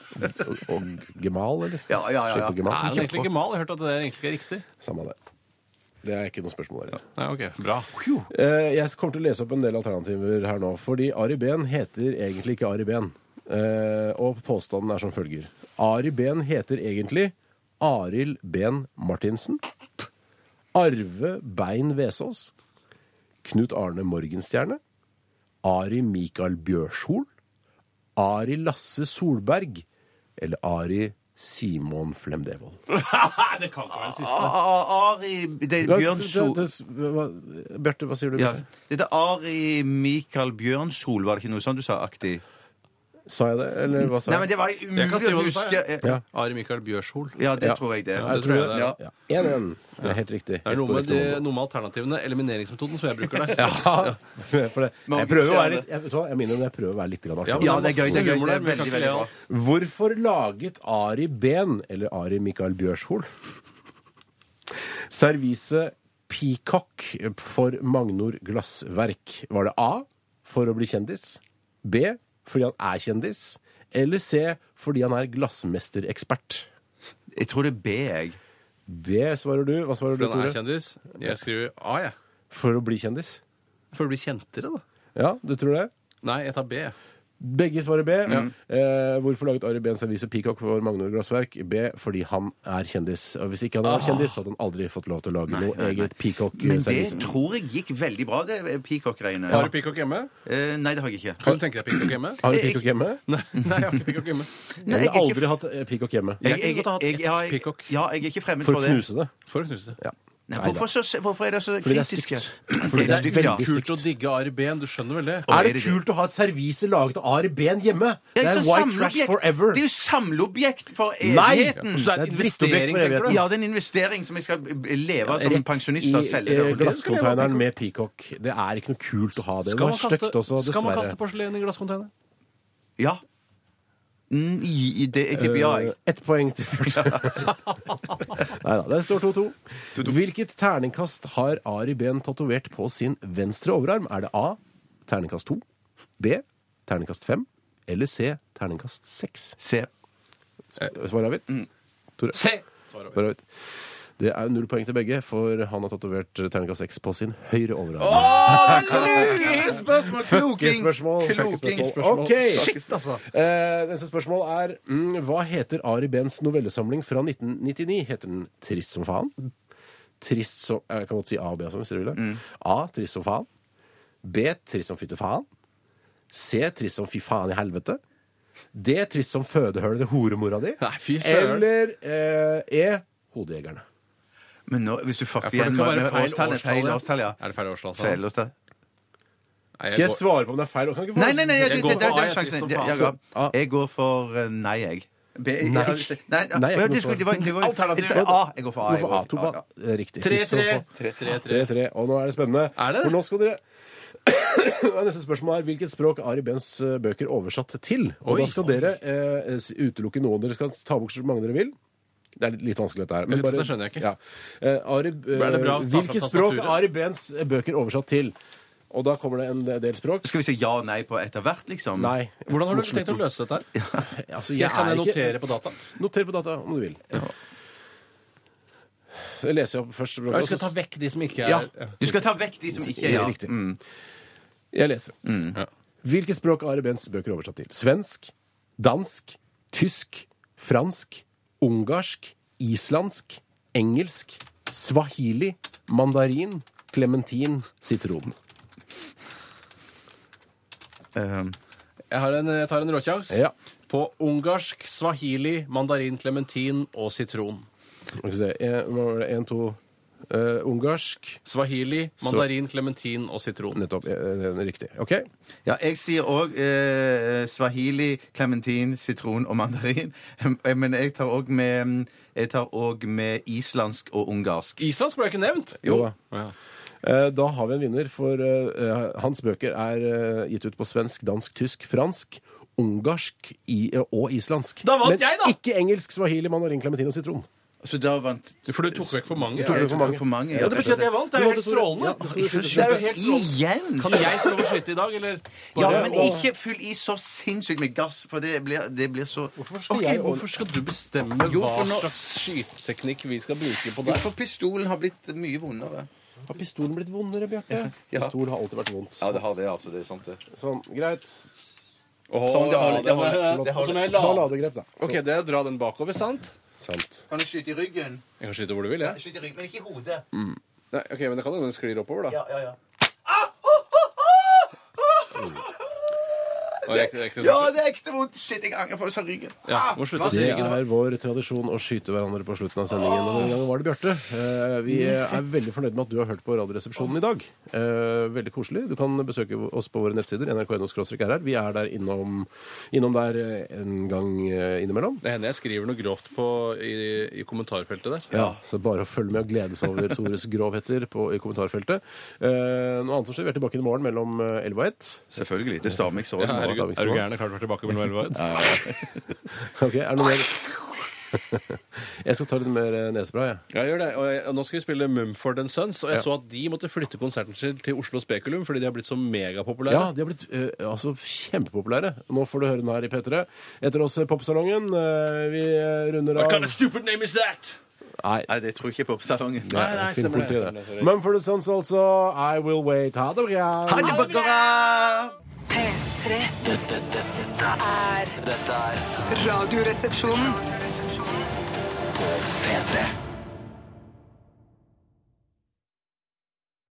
Speaker 2: Og Gemal, eller?
Speaker 3: Ja, ja, ja.
Speaker 2: Slipp på
Speaker 3: ja.
Speaker 4: Er han
Speaker 2: Gemal.
Speaker 4: egentlig ikke mal? Jeg har hørt at det der egentlig ikke er riktig.
Speaker 2: Samme det. Det er ikke noe spørsmål. Her.
Speaker 4: Nei, ok, bra.
Speaker 2: Eh, Jeg kommer til å lese opp en del alternativer her nå. Fordi Ari Behn heter egentlig ikke Ari Behn. Eh, og påstanden er som følger. Ari Behn heter egentlig Arild Behn Martinsen. Arve Bein Vesaas. Knut Arne Morgenstjerne. Ari Mikael Bjørshol. Ari Lasse Solberg. Eller Ari Simon Flemdevold.
Speaker 4: det kan ikke være den siste.
Speaker 3: Ah, Ari det er Bjørn Sol...
Speaker 2: Bjarte, hva sier du?
Speaker 3: Ja.
Speaker 2: Bjarte?
Speaker 3: Det er Ari Mikael Bjørnsol, var det ikke noe sånt du sa aktig?
Speaker 2: Sa jeg det, eller hva sa
Speaker 3: Nei, men det var umulig
Speaker 4: Jeg kan si
Speaker 3: å
Speaker 4: hva du sa,
Speaker 3: huske.
Speaker 4: jeg.
Speaker 3: Ja,
Speaker 4: Ari Mikael Bjørshol.
Speaker 3: ja det
Speaker 2: Ja.
Speaker 3: tror jeg det.
Speaker 4: Ja, det tror jeg det er.
Speaker 3: Ja.
Speaker 2: Ja. 1-1. Det er helt riktig.
Speaker 4: Det er
Speaker 2: Helt
Speaker 4: noe med,
Speaker 2: korrekt
Speaker 4: de,
Speaker 2: område.
Speaker 4: noe med alternativene, elimineringsmetoden, som jeg bruker der.
Speaker 2: Ja, for det. Jeg
Speaker 3: Mange
Speaker 2: prøver å
Speaker 3: ser
Speaker 2: være
Speaker 3: det.
Speaker 2: litt Jeg, vet du hva, jeg minner om jeg prøver å være litt grann
Speaker 4: Ja,
Speaker 2: artig.
Speaker 3: Ja, det er gøy. det er gøy,
Speaker 4: Humor
Speaker 3: det
Speaker 4: der,
Speaker 3: er
Speaker 4: men jeg
Speaker 3: Veldig,
Speaker 4: kan ikke
Speaker 3: veldig
Speaker 4: le av
Speaker 3: bra.
Speaker 2: Hvorfor laget Ari Behn, eller Ari Mikael Bjørshol, serviset Peacock for Magnor Glassverk? Var det A for å bli kjendis? B fordi han er kjendis? Eller C fordi han er glassmesterekspert?
Speaker 3: Jeg tror det er B, jeg.
Speaker 2: B svarer du. Hva svarer du,
Speaker 4: For han er
Speaker 2: Tore?
Speaker 4: kjendis. Jeg skriver A, jeg.
Speaker 2: For å bli kjendis?
Speaker 4: For å bli kjentere, da.
Speaker 2: Ja, du tror det?
Speaker 4: Nei, jeg tar B.
Speaker 2: Begge svarer B. Eh, hvorfor laget Ari Behns avise Peacock for Magnor Glassverk? B. Fordi han er kjendis. Og hvis ikke
Speaker 3: Ah.
Speaker 2: han hadde vært kjendis, så hadde han aldri fått lov til å lage noe eget
Speaker 3: Men det
Speaker 2: Peacock-servise.
Speaker 3: tror jeg gikk veldig bra, det Peacock-greiene.
Speaker 4: Har du Peacock hjemme?
Speaker 3: Eh, Nei, det har jeg ikke.
Speaker 4: Kan du tenke deg Peacock hjemme?
Speaker 2: Har du Peacock hjemme?
Speaker 4: Nei, nei, jeg har ikke Peacock hjemme.
Speaker 3: Nei,
Speaker 2: Jeg
Speaker 3: jeg
Speaker 2: har
Speaker 3: er ikke-
Speaker 2: aldri hatt eh, Peacock hjemme.
Speaker 4: Jeg kunne godt ha hatt
Speaker 3: jeg-
Speaker 4: ett
Speaker 3: ja, jeg-
Speaker 4: Peacock.
Speaker 3: Ja, jeg er ikke fremmed
Speaker 2: For å
Speaker 3: for det.
Speaker 2: knuse det.
Speaker 4: For å knuse det.
Speaker 2: Ja.
Speaker 3: Nei, hvorfor, så, hvorfor er det så
Speaker 2: Fordi det er
Speaker 3: kritisk?
Speaker 2: stygt.
Speaker 3: Fordi det er stygt, ja.
Speaker 2: veldig
Speaker 4: Kult å digge Ari Behn, du skjønner vel det?
Speaker 3: Å,
Speaker 2: Er
Speaker 3: er
Speaker 2: det
Speaker 3: det
Speaker 2: kult å ha et servise laget av Ari Behn hjemme? Det
Speaker 3: Ja,
Speaker 2: er
Speaker 3: så
Speaker 2: white
Speaker 3: samleobjekt.
Speaker 2: trash forever.
Speaker 3: Det er jo samleobjekt for
Speaker 2: Nei!
Speaker 3: evigheten.
Speaker 4: Så det er
Speaker 2: Det er
Speaker 4: et
Speaker 2: drittobjekt
Speaker 4: investering,
Speaker 2: for
Speaker 4: tenker du?
Speaker 3: Ja, det er en investering som jeg skal leve av som pensjonist og
Speaker 2: Rett i
Speaker 3: selge.
Speaker 2: eh,
Speaker 3: det.
Speaker 2: glasskonteineren med Peacock. Det er ikke noe kult å ha det. Det
Speaker 4: Skal
Speaker 2: var
Speaker 4: man kaste,
Speaker 2: stygt også,
Speaker 4: skal man
Speaker 2: dessverre.
Speaker 4: kaste porselen i glasscontainer?
Speaker 3: Ja. Mm, i- i det, jeg tipper ja, jeg.
Speaker 2: Eh, Ett poeng til Nei da, det står 2-2. Hvilket terningkast har Ari Behn tatovert på sin venstre overarm? Er det A terningkast 2, B terningkast 5 eller C terningkast 6?
Speaker 3: Se.
Speaker 2: Svar avgitt? Tore?
Speaker 4: Se!
Speaker 2: Svar avgitt. Det er null poeng til begge, for han har tatovert terningkast 6 på sin høyre overarm.
Speaker 3: Spørsmål,
Speaker 2: Fuckespørsmål, fuckespørsmål. Ok.
Speaker 3: Shit, altså.
Speaker 2: Eh, neste spørsmål er mm, Hva heter Ari Behns novellesamling fra 1999? Heter den Trist som faen? Trist som Jeg kan godt si A og B også, hvis dere vil det. A. Trist som faen. B. Trist som fytte faen. C. Trist som fy faen i helvete. D. Trist som fødehølet til horemora di.
Speaker 4: Nei, fy søren.
Speaker 2: Eller eh, E. Hodejegerne.
Speaker 3: Men nå, hvis du fucker
Speaker 4: Ja, for det
Speaker 3: igjen
Speaker 4: kan være
Speaker 3: med
Speaker 4: feil
Speaker 3: årstallet, feil årstall, ja.
Speaker 4: Er det feil årstall? sa han?
Speaker 3: Feil årstall.
Speaker 4: altså? Nei,
Speaker 2: Skal jeg svare på om det er feil? Kan ikke få-
Speaker 3: Nei, nei, nei,
Speaker 4: Jeg
Speaker 3: det,
Speaker 4: går
Speaker 3: det, det, det
Speaker 4: for A,
Speaker 3: er
Speaker 4: jeg,
Speaker 3: sjansen.
Speaker 4: som
Speaker 3: Jeg,
Speaker 4: faen.
Speaker 3: jeg,
Speaker 2: Så, A.
Speaker 3: går- jeg går for eh, nei, jeg. Be- jeg-
Speaker 2: Nei.
Speaker 3: Nei, ja,
Speaker 2: Nei, jeg går
Speaker 3: det
Speaker 2: for-
Speaker 3: skulle- det var- det var-
Speaker 4: Alternativ.
Speaker 3: det var A. Jeg går for A. jeg
Speaker 2: Hvorfor
Speaker 3: går
Speaker 2: A,
Speaker 3: for A, ja.
Speaker 2: Toba? Riktig.
Speaker 4: 3-3.
Speaker 2: 3-3. Og nå er det spennende.
Speaker 4: Er det det?
Speaker 2: For nå skal dere Neste spørsmål er hvilket språk er Ari Bens eh, bøker oversatt til? Og
Speaker 4: Oi.
Speaker 2: da skal dere eh, s- utelukke noen. Dere skal ta bort så mange dere vil. Det er litt vanskelig, dette her.
Speaker 4: Vet du, det skjønner jeg ikke.
Speaker 2: Ja. Eh, Ari, eh,
Speaker 4: Er det bra å ta fram
Speaker 2: hvilket språk
Speaker 4: tastaturet?
Speaker 2: er Ari Bens eh, bøker oversatt til? Og da kommer det en del språk.
Speaker 3: Skal vi si ja og nei på etter hvert, liksom?
Speaker 2: Nei.
Speaker 4: Hvordan har du tenkt å løse dette? her?
Speaker 2: Altså,
Speaker 4: Jeg kan
Speaker 2: er
Speaker 4: jeg
Speaker 2: ikke-
Speaker 4: notere på data.
Speaker 2: Noter på data om du vil. Jeg leser opp først. språket,
Speaker 4: Jeg skal
Speaker 2: og
Speaker 4: ta
Speaker 2: så-
Speaker 4: vekk de som ikke er
Speaker 2: Ja.
Speaker 3: Du skal ta vekk de som ikke er ja. Mm.
Speaker 2: Riktig. Jeg leser. Hvilke språk er Ari Bens bøker oversatt til? Svensk, dansk, tysk, fransk, ungarsk, islandsk, engelsk, swahili, mandarin, klementin, sitron.
Speaker 3: Eh,
Speaker 4: Jeg, har en, jeg tar en råkjangs
Speaker 2: Ja.
Speaker 4: på ungarsk, swahili, mandarin, klementin og sitron.
Speaker 2: Skal vi se. En, hva var det? en, to Eh, Ungarsk.
Speaker 4: Swahili, mandarin, klementin og sitron.
Speaker 2: Nettopp. eh, eh, riktig. OK.
Speaker 3: ja, jeg sier òg eh, swahili, klementin, sitron og mandarin. Eh, Men jeg tar òg med mm, jeg tar også med islandsk og ungarsk.
Speaker 4: Islandsk ble ikke nevnt!
Speaker 2: Jo da.
Speaker 4: Ja.
Speaker 2: Eh, Da har vi en vinner, for eh, hans bøker er eh, gitt ut på svensk, dansk, tysk, fransk, ungarsk i, eh, og islandsk.
Speaker 4: Da vant
Speaker 2: Men
Speaker 4: jeg, da!
Speaker 2: ikke engelsk, swahili, mandarin, klementin og sitron.
Speaker 3: Så da vant
Speaker 4: For du tok vekk for mange.
Speaker 3: Jeg
Speaker 2: det for
Speaker 3: tok
Speaker 2: mange.
Speaker 3: for mange.
Speaker 4: Ja, det betyr at jeg vant. Det er jo helt strålende.
Speaker 2: Ja, skal du skyte?
Speaker 4: Det er jo helt strålende.
Speaker 3: Igjen!
Speaker 4: Kan jeg få lov å skyte i dag, eller?
Speaker 3: Ja,
Speaker 2: Bare-
Speaker 3: men ikke fyll i så sinnssykt med gass, for det blir, det blir så Hvorfor
Speaker 2: skal
Speaker 4: Ok,
Speaker 2: jeg-
Speaker 4: Hvorfor skal du bestemme
Speaker 3: Jo,
Speaker 4: hva
Speaker 3: for nå-
Speaker 4: slags skyteteknikk vi skal bruke på
Speaker 3: Jo,
Speaker 4: deg?
Speaker 3: for pistolen har blitt mye vondere.
Speaker 2: Har pistolen blitt vondere, Bjarte?
Speaker 3: Ja.
Speaker 2: Pistol har alltid vært vondt.
Speaker 3: det har det, altså. Det er sant, det.
Speaker 2: Sånn, greit.
Speaker 3: Sånn, det holder, det holder,
Speaker 4: Ja,
Speaker 3: det
Speaker 4: den er-
Speaker 3: holder.
Speaker 4: Som jeg
Speaker 2: Ta
Speaker 4: la.
Speaker 2: ladegrep, da.
Speaker 4: Ok, det er å dra den bakover, sant?
Speaker 2: Sant.
Speaker 3: Kan du skyte i ryggen?
Speaker 4: Jeg kan skyte hvor du vil, jeg.
Speaker 3: Skyte i ryggen, men ikke i hodet.
Speaker 4: Nei, ok, men det kan hende den sklir oppover, da.
Speaker 3: Ja, ja, ja.
Speaker 4: Og jeg- jeg- jeg-
Speaker 3: Ja, det er ekte vondt! Shit, jeg angrer på det, sa ryggen. Ah,
Speaker 4: Ja, må slutte å si
Speaker 2: Det
Speaker 4: ryggen, da.
Speaker 2: er vår tradisjon å skyte hverandre på slutten av sendingen. Og denne gangen var det Bjarte. Eh, Vi er veldig fornøyd med at du har hørt på Radioresepsjonen i dag. Eh, Veldig koselig. Du kan besøke oss på våre nettsider. nrk.no-rr. Vi er der innom, innom der eh, en gang eh, innimellom.
Speaker 4: Det hender jeg skriver noe grovt på, i, i kommentarfeltet der.
Speaker 2: Ja, så bare å følge med og glede seg over Tores grovheter på, i kommentarfeltet. Eh, noe annet som skjer, vi er tilbake i morgen mellom eh, 11 og 1.
Speaker 3: Selvfølgelig. Det stammer ikke sånn.
Speaker 4: Ja, er, du, er du gæren? Det er klart du er tilbake mellom elleve og ett.
Speaker 2: Ok, er det noe mer? Jeg skal ta litt mer eh, nesespray, jeg.
Speaker 4: Ja, gjør det. Og jeg, og nå skal vi spille Mumford and Sons, og jeg
Speaker 2: Ja.
Speaker 4: så at de måtte flytte konserten sin til Oslo Spekulum fordi de har blitt så megapopulære.
Speaker 2: Ja, de har blitt eh, altså, kjempepopulære. Nå får du høre den her i P3. Etter oss eh, Popsalongen. eh, vi eh, runder
Speaker 4: What
Speaker 2: av
Speaker 4: kind of stupid name is that?
Speaker 2: Nei,
Speaker 3: Nei, det tror jeg ikke på salongen.
Speaker 2: nei, nei
Speaker 4: nei,
Speaker 2: stemmer
Speaker 4: stemmer det,
Speaker 2: det.
Speaker 4: stemmer det, sorry.
Speaker 2: Mumford Sons altså. I will wait. Ha det bra.
Speaker 3: Ha det bra!
Speaker 5: P3
Speaker 1: Dette, dette,
Speaker 5: er
Speaker 1: dette er
Speaker 5: Radioresepsjonen.
Speaker 1: P3.